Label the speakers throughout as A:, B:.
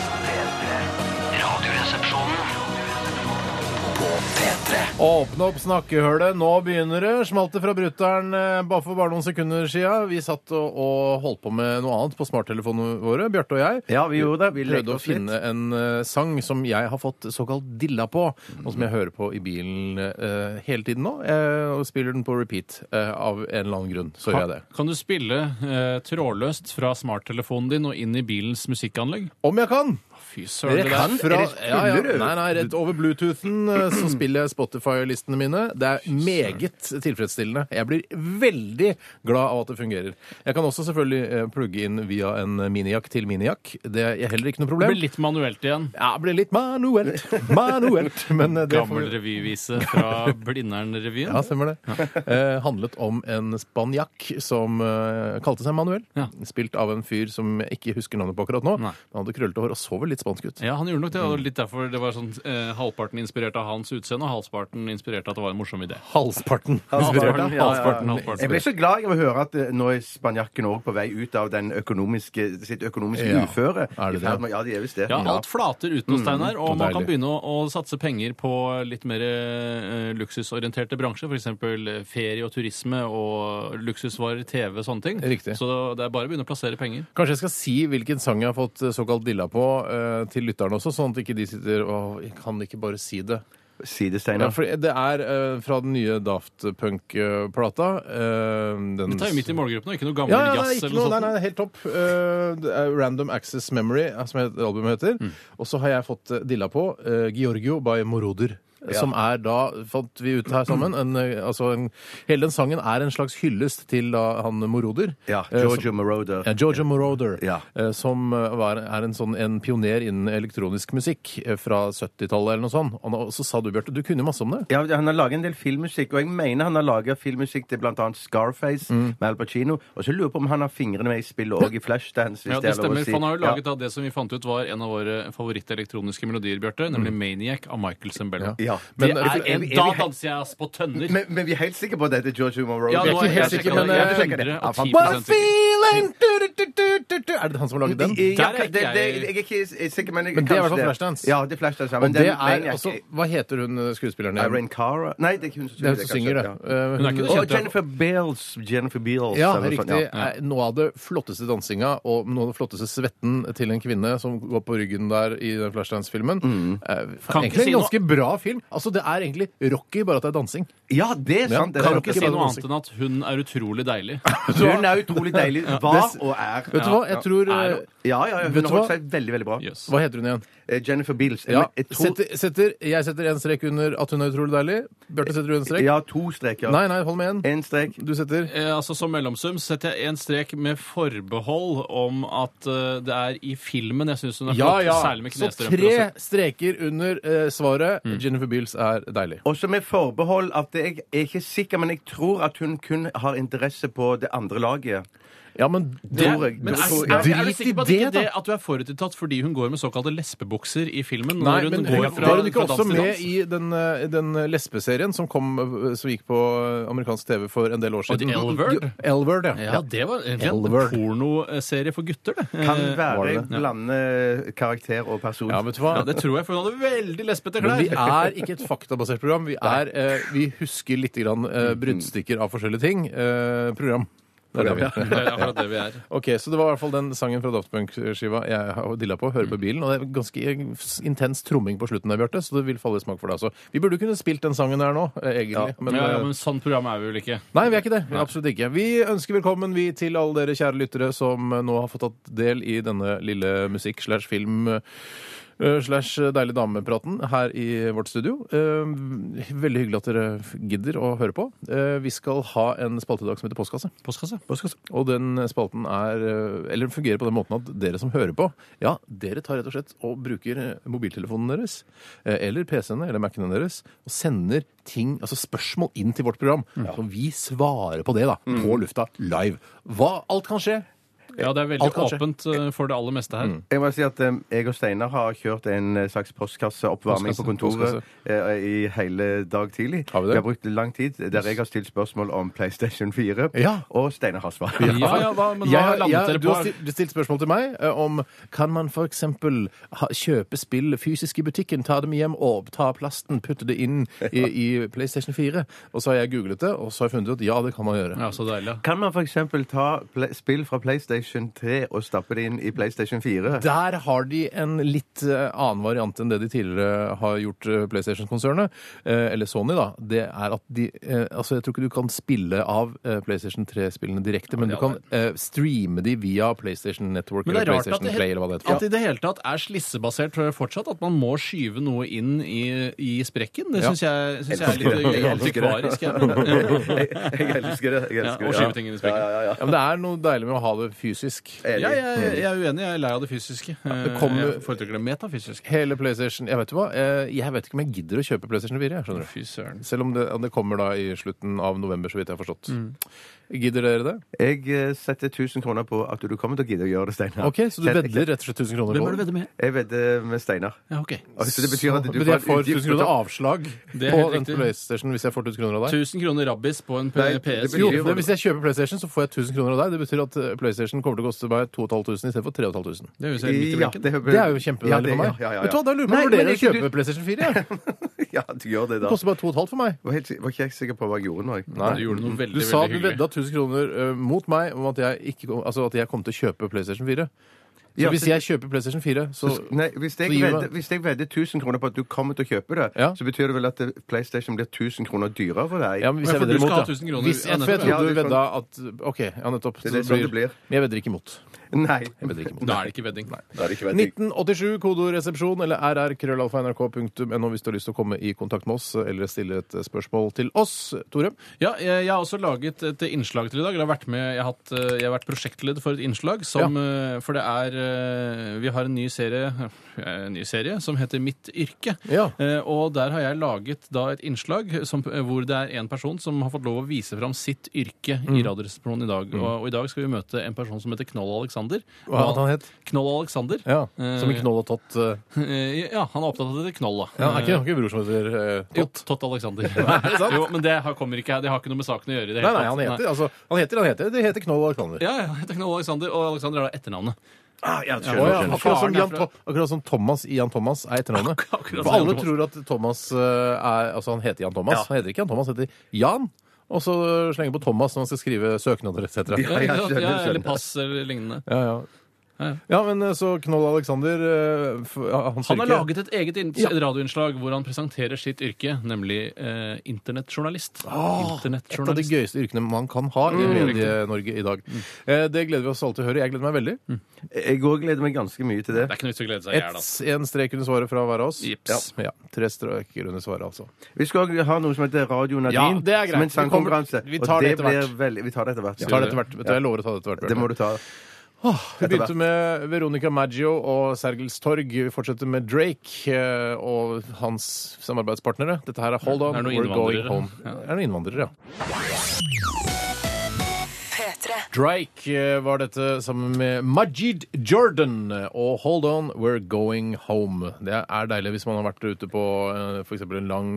A: P3. Radioresepsjonen på P3.
B: Åpne opp snakkehølet, nå begynner det. Smalt det fra brutter'n eh, bare for bare noen sekunder sia. Vi satt og, og holdt på med noe annet på smarttelefonene våre, Bjarte og jeg.
C: Ja, vi gjorde det. Vi lekte
B: Prøvde å
C: oss litt.
B: finne en eh, sang som jeg har fått såkalt dilla på, og
C: Mm.
B: som jeg hører på i bilen eh, hele tiden nå. eh, og spiller den på repeat eh, av en eller annen grunn. Så gjør jeg det.
D: Kan du spille eh, trådløst fra smarttelefonen din og inn i bilens musikkanlegg?
B: Om jeg kan!
D: Fy søren, det
B: Rett
D: der.
B: fra,
C: Eller
B: ja, ja.
C: spiller du?
B: Nei, nei, rett over Bluetoothen eh, så
D: Mm.
B: spiller jeg Spotify-listene mine. Det er meget tilfredsstillende. Jeg blir veldig glad av at det fungerer. Jeg kan også selvfølgelig eh, plugge inn via en minijakk til minijakk. Det er heller ikke noe
D: Det
B: problem.
D: blir litt manuelt igjen.
B: Ja, det blir litt manuelt. Manuelt. Men eh, det
D: Gammel
B: får vi...
D: revyvise fra Blindern-revyen.
B: Ja, stemmer det. Eh, handlet om en spanjakk som eh, kalte seg Manuel.
D: Ja.
B: Spilt av en fyr som jeg ikke husker navnet på akkurat nå.
D: Nei.
B: Han hadde krøllete hår og så vel litt spansk ut.
D: Ja, han gjorde nok det.
B: Mm.
D: og Litt derfor det var sånn eh, halvparten inspirert av hans utseende, og halvparten inspirert av at det var en morsom idé.
B: Halsparten.
C: Halsparten, ja, ja, ja.
D: Halvparten, halvparten.
C: Jeg ble så glad av å høre at eh, nå er spanjakken òg på vei ut av den økonomiske, sitt økonomiske
B: Ja.
C: uføre.
B: Er det
C: I ferd
B: det?
C: med- Ja, de er visst det.
D: Ja, alt flater ut hos Steinar, og man kan
B: Mm. deilig.
D: begynne å, å satse penger på litt mer eh, luksusorienterte bransjer, f.eks. ferie og turisme og luksusvarer, TV, sånne ting.
B: Riktig.
D: Så det er bare å begynne å plassere penger.
B: Kanskje jeg skal si hvilken sang jeg har fått eh, såkalt dilla på eh, til lytterne også, sånn at ikke de sitter og jeg kan ikke bare si det.
C: Si det,
B: Ja,
C: Steinar.
B: for det er eh, fra den nye Daft Punk-plata. eh, den-
D: Dette er jo midt i målgruppen, og ikke noe gammel
B: ja, ja, nei,
D: jazz
B: ikke
D: eller
B: noe,
D: noe
B: nei,
D: sånt.
B: nei, helt topp. Eh, det er Random Access Memory, eh, som het- albumet heter. Og så har jeg fått eh, dilla på eh, Giorgio by Moroder. Som er da, fant vi ut her sammen en, eh, altså en, Hele den sangen er en slags hyllest til da, han Moroder.
C: Ja,
B: eh, som-
C: Giorgio Moroder.
B: Ja, Georgia Moroder,
C: Ja.
B: eh, som eh, var, er en, sånn, en pioner innen elektronisk musikk eh, fra 70-tallet eller noe sånt. Og nå- så sa du, Bjarte, du kunne masse om det.
C: Ja, Han har laget en del filmmusikk, og jeg mener han har laget filmmusikk til bl.a. Scarface
B: Mm.
C: med Al Pacino. Og så lurer jeg på om han har fingrene med i spillet òg, i Flashdance. Hvis
D: Ja, det
C: er lov å
D: stemmer.
C: si.
D: for Han har jo
C: Ja.
D: laget da det som vi fant ut var en av våre favorittelektroniske melodier, Bjarte, nemlig 'Maniac' av Michael Zembello.
B: Men, eh,
C: Ja.
D: det er en
C: er vi
D: Da
C: helt-
D: danser jeg ass på tønner!
C: Men, men vi er helt sikre på at dette er George Moroder?
D: Ja, nå
B: er jeg helt sikker, men,
C: Jeg sjekker det.
D: eh,
C: Ja, fan,
D: 110%
B: What a feeling! Du, du, du, du, du, du. Er det han som har laget den?
C: Ja,
D: Der er
C: det,
D: ikke
C: det,
D: jeg-
C: jeg er ikke sikker, men, jeg,
B: Men det er i hvert
C: kanskje
B: fall Flashdance.
C: Ja, det er Flashdance. ja,
B: Og
C: Men
B: det
C: den
B: er
C: mener jeg
B: altså
C: ikke.
B: Hva heter hun eh, skuespilleren? igjen?
C: Irene Cara Nei, det er ikke hun som
B: Det er
C: synger.
B: hun som
C: kanskje.
B: synger, det.
C: Ja.
B: Eh,
D: Hun
C: Og
D: er ikke noe kjent, i hvert fall.
C: Jennifer Beals. Jennifer Beals.
B: Ja,
C: eller noe sånt,
B: riktig. Eh, Noe av det flotteste dansinga og noe av det flotteste svetten til en kvinne som går på ryggen der i den Flashdance-filmen.
C: Mm.
B: Eh,
D: Kan
B: Egentlig
D: ikke si
B: en
D: noe-
B: ganske bra film. Altså, Det er egentlig Rocky, bare at det er dansing.
C: Ja, det er sant. det er
B: kan
C: sant.
D: Ikke si noe annet enn at hun er utrolig deilig.
C: Hun er utrolig deilig. Var og er.
B: Vet du hva? Jeg tror
D: Er-
B: eh,
C: Ja, ja, ja,
B: Vet
C: hun
B: du
C: har holdt
B: hva?
C: seg veldig, veldig bra.
D: Jøss.
B: Hva heter hun igjen?
C: Eh, Jennifer Beals.
B: Ja,
C: Jeg tror
B: setter, setter, jeg setter en strek under at hun er utrolig deilig. Bjarte, setter du en strek?
C: Ja, to streker.
B: Nei, nei, hold med én.
C: En strek.
B: Du setter
D: Eh, altså Som mellomsum setter jeg en strek med forbehold om at eh, det er i filmen jeg syns hun er flott. Særlig med
B: Så
D: knestrømper.
B: tre
D: også. Mm.
B: streker under eh, svaret. Jennifer Beals er deilig.
C: Også med forbehold at jeg er ikke sikker, men jeg tror at hun kun har interesse på det andre laget.
B: Ja, men
D: Det,
C: Tror jeg.
D: men er,
C: Tror
D: er,
C: jeg.
D: er, du sikker på at
B: Drit i
D: ikke
B: det,
D: det at du er forutinntatt fordi hun går med såkalte lesbebukser i filmen?
B: Nei,
D: når hun
B: men
D: går fra,
B: var hun ikke
D: fra
B: også
D: dans til
B: med
D: dans?
B: i den, eh, den lesbeserien som, kom, eh, som gikk på eh, amerikansk TV for en del år
D: Og det
B: siden?
D: L-word?
B: L-word, ja.
D: Ja, det var egentlig en
B: Elverd.
D: pornoserie for gutter, det.
C: Kan
B: var
D: Eh,
C: være
B: det
C: jeg
B: det?
C: blander karakter og person.
B: Ja, vet du hva?
D: Ja, det tror jeg, for hun hadde veldig lesbete
B: Men
D: klær.
B: vi er ikke et faktabasert program. Vi, er, eh, vi husker litt grann, eh, bruddstykker av forskjellige ting. Eh, program. Det er det vi er.
D: Det er akkurat det vi er.
B: Ok, Så det var i hvert fall den sangen fra Daft Punk-skiva jeg har dilla på. Hører på bilen. Og det er ganske intens tromming på slutten der, Bjarte, så det vil falle i smak for deg også. Vi burde kunne spilt den sangen her nå, eh, egentlig. Men,
D: ja, ja,
B: eh,
D: men sånn program er vi vel ikke.
B: Nei, vi er ikke det. Absolutt ikke. Vi ønsker velkommen vi til alle dere kjære lyttere som eh, nå har fått tatt del i denne lille musikk slash film eh, slash deilig dame-praten her i vårt studio. Eh, Veldig hyggelig at dere gidder å høre på. Eh, Vi skal ha en spalte i dag som heter Postkasse.
D: Postkasse.
B: Og den spalten er eh, Eller fungerer på den måten at dere som hører på, ja, dere tar rett og slett og bruker eh, mobiltelefonen deres eh, eller PC-ene eller Mac-ene deres og sender ting, altså spørsmål inn
D: Mm.
B: til vårt program. Så vi svarer på det, da. På lufta live. Hva Alt kan skje.
D: Ja, det er veldig
B: Alt Mm. kan skje.
D: åpent eh, for det aller meste her.
C: Jeg må si at eh, jeg og Steinar har kjørt en eh, slags postkasseoppvarming
B: Postkasse,
C: på kontoret
B: postkasse.
C: eh, i hele dag tidlig.
B: Har vi det?
C: har brukt lang tid der jeg har stilt spørsmål om PlayStation 4,
B: Ja.
C: og Steinar har svar.
D: Ja, ja, hva, men hva
B: Jeg-
D: landet
B: jeg-
D: dere
B: du
D: på?
B: har stilt, stilt spørsmål til meg eh, om kan man f.eks. kjøpe spill fysisk i butikken, ta dem hjem, overta plasten, putte det inn i, i PlayStation 4? Og så har jeg googlet det, og så har jeg funnet ut at ja, det kan man gjøre.
D: Ja, så deilig.
C: Kan man f.eks. ta ple- spill fra PlayStation 3 og stappe det inn i PlayStation 4?
B: Der har de en litt eh, annen variant enn det de tidligere har gjort eh, PlayStation-konsernet, eh, eller Sony, da. Det er at de eh, Altså, jeg tror ikke du kan spille av eh, PlayStation 3-spillene direkte, men du
D: Ja,
B: kan eh, streame de via PlayStation Network
D: Men det
B: eller
D: er rart at
B: PlayStation
D: det,
B: Play eller hva det
D: at
B: heter.
D: det i det hele tatt er slissebasert tror jeg fortsatt. At man må skyve noe inn i, i sprekken. Det
B: Ja.
D: syns jeg, synes jeg
C: elsker det.
D: er litt
C: Jeg elsker det.
D: antikvarisk. jeg, men- ja.
C: Jeg, jeg elsker det. Jeg
D: Ja,
C: elsker
D: og
C: det.
D: skyve ting inn i sprekken.
C: Ja, ja, ja,
B: Ja, men det er noe deilig med å ha det fysisk.
C: ja. Enig.
D: Ja, jeg, jeg er uenig. Jeg er lei av det fysiske.
B: det kommer-
D: Jeg foretrekker det metafysiske.
B: Hele PlayStation Jeg vet du hva, eh, jeg vet ikke om jeg gidder å kjøpe PlayStation 4. Jeg, skjønner du.
D: Fy søren.
B: Selv om det, om det kommer da i slutten av november, så vidt jeg har forstått.
D: Mm.
B: Gidder dere det?
C: Jeg eh, setter 1000 kroner på at du kommer til å gidde å gjøre det, Steinar.
B: OK, så du vedder rett og slett 1000 kroner
D: Hvem er det du
B: på?
D: vedder med?
C: Jeg vedder med Steinar.
D: Ja, ok.
C: Altså, det betyr at du
B: Men jeg
C: en
B: får
C: utgift
B: 1000
C: på
B: kroner
C: topp.
B: avslag
D: Det er
B: på
D: helt
B: den
D: riktig.
B: PlayStation hvis jeg får 1000 kroner av deg.
D: 1000 kroner rabbis på
C: Nei,
D: en P-
C: det
D: PS4.
C: betyr
B: Jo,
C: jo-
B: men Hvis jeg kjøper PlayStation, så får jeg 1000 kroner av deg. Det betyr at eh, PlayStation kommer til å koste meg 2500 istedenfor 3500.
D: Det høres helt midt i blinken.
C: det,
B: Det er jo kjempedeilig
C: Ja, det-
B: for meg.
C: Ja, ja, ja.
B: Vet du hva, Da lurer jeg på
C: Nei,
B: om
C: men
B: dere
C: ikke
B: kjøper PlayStation 4. Ja.
C: du- Ja, du gjør det, da.
B: Det
C: Jeg
B: koster bare 2500 for meg.
C: var, helt, sik- var ikke helt sikker på hva jeg gjorde nå. jeg.
B: Nei.
D: Du gjorde noe veldig,
B: Du sa
D: veldig
B: du
D: hyggelig.
B: vedda 1000 kroner eh, mot meg om at jeg, ikke, kom- altså at jeg kom til å kjøpe PlayStation 4. Så
C: Ja,
B: hvis
C: så-
B: jeg kjøper PlayStation 4, så
C: Nei, hvis jeg,
B: Så gir
C: vedder,
B: meg-
C: hvis jeg vedder 1000 kroner på at du kommer til å kjøpe det,
B: Ja.
C: så betyr det vel at det- PlayStation blir 1000 kroner dyrere for deg?
B: ja, men hvis jeg
D: Ja, for
B: vedder
D: du skal
B: imot,
D: ha
B: ja.
D: 1000 kroner.
B: Hvis,
D: Ja,
B: jeg, for jeg
D: nettopp,
C: ja.
B: trodde
C: Ja,
B: du
C: det er
B: vedda at OK, ja, nettopp.
C: Det er sånn det blir.
B: Men jeg vedder ikke imot.
C: Nei.
B: Jeg vedder ikke imot.
D: Da er det ikke vedding.
C: Da er det ikke vedder.
B: 1987, kodoresepsjon eller rrkrøllalfa.nrk.no hvis du har lyst til å komme i kontakt med oss eller stille et spørsmål til oss. Tore?
D: Ja, jeg, jeg har også laget et innslag til i dag. Jeg har vært, med, jeg har hatt, eh, jeg har vært prosjektledd for et innslag som eh, For det er eh, Vi har en ny serie, eh, en ny serie som heter Mitt yrke.
B: Ja.
D: Eh, Og der har jeg laget da et innslag som, eh, hvor det er en person som har fått lov å vise fram sitt yrke
B: Mm.
D: i Radioresepsjonen i dag. Og, og i dag skal vi møte en person som heter Knoll Alexander.
B: Hva hadde han het?
D: Knoll Alexander.
B: Ja, Som
D: Eh,
B: ikke Knoll og Tott eh,
D: Eh, Ja, han er opptatt av det Knoll, da.
B: ja, Er ikke han ikke en bror som heter eh,
D: Jo,
B: Tott?
D: Tott Alexander. jo, men det har- kommer ikke her. Det har ikke noe med saken å gjøre. i Det
B: Nei,
D: hele
B: nei,
D: tatt.
B: han heter, altså, han heter, han heter, det heter Knoll og Alexander.
D: Ja, ja, det er Knoll Alexander, og Alexander er da etternavnet.
C: Ah, ja, skjønner,
B: Å ja,
C: skjønner.
B: akkurat, som
D: Faren
B: Jan,
D: derfra.
B: To- akkurat som Thomas i Jan Thomas er etternavnet.
D: Ak- akkurat som
B: For alle
D: Jan Thomas.
B: tror at Thomas eh, er Altså, han heter Jan Thomas.
C: Ja.
B: Han heter ikke Jan Thomas, han heter Jan. Og så slenger på Thomas når han skal skrive søknader etc.
C: Ja, ja,
D: Ja,
C: skjønner,
D: ja, eller
C: skjønner.
D: pass eller lignende.
B: Ja, ja.
D: Ja.
B: ja, men eh, så Knoll Alexander eh, f- ja, Hans
D: Han har
B: yrke-
D: laget et eget inn-
B: Ja.
D: radioinnslag hvor han presenterer sitt yrke, nemlig eh, internettjournalist.
B: Ah, et av de
D: internettjournalist.
B: gøyeste yrkene man kan ha
D: Mm.
B: i Medie-Norge i dag. Eh, Det gleder vi oss alle til å høre. Jeg gleder meg veldig.
D: Mm.
C: Jeg òg gleder meg ganske mye til det.
D: Det er ikke noe vits i å glede seg i hjel,
B: Et,
D: altså.
B: en strek under svaret fra hver av oss.
D: Jips.
B: Ja, tre streker under svaret, altså.
C: Vi skal også ha noe som heter Radio Nadine.
B: Ja, det er greit.
C: Som en
B: Vi kommer-
C: sangkonkurranse.
B: vi
C: og
B: tar det
C: det
B: etter
C: blir
B: hvert.
C: veldig- Vi tar det etter hvert.
B: Vi tar det etter hvert. Vet du, jeg lover å ta det etter hvert.
C: Det må du ta.
B: Vi begynte med Veronica Maggio og Sergels Torg. Vi fortsetter med Drake eh, og hans samarbeidspartnere. Dette her er Hold On,
D: Det er noen
B: We're Going
D: innvandrere.
B: Home.
D: Ja.
B: Det er noen innvandrere, ja.
E: P3.
B: Drake eh, var dette sammen med Majid Jordan eh, og Hold On, We're Going Home. Det er deilig hvis man har vært ute på f.eks. en lang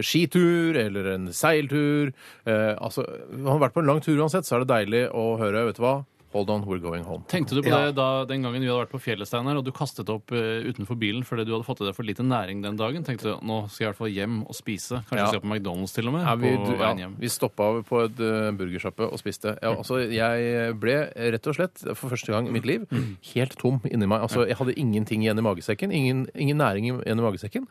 B: skitur eller en seiltur. Eh, Altså, man har vært på en lang tur uansett, så er det deilig å høre, vet du hva, Hold On, We're Going Home.
D: Tenkte du på det da den gangen vi hadde vært på fjellet, Steinar, og du kastet opp eh, utenfor bilen fordi du hadde fått i deg for lite næring den dagen? Tenkte du nå skal jeg i hvert fall hjem og spise? Kanskje
B: Ja.
D: se på McDonald's til og med?
B: Ja, vi,
D: på
B: du,
D: veien
B: ja,
D: hjem. Mm.
B: vi stoppa over på et eh, burgersjappe og spiste. Ja, altså, jeg ble rett og slett, for første gang i mitt liv,
D: Mm.
B: helt tom inni meg. Altså, jeg hadde ingenting igjen i magesekken. Ingen, ingen næring igjen i magesekken.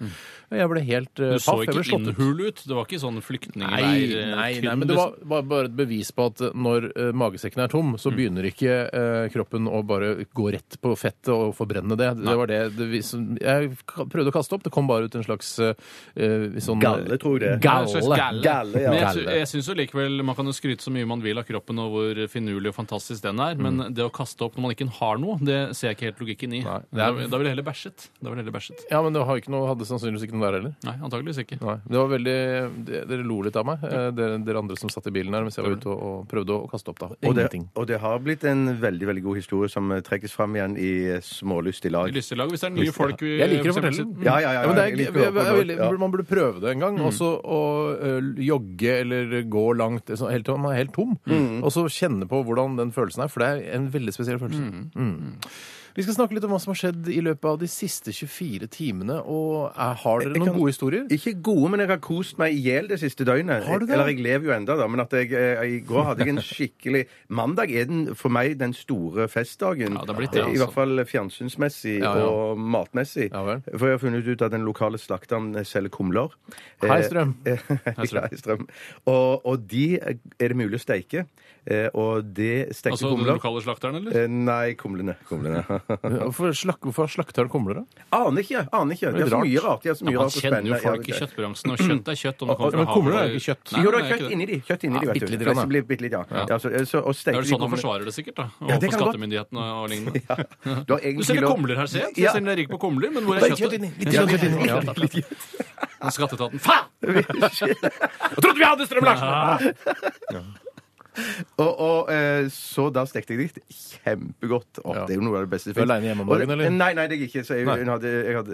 B: Jeg ble helt uh,
D: Mm. Du så
B: paff. Jeg
D: ikke
B: ble slått ut.
D: innhul ut? Det var ikke sånn
B: Nei,
D: flyktningleir? eh,
B: nei, nei,
D: tynn,
B: men det var
D: liksom.
B: var bare et bevis på at når eh, magesekken er tom,
D: Mm.
B: så begynner ikke eh, kroppen å bare gå rett på fettet og forbrenne det. Det var det, det vis- Jeg k- prøvde å kaste opp, det kom bare ut en slags eh, eh, sånn
C: Galle, tror jeg det er.
D: Ja, en slags galle.
C: Galle, ja.
D: Men jeg, sy-
B: Galle.
D: jeg syns jo likevel man kan jo skryte så mye man vil av kroppen og hvor finurlig og fantastisk den er, men
C: Mm.
D: det å kaste opp når man ikke har noe, det ser jeg ikke helt logikken i.
B: Nei, det er-
D: Da, da ville jeg heller bæsjet. Da ville jeg heller bæsjet.
B: Ja, men det har ikke noe, hadde sannsynligvis ikke noe der heller.
D: Nei, antageligvis ikke.
B: Nei, det var veldig, de- Dere lo litt av meg, eh, dere, dere andre som satt i bilen her mens jeg var ute og, og prøvde å kaste opp. da.
C: Og det,
B: Ingenting.
C: og det har blitt dette er en veldig veldig god historie som eh, trekkes fram igjen i eh, Smålyst i lag.
D: Lystelag, hvis det er nye folk vi
B: Jeg liker å
D: for eksempel
B: fortelle den.
D: sitter-
C: Ja, ja, ja,
B: Ja, men det er,
C: jeg
B: jeg,
C: liker å åpne det opp, ja.
B: Man burde prøve det en gang. og så å ø, jogge eller gå langt så helt til man er helt tom. Og så kjenne på hvordan den følelsen er, for det er en veldig spesiell følelse. Mm. Vi skal snakke litt om hva som har skjedd i løpet av de siste 24 timene. og er, Har dere
C: Jeg
B: noen
C: kan-
B: gode historier?
C: Ikke gode, men jeg har kost meg i hjel det siste døgnet.
B: Har du det?
C: Eller jeg lever jo enda da, men at jeg, eh, i går hadde jeg en skikkelig Mandag er den for meg den store festdagen.
D: Ja, det har blitt det,
C: Eh,
D: altså.
C: I hvert fall fjernsynsmessig
B: Ja, ja.
C: og matmessig.
B: Ja vel.
C: for jeg har funnet ut at den lokale slakteren eh, selger kumler.
B: Hei,
C: Eh,
B: Strøm.
C: Eh,
D: Strøm.
C: Hei, Strøm. Og, og de eh, er det mulig å steike. Eh, Og det stekte
D: Altså den
C: kumler
D: lokale slakteren, eller?
C: Eh, Nei, kumlene. kumlene.
B: Eh. Hvorfor slak, hvorfor slakter han kumler, da?
C: Aner ikke. aner ikke. Det er så
B: rart.
C: mye rart. Det er så mye
D: Man
C: rart og
D: kjenner
C: spennende.
D: jo folk
C: Ja,
D: i
C: det-
D: kjøttbransjen, og kjøtt er kjøtt. om det kommer
B: men
D: fra
B: kumler er
D: havet.
B: jo ikke kjøtt.
D: Nei,
C: jo, det er
D: nei, ikke
C: kjøtt inni de. Kjøtt inni de, vet
B: bitte
C: du.
B: lite grann,
C: Det
B: da.
C: blir bitte litt, ja. Ja, så, eh, så, og
D: Det
C: steker
D: er vel sånn
C: de
D: han
C: kumler-
D: forsvarer det sikkert, da.
C: Ja,
D: Overfor
C: det kan godt.
D: skattemyndighetene og lignende.
C: Du har egentlig
D: Du selger
C: lov-
D: kumler her, ser jeg.
C: Ja.
D: Jeg selger deg rik på kumler, men hvor
C: Det er
D: er
C: kjøtt
D: kjøttet?
C: inni.
D: Litt
C: Ja,
D: kjøtt
C: litt
D: inni, ja. Og Skatteetaten. Faen! Jeg trodde vi hadde Strøm Larsen!
C: Og, og eh, så da stekte jeg de kjempegodt. Å,
B: Ja.
C: Det er jo noe av det beste jeg
B: Du er
C: fikk.
B: alene hjemme om dagen,
C: Og-
B: eller?
C: Nei, nei, det er jeg ikke. Så jeg,
B: Nei.
C: hun hadde, jeg hadde,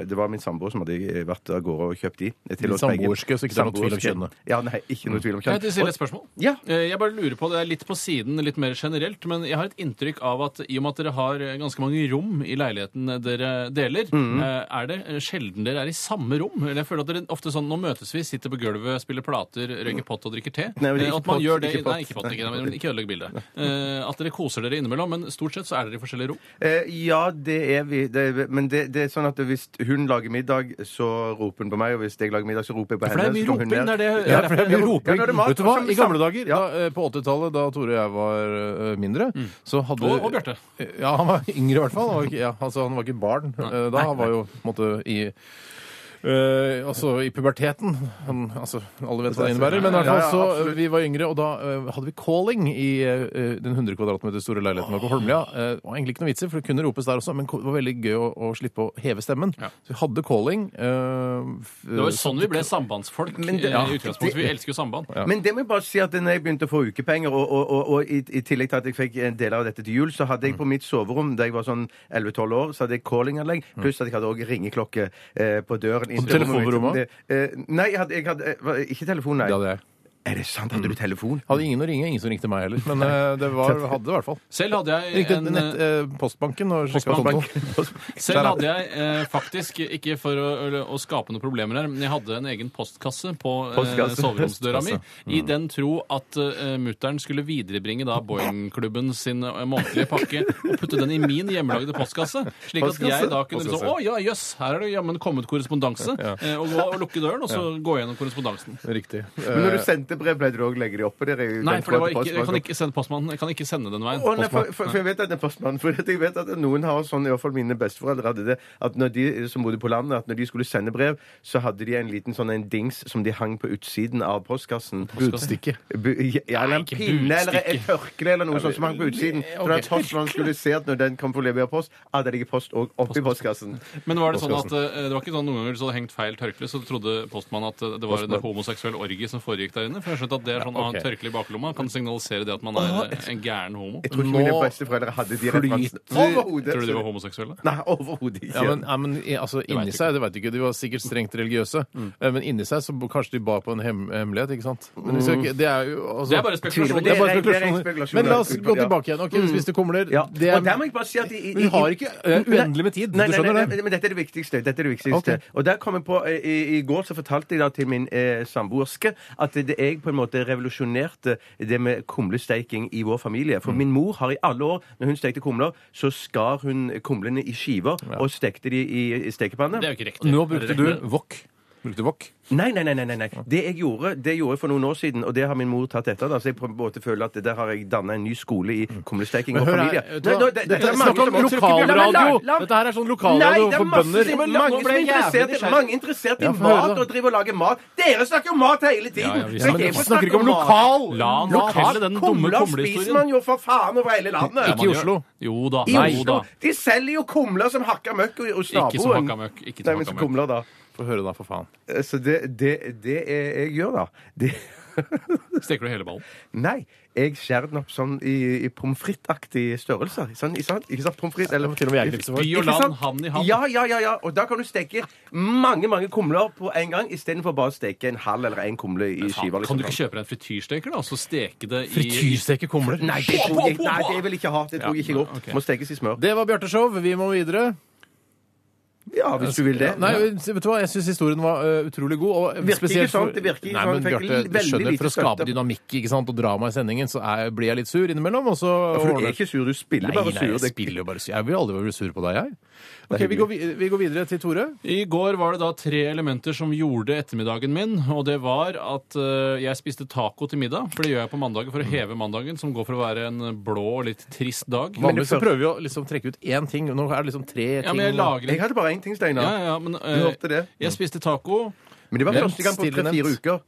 C: eh, det var min samboer som hadde eh, vært av gårde og kjøpt de. til
B: Din
C: oss begge.
B: samboerske, så ikke det er noe tvil om
C: Samboerske.
B: kjønnet. Mm.
C: Ja, nei, ikke noe tvil om
D: Kan jeg
C: kjønn.
D: stille et spørsmål?
C: Ja.
D: Eh, Jeg bare lurer på, Det er litt på siden, litt mer generelt, men jeg har et inntrykk av at i og med at dere har ganske mange rom i leiligheten dere deler, eh, er det sjelden dere er i samme rom? Eller jeg føler at dere ofte sånn, Nå møtes vi, sitter på gulvet, spiller plater, røyker pott og drikker te.
C: Nei, men
D: Eh,
C: ikke
D: at
C: pott,
D: man gjør det,
C: ikke pott.
D: Nei, ikke pott. Ikke, nei, men ikke ødelegg bildet. Eh, At dere koser dere innimellom, men stort sett så er dere i forskjellige rom.
C: Eh, ja, det er vi. Det er, men det, det er sånn at hvis hun lager middag, så roper hun på meg. Og hvis jeg lager middag, så roper jeg på
D: For det
C: henne.
D: er
C: så
D: mye
C: kommer hun
D: roping,
C: ned.
D: det er det-
B: Ja,
D: det
B: for det er mye roping.
C: Ja, da er det mat,
B: Vet du hva,
C: og så-
B: I gamle dager,
C: Ja.
B: da, eh, på 80-tallet, da Tore og jeg var eh, mindre, så hadde Eh,
D: Og- og Bjarte.
B: Ja, han var yngre i hvert fall. Han var ikke, ja, altså, han var ikke barn eh, da. Han var jo på en måte i eh, altså i puberteten. Han, altså, alle vet hva det innebærer. Men i hvert
C: Ja,
B: fall
C: ja,
B: så eh,
C: absolutt.
B: vi var yngre, og da eh, hadde vi calling i eh, den 100 kvadratmeter store leiligheten vår på Holmlia. Eh, Det var egentlig ikke noe vitser, for det kunne ropes der også, men det var veldig gøy å, å slippe å heve stemmen.
D: Ja.
B: Så vi hadde calling. eh,
D: Det var jo sånn vi ble sambandsfolk.
C: Men det-
D: eh,
C: ja,
D: i utgangspunktet. Vi elsker jo samband.
C: Men det må jeg bare si at når jeg begynte å få ukepenger, og, og, og, og i, i tillegg til at jeg fikk en del av dette til jul, så hadde jeg på mitt soverom da jeg var sånn 11-12 år, så hadde jeg callinganlegg,
D: Mm.
C: pluss at jeg hadde også ringeklokke eh, på døren.
B: På telefonrommet?
C: Det- Eh, nei, jeg hadde, jeg hadde eh, hva- ikke telefon, nei.
B: Det hadde jeg.
C: Er det sant? Hadde du
D: Mm.
C: telefon?
B: Hadde ingen å ringe, ingen som ringte meg heller. Men eh, det var, hadde det i hvert fall.
D: Selv hadde jeg
B: Ringte
D: en
B: nett,
D: eh,
B: eh, postbanken og sjekka
D: Postbank.
B: kontoen.
D: Selv hadde jeg eh, faktisk, ikke for å, å- å skape noen problemer her, men jeg hadde en egen postkasse på eh,
C: Postkasse. Mm.
D: soveromsdøra mi, i den tro at eh, mutter'n skulle viderebringe da Boeing-klubben sin eh, månedlige pakke og putte den i min hjemmelagde postkasse, slik at
C: Postkasse.
D: jeg da kunne liksom
B: Postkasse.
D: Å ja, jøss, her er det jammen kommet korrespondanse. eh, Og, gå, og lukke døren, og så gå gjennom korrespondansen.
B: Riktig. Eh,
C: Men når du sendte brev, ble du òg legge de oppå der? i-
D: Nei,
C: den
D: for det var
C: tråden
D: ikke, jeg kan
C: postmannen?
D: ikke sende postmannen. Jeg kan ikke sende den veien.
C: Å, nei, for, for, for jeg vet at det er postmann, for at jeg vet at noen har sånn, i hvert fall mine besteforeldre hadde det, at når de eh, som bodde på landet, at når de skulle sende brev, så hadde de en liten sånn en dings som de hang på utsiden av postkassen.
B: Budstikke.
C: Bu ja, eller en
D: ikke
C: pinne eller
D: budstikke.
C: et tørkle eller noe sånt som hang på utsiden. Så da postmannen skulle se at når den kom for å levere post, hadde det ligget post òg oppi postkassen.
D: Men var det sånn at eh, det var ikke sånn noen ganger hvis det hadde hengt feil tørkle, så trodde postmannen at eh, det var en homoseksuell orgie som foregikk der inne? For jeg har skjønt at det er sånn å ha en
B: ok.
D: tørkle i baklomma kan signalisere det at man
C: Ah,
D: er eh, en gæren homo.
C: Jeg tror ikke
B: Nå
C: mine besteforeldre hadde de referansene overhodet.
D: Tror du de var homoseksuelle?
C: Nei, overhodet ikke.
B: Ja, men, ja, men i- altså,
D: vet
B: inni
D: jeg
B: seg, det vet du ikke, de var sikkert strengt religiøse, Eh, men inni seg så kanskje de bar på en hem hemmelighet, ikke sant? Men vi skal ikke, det er jo altså,
D: Det er bare spekulasjon.
C: men det er-
B: bare
C: det er
B: spekulasjoner. Mm.
C: spekulasjoner.
B: Men la oss gå
C: Ja.
B: tilbake igjen. Ok, Hvis det kumler
C: Ja.
B: det er,
C: og der må jeg bare si at i- i-
B: Men vi har ikke, eh, uendelig med tid,
C: Nei,
B: du
C: nei,
B: skjønner
C: nei,
B: det?
C: nei, men dette er det viktigste. Dette er det viktigste.
B: Ok.
C: Og der kom jeg på, eh, i, I går så fortalte jeg da til min eh, samboerske at det, jeg på en måte revolusjonerte det med kumlesteiking i vår familie.
B: Mm.
C: For min mor har i alle år, når hun stekte kumler, så skar hun kumlene i skiver og stekte de i, i stekepanne.
D: Det er jo ikke riktig.
B: Nå
D: Er
B: brukte
D: det
B: du
D: riktig?
B: wok. Brukte wok.
C: Nei, nei, nei, nei, nei, nei. Det jeg gjorde det gjorde jeg for noen år siden, og det har min mor tatt etter. Da, så jeg på en måte føler at der har jeg danna en ny skole i kumlesteking
B: Men
C: og
B: hør her,
C: familie.
B: vet du
C: Nei,
B: hva?
C: nå, det-
B: Dette
C: dette
B: er
C: er mange
B: snakk om
C: som har-
B: lokalradio.
C: La- la-
B: Dette her er sånn lokalradio
C: Nei, det er
B: for
C: masse
B: bønder.
C: som-
D: Men
C: Mange
D: nå
C: som
D: ble
C: er
D: jeg jævlig
C: interessert, i-
D: nysgjerrig.
C: mange er interessert i
B: Ja, få høre
C: mat
B: da.
C: og driver og lager mat. Dere snakker jo om mat hele tiden!
D: Ja, ja,
C: Så
D: vi
C: jeg
D: snakker-
B: Men
C: kan få
B: vi snakker
C: snakke
B: ikke om
C: mat.
B: lokal!
D: La han
B: lokal-
D: fortelle den dumme
C: Kumler spiser man
D: kumlehistorien.
C: jo for faen over hele landet!
B: Ikke i
D: man gjør-
B: Oslo.
D: Jo da.
C: I
D: Nei, jo
C: Oslo.
D: da.
C: De selger jo kumler som hakka møkk hos hos naboen.
D: Ikke som hakka møkk.
C: Nei,
D: Ikke som
C: men så
D: hakka
C: kumler,
D: møkk.
C: da.
B: Få høre, da, for faen.
C: Så det, det, det er- jeg gjør, da, det
D: Steker du hele ballen?
C: Nei, jeg skjærer den opp sånn i, i pommes frites-aktige størrelser. Sånn, ikke sant? Ikke sant? Pommes frites eller
B: Til og med jeg knipser for.
D: By
C: Ikke
D: og land,
C: sant?
D: hand i hand.
C: Ja, ja, ja, ja. Og da kan du steke mange mange kumler på en gang, istedenfor bare å steke en halv eller en kumle i skiver.
D: Faen,
C: liksom.
D: kan du ikke kjøpe deg en frityrsteker da, og så steke det i
B: Frityrsteke kumler.
C: Nei, det tror jeg, nei, det vil jeg ikke ha. Det tror jeg ikke går.
D: ok.
C: Må stekes i smør.
B: Det var Bjarte Show. Vi må videre.
C: Ja, hvis du vil det.
B: Nei, vet du hva? Jeg syns historien var eh, utrolig god. Og
C: Virker ikke
B: spesielt for-
C: sånn, det virker ikke
B: Nei,
C: sånn.
B: men
C: Fikk
B: Bjarte, du
C: veldig
B: skjønner,
C: lite
B: for å skape
C: støtte.
B: dynamikk ikke sant, og drama i sendingen, så er, blir jeg litt sur innimellom, og så
C: For du er ikke sur, du spiller
B: Nei,
C: bare
B: nei,
C: sur.
B: jeg
C: Det-
B: spiller jo bare sur. Jeg vil aldri bli sur på deg, jeg. Ok,
C: hyggelig.
B: vi går, vi- vi går videre til Tore.
D: I går var det da tre elementer som gjorde ettermiddagen min, og det var at eh, jeg spiste taco til middag, for det gjør jeg på mandager for å heve mandagen, som går for å være en blå og litt trist dag.
B: Vanligvis så prøver vi å liksom trekke ut én ting. og Nå er det liksom tre ting.
D: ja, men jeg lager
C: Jeg hadde bare én ting,
D: Ja,
C: Steinar.
D: ja, ja, men eh,
C: Du hørte det.
D: jeg spiste taco.
C: Men det var
B: Nevnt,
C: første gang på
B: stille
C: tre-fire
B: nevnt.
C: uker.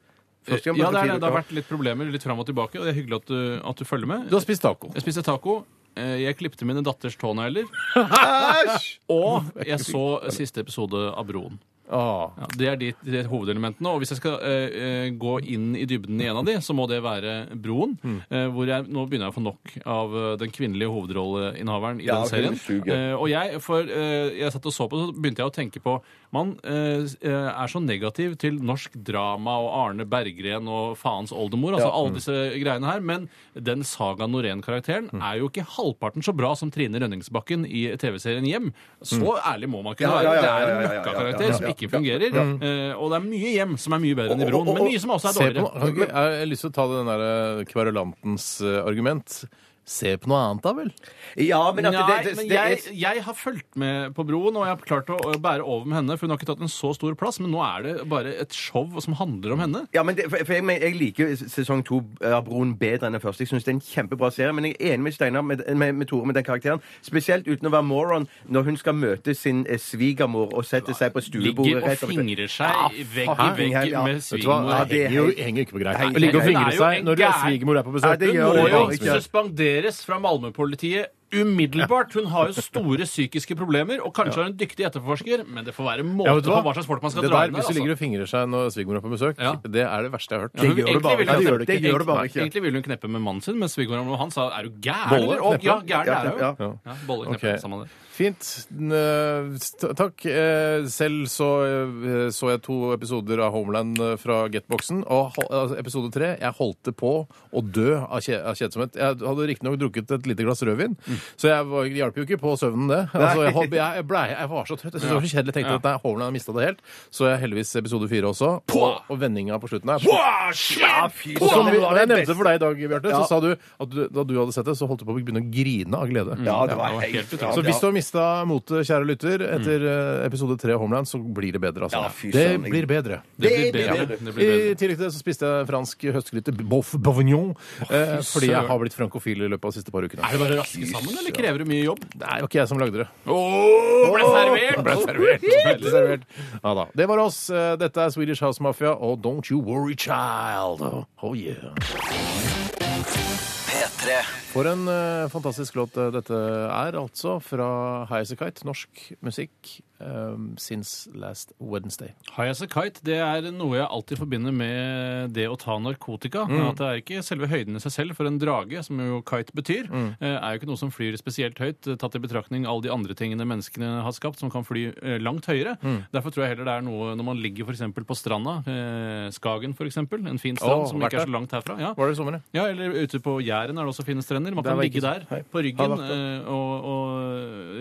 C: Første
D: Ja,
C: gang
D: det,
C: på
D: er,
C: tre-fire
D: det har
C: uker.
D: vært litt problemer litt fram og tilbake, og det er hyggelig at du, at du følger med.
B: Du har spist taco.
D: Jeg spiste taco. eh, Jeg klipte mine datters tånegler.
C: Æsj!
D: Og jeg så siste episode av Broen.
B: Ah.
D: Ja, det er de, de hovedelementene. Og hvis jeg skal eh, eh, gå inn i dybden i en av de, så må det være Broen.
C: Mm.
D: Eh, hvor jeg, nå begynner jeg å få nok av eh, den kvinnelige hovedrolleinnehaveren i
C: Ja,
D: den serien.
C: hun suger.
D: Eh, og jeg, for eh, jeg satt og så på, så begynte jeg å tenke på Man eh, s- eh, er så negativ til norsk drama og Arne Berggren og faens oldemor, altså
C: mm.
D: alle disse greiene her, men den Saga Norén-karakteren
C: Mm.
D: er jo ikke halvparten så bra som Trine Rønningsbakken i TV-serien Hjem. Så ærlig må man kunne
C: Mm. Ja,
D: være.
C: ja, ja,
D: Det
C: ja,
D: er
C: ja, ja,
D: en
C: ja,
D: møkkakarakter
C: ja, ja,
D: som
C: ja.
D: ikke fungerer.
B: Mm.
D: eh, og det er mye hjem som er mye bedre enn i broen,
C: Og- og-
D: men mye som også er
B: Se på
D: dårligere.
B: noe. Kan ikke- Jeg har lyst til å ta den der kverulantens eh, argument. Se på noe annet, da vel.
C: Ja, men at
D: Nei,
C: det, det,
D: men
C: det
D: jeg,
C: er
D: jeg har fulgt med på broen, og jeg har klart å å bære over med henne. For hun har ikke tatt en så stor plass, men nå er det bare et show som handler om henne.
C: Ja, men det, for for jeg, men jeg liker jo sesong to eh, av Broen bedre enn den første. Jeg synes det er en kjempebra serie, men jeg er enig med Steinar med, med, med Tore med den karakteren. Spesielt uten å være moron når hun skal møte sin eh, svigermor og setter seg på stuebordet.
D: Ligger og
C: rett over-
D: fingrer seg vegg i
C: faen,
D: vegg
C: ja.
D: med
B: Vet du hva?
D: svigermor.
C: Ja,
B: Det
C: det
B: henger jo
C: er-
B: henger jo ikke på greip.
C: Nei,
B: Å ligge og fingre
D: nei, det er jo
B: seg
D: en
B: når du-
D: gær-
B: svigermor er på
C: Ja,
B: besøk.
C: det
D: Hun
C: gjør
D: må
C: det
D: jo
C: faen ikke.
D: suspenderes fra Malmö-politiet umiddelbart. Hun har jo store psykiske problemer, og kanskje er hun dyktig etterforsker, men det får være måte
B: Ja, vet du
D: på
B: hva?
D: hva slags folk man skal
B: det
D: dra
B: der,
D: inn
B: Hvis
D: der.
B: du
D: altså.
B: ligger og fingrer seg når svigermor er på besøk,
D: Ja.
B: det er det verste jeg har hørt.
D: Ja,
C: gjør
D: hun-
C: det bare-
D: egentlig
C: Nei,
D: ville
C: det
D: hun-
C: gjør det ikke. Det gjør det bare
D: Nei,
C: ikke.
D: Egentlig ville hun kneppe med mannen sin, men svigermoren og han sa 'er du
B: Bolle,
D: gæren'? eller? Og,
B: kneppe.
D: ja, gæren
C: Ja,
D: er hun.
C: ja.
D: Ja. bolle kneppe,
B: Ok.
D: sammen med det.
B: Fint. N- øh, st- Takk. Eh, Selv så øh, så jeg to episoder av Homeland øh, fra Getboxen. Og hol- altså, episode tre Jeg holdt det på å dø av kje- av kjedsomhet. Jeg hadde riktignok drukket et lite glass rødvin,
C: Mm.
B: så jeg var, det hjalp jo ikke på søvnen, det. Altså, jeg, holdt- jeg, ble, jeg var så trøtt. Jeg syntes det var så kjedelig. Jeg tenkte at nei, Homeland har mista det helt. Så jeg heldigvis episode fire også. Og, og vendinga på slutten her.
C: Ja, fy
B: Og som
C: søren,
B: vi,
C: det var
B: og jeg
C: det
B: nevnte
C: beste.
B: for deg i dag, Bjarte,
C: Ja.
B: så sa du at du, da du hadde sett det, så holdt du på å begynne å grine av glede.
C: Ja, det
D: det Mm.
C: var
D: var helt
C: helt
D: utrolig.
B: Så hvis du har mista motet, kjære lytter, etter eh, episode tre av Homeland, så blir det bedre. Altså.
C: Ja, fy
B: det
C: søren, jeg-
B: blir bedre.
D: Det blir
C: Det- det-
D: bedre.
C: det-
D: Det blir bedre.
B: I tillegg til det så spiste jeg fransk høstgryte, boff bourguignon, eh, fordi jeg
D: søren.
B: har blitt frankofil i løpet av de siste par ukene.
D: Er det bare å raske sammen, eller krever det mye jobb?
B: Det er jo ikke jeg som lagde det.
D: Åh, ble servert!
B: Ble servert. Ble servert. Ja da. Det var oss. Eh, Dette er Swedish House Mafia og Don't You Worry Child. Oh yeah.
A: P3
B: For en eh, fantastisk låt eh, dette er, altså. Fra Highasakite. Norsk musikk. eh, since last Wednesday.
D: High as a kite det er noe jeg alltid forbinder med det å ta narkotika.
B: Mm.
D: At det er ikke selve høyden i seg selv, for en drage, som jo kite betyr,
B: Mm.
D: eh, er jo ikke noe som flyr spesielt høyt, eh, tatt i betraktning alle de andre tingene menneskene har skapt, som kan fly eh, langt høyere.
B: Mm.
D: Derfor tror jeg heller det er noe når man ligger f.eks. på stranda, eh, Skagen f.eks., en fin strand
B: Åh,
D: som
B: vært
D: ikke er
B: der.
D: så langt herfra. Ja.
B: Var det i sommer, ja?
D: Ja, eller ute på Jæren er det også fine strender. Man
B: Der
D: kan
B: var jeg
D: ligge
B: ikke
D: der
B: så- Nei.
D: på
B: Har
D: ryggen
B: vært der.
D: eh, og, og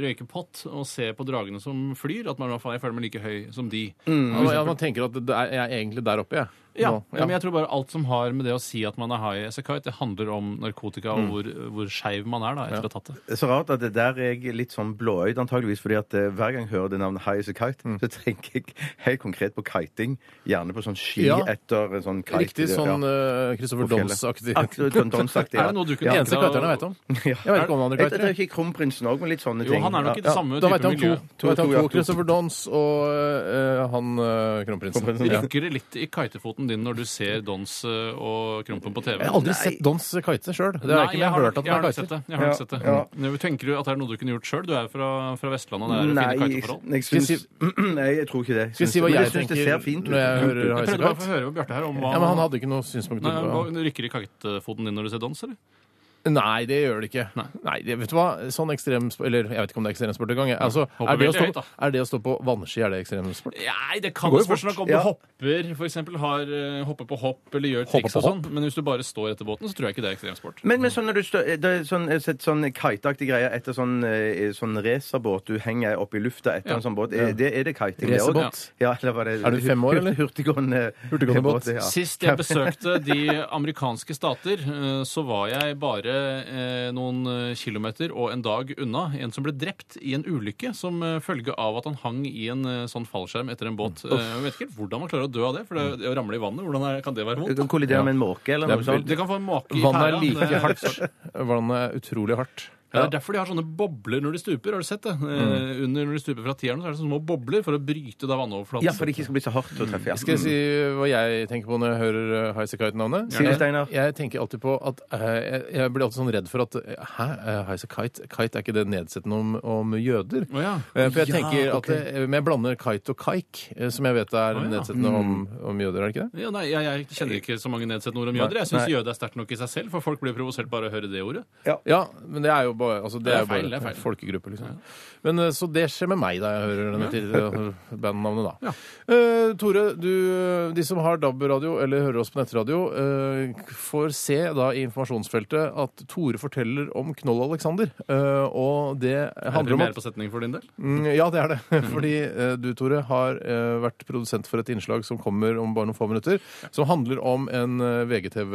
D: røyke pott og se på dragene som flyr. At man i hvert fall jeg føler meg like høy som de.
B: Ja, ja, man tenker at det er, jeg er egentlig der oppe, jeg.
D: Ja,
B: Nå.
D: men jeg tror bare alt som har med det å si at man er high as a kite, det handler om narkotika
B: Mm.
D: og hvor, hvor skeiv man er da etter å ha tatt det.
C: Det er Så rart at det der er jeg litt sånn blåøyd, antageligvis fordi at eh, hver gang jeg hører det navnet High as a Kite, så tenker jeg helt konkret på kiting. Gjerne på sånn ski
B: Ja.
C: etter en sånn kite.
B: Riktig sånn eh, Christopher
C: På fjellet.
B: Dons-aktig.
C: Ak- sånn donsaktig,
D: Er det noe du kunne
B: De
D: tenke
B: eneste
D: deg å-
B: kiterne jeg vet om.
C: Ja.
B: Jeg vet ikke om andre
C: Jeg jeg
B: kiter.
C: tror ikke kronprinsen òg, men litt sånne
D: Jo,
C: ting.
D: han er nok i det samme
B: Da vet jeg om
D: type
B: to. Da
D: miljø.
B: vet jeg om
C: To, ja,
B: to.
C: to.
B: Christopher Dons og eh, han eh, kronprinsen.
C: Kronprinsen,
B: Ja.
D: Rykker det litt i kitefoten kiten din når du ser Dons eh, og Krompen på TV?
B: Jeg har aldri sett Dons kite sjøl. Det har jeg ikke, men jeg har hørt at den
D: jeg
B: har
D: har nok
B: kiter.
D: sett det. Jeg har nok
C: Ja,
D: sett det.
C: ja.
D: Men Tenker du at det er noe du kunne gjort sjøl? Du er fra, fra Vestlandet, og det er
C: Nei,
D: fine
C: jeg,
D: kiteforhold.
C: jeg,
B: Skal jeg
C: syns,
B: si-
C: nei, jeg tror ikke det.
B: Skal jeg si hva
C: Men
B: jeg
C: syns
B: tenker
C: det ser fint ut.
B: når jeg hører
D: Jeg prøvde bare å få
B: heisekite?
D: høre med Bjarte her om hva
B: Ja, men han hadde ikke noe synspunkt.
D: Nei,
B: på
D: hva- Rykker det i kitefoten din når du ser dans, eller?
B: Nei, det gjør det ikke. Nei, det, vet du hva? Sånn ekstremsport Eller jeg vet ikke om det er ekstremsport engang. jeg. Altså, er,
D: Hopper
B: det å
D: veldig
B: stå,
D: høyt, da.
B: er det å stå på vannski er det ekstremsport?
D: Nei, det kan
B: Det går jo
D: spørs
B: fort.
D: nok om
C: Ja.
D: du hopper, for eksempel har, eh, hopper på hopp eller gjør
B: Hopper
D: triks
B: på
D: og sånn. Men hvis du bare står etter båten, så tror jeg ikke det er ekstremsport.
C: Men, men sånn når du stø, det er sånn, jeg har sett sånn kiteaktig greie etter sånn, eh, sånn racerbåt du henger opp i lufta etter
D: Ja.
C: en sånn båt, er det, er det kiting? det også?
B: Racerbåt?
C: Ja, eller var det
B: Er du fem år, eller?
C: Hurtiggående,
B: Hurtiggående båt.
C: Ja.
D: Sist jeg besøkte de amerikanske stater, eh, så var jeg bare eh, noen eh, kilometer og en dag unna en som ble drept i en ulykke som eh, følge av at han hang i en eh, sånn fallskjerm etter en båt. Eh, Jeg vet ikke helt hvordan man klarer å dø av det, for det, det å ramle i vannet, hvordan er, kan det være
C: Du
D: vondt? Sånn,
C: kan kollidere med en måke eller
B: Det er
C: noe sånt.
D: Det kan få en make i
B: Vannet er
D: pæra.
B: like
D: Det-
B: hardt. Vannet er utrolig hardt.
D: Ja, det er derfor de har sånne bobler når de stuper. Har du sett det? Eh, under Når de stuper fra tieren, så er det sånne små bobler for å bryte da vannoverflaten.
C: Ja, for det ikke skal bli så hardt å treffe. Ja.
B: Skal jeg si hva jeg tenker på når jeg hører eh, Highasakite-navnet?
C: Si det, Steinar.
B: Jeg tenker alltid på at eh, jeg- Jeg blir alltid sånn redd for at eh, Hæ, eh, Highasakite? Kite er ikke det nedsettende om, om jøder?
D: Å ja.
B: Eh, For jeg
C: Ja,
B: tenker at
C: ok.
B: eh, Men jeg blander kite og kaik, eh, som jeg vet er
D: Å, ja.
B: nedsettende om,
C: Mm.
B: om jøder, er det ikke det?
D: Ja, nei, jeg, jeg kjenner ikke så mange nedsettende ord om jøder. Jeg syns jøde er sterkt nok i seg selv, for folk blir provosert bare av å høre det ordet.
B: Ja, men det er jo bare, altså, det
D: Det er
B: er jo bare
D: feil, det er feil.
B: folkegruppe, liksom. Men, eh, så det skjer med meg da jeg hører denne til- bandnavnet, da.
D: Ja.
B: Eh, Tore, du, eh, de som har DAB-radio eller hører oss på nettradio, eh, får se da i informasjonsfeltet at Tore forteller om Knoll Alexander. Eh, og det
D: Er
B: handler
D: det
B: om
D: mer
B: at
D: på setning for din del?
B: Mm, Ja, det er det. Fordi eh, du, Tore, har eh, vært produsent for et innslag som kommer om bare noen få minutter, som handler om en eh,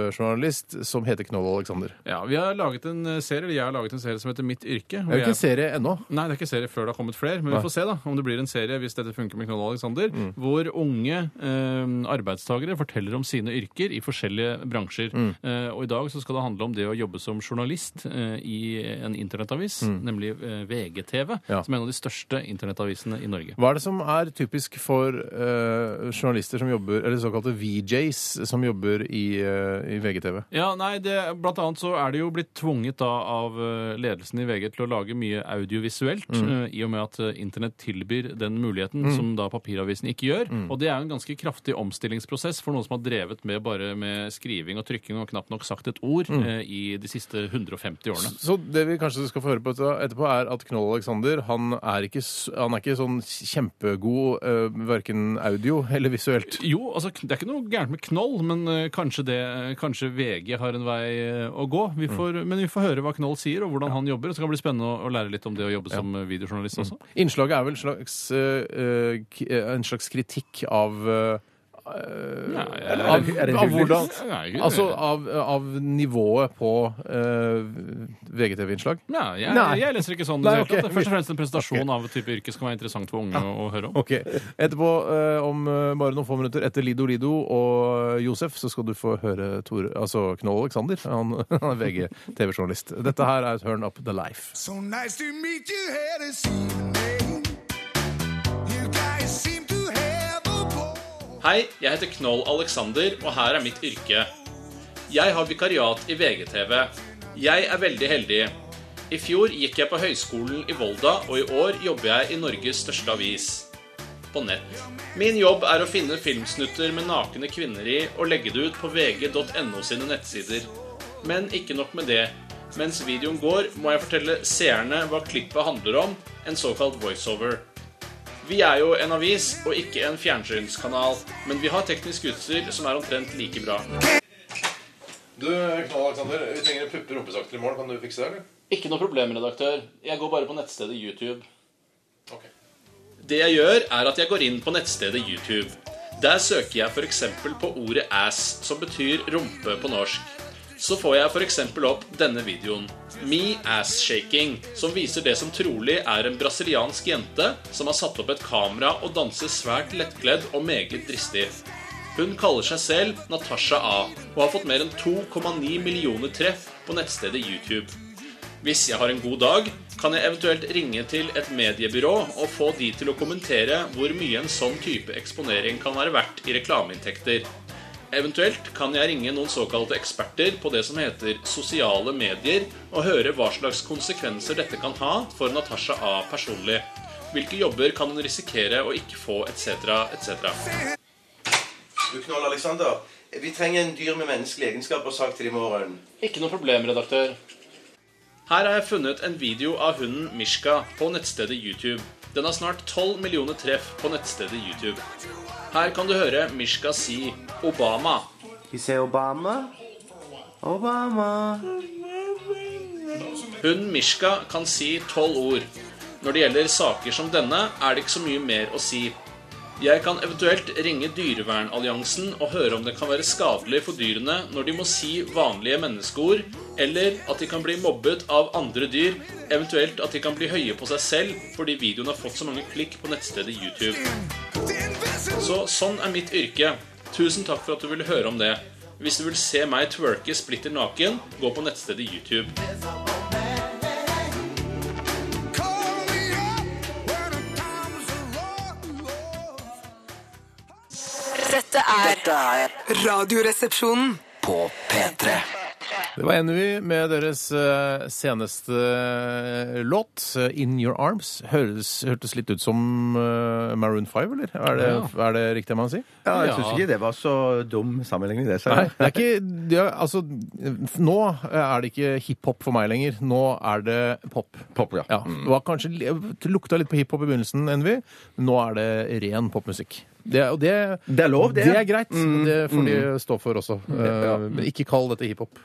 B: VGTV-journalist som heter Knoll Alexander.
D: Ja, vi har laget en eh, serie, eller jeg har laget en serie som heter Mitt yrke. hvor
B: Det er jo ikke
D: jeg-
B: en serie ennå.
D: Nei, det er ikke serie før det har kommet flere, men vi får se da om det blir en serie hvis dette funker med Knoll og Alexander, hvor unge eh, arbeidstagere forteller om sine yrker i forskjellige bransjer. Eh, og i dag så skal det handle om det å jobbe som journalist eh, i en internettavis, nemlig eh, VGTV,
B: Ja.
D: som er en av de største internettavisene i Norge.
B: Hva er det som er typisk for eh, journalister som jobber, eller såkalte VJs, som jobber i, eh, i VGTV?
D: Ja, nei, det, Blant annet så er det jo blitt tvunget da av eh, ledelsen i VG til å lage mye audiovisuelt, eh, i og med at eh, internett tilbyr den muligheten som da papiravisen ikke gjør. Og det er jo en ganske kraftig omstillingsprosess for noen som har drevet med bare med skriving og trykking og knapt nok sagt et ord eh, i de siste 150 årene.
B: Så det vi kanskje skal få høre på etter- etterpå, er at Knoll Alexander han er ikke, s- han er ikke sånn kjempegod uh, verken audio eller visuelt.
D: Jo, altså det er ikke noe gærent med knoll, men eh, kanskje, det, kanskje VG har en vei eh, å gå. Vi får, Men vi får høre hva knoll sier, og hvordan han jobber. Så kan det bli spennende å, å lære litt om det å jobbe som eh, videojournalist også.
B: Innslaget er vel slags, eh, eh, k- eh, en slags kritikk av eh,
D: Ja, jeg-
B: av,
C: er det
B: av
C: hyggelig?
B: hvordan
D: Nei, gud,
B: Altså
D: det-
B: av, av nivået på eh, VGTV-innslag.
D: Nei, jeg,
B: Nei.
D: jeg leser ikke sånn.
B: Nei,
D: i det hele
B: ok.
D: tatt. Det er Først og fremst en presentasjon av et type yrke som kan være interessant for unge å, å høre om.
B: Ok. Etterpå, eh, om eh, bare noen få minutter, etter Lido Lido og eh, Josef, så skal du få høre Tore, altså Knoll Alexander. Han, han er VG-TV-journalist. Dette her er Turn Up The Life.
E: So nice to meet you here this evening. You guys seem to have a ball.
D: Hei, jeg heter Knoll Alexander, og her er mitt yrke. Jeg har vikariat i VGTV. Jeg er veldig heldig. I fjor gikk jeg på Høgskolen i Volda, og i år jobber jeg i Norges største avis. På nett. Min jobb er å finne filmsnutter med nakne kvinner i og legge det ut på vg.no sine nettsider. Men ikke nok med det. Mens videoen går, må jeg fortelle seerne hva klippet handler om, en såkalt voiceover. Vi er jo en avis og ikke en fjernsynskanal, men vi har teknisk utstyr som er omtrent like bra.
B: Du, Knoll Alexander, vi trenger en puppe rumpesakter i morgen. Kan du fikse det, eller?
D: Ikke noe problem, redaktør. Jeg går bare på nettstedet YouTube.
B: Ok.
D: Det jeg gjør, er at jeg går inn på nettstedet YouTube. Der søker jeg f.eks. på ordet ass, som betyr rumpe på norsk. Så får jeg f.eks. opp denne videoen, Me Ass Shaking, som viser det som trolig er en brasiliansk jente som har satt opp et kamera og danser svært lettkledd og meget dristig. Hun kaller seg selv Natasha A og har fått mer enn 2,9 millioner treff på nettstedet YouTube. Hvis jeg har en god dag, kan jeg eventuelt ringe til et mediebyrå og få de til å kommentere hvor mye en sånn type eksponering kan være verdt i reklameinntekter. Eventuelt kan jeg ringe noen såkalte eksperter på det som heter sosiale medier, og høre hva slags konsekvenser dette kan ha for Natasha A personlig. Hvilke jobber kan hun risikere å ikke få, etc., etc.
C: Du knoll, Alexander. Vi trenger en dyr med menneskelige egenskaper sak til i morgen.
D: Ikke noe problem, redaktør. Her har jeg funnet en video av hunden Mishka på nettstedet YouTube. Den har snart 12 millioner treff på nettstedet YouTube. Her kan du høre Mishka si 'Obama'.
F: You say Obama? Obama.
D: Hun Mishka kan si tolv ord. Når det gjelder saker som denne, er det ikke så mye mer å si. Jeg kan eventuelt ringe Dyrevernalliansen og høre om det kan være skadelig for dyrene når de må si vanlige menneskeord, eller at de kan bli mobbet av andre dyr, eventuelt at de kan bli høye på seg selv fordi videoen har fått så mange klikk på nettstedet YouTube. Så sånn er mitt yrke. Tusen takk for at du ville høre om det. Hvis du vil se meg twerke splitter naken, gå på nettstedet YouTube.
G: Dette er
A: Dette er
G: Radioresepsjonen.
A: på P3.
B: Det var Envy med deres eh, seneste eh, låt, eh, 'In Your Arms'. Høres, hørtes litt ut som eh, Maroon 5, eller? Er det, er det riktig man sier?
C: Ja, jeg
D: Ja.
C: syns ikke det var så dum sammenligning, det. sa jeg.
B: Nei, det er ikke det er, Altså, f- nå er det ikke hiphop for meg lenger. Nå er det pop.
C: Pop, ja.
B: Ja, det var kanskje, li- det lukta litt på hiphop i begynnelsen, Envy. Nå er det ren popmusikk. Det, er- og det,
C: Det er lov, det. Mm.
B: er greit. Det får de stå for også. Eh, Men ikke kall dette hiphop.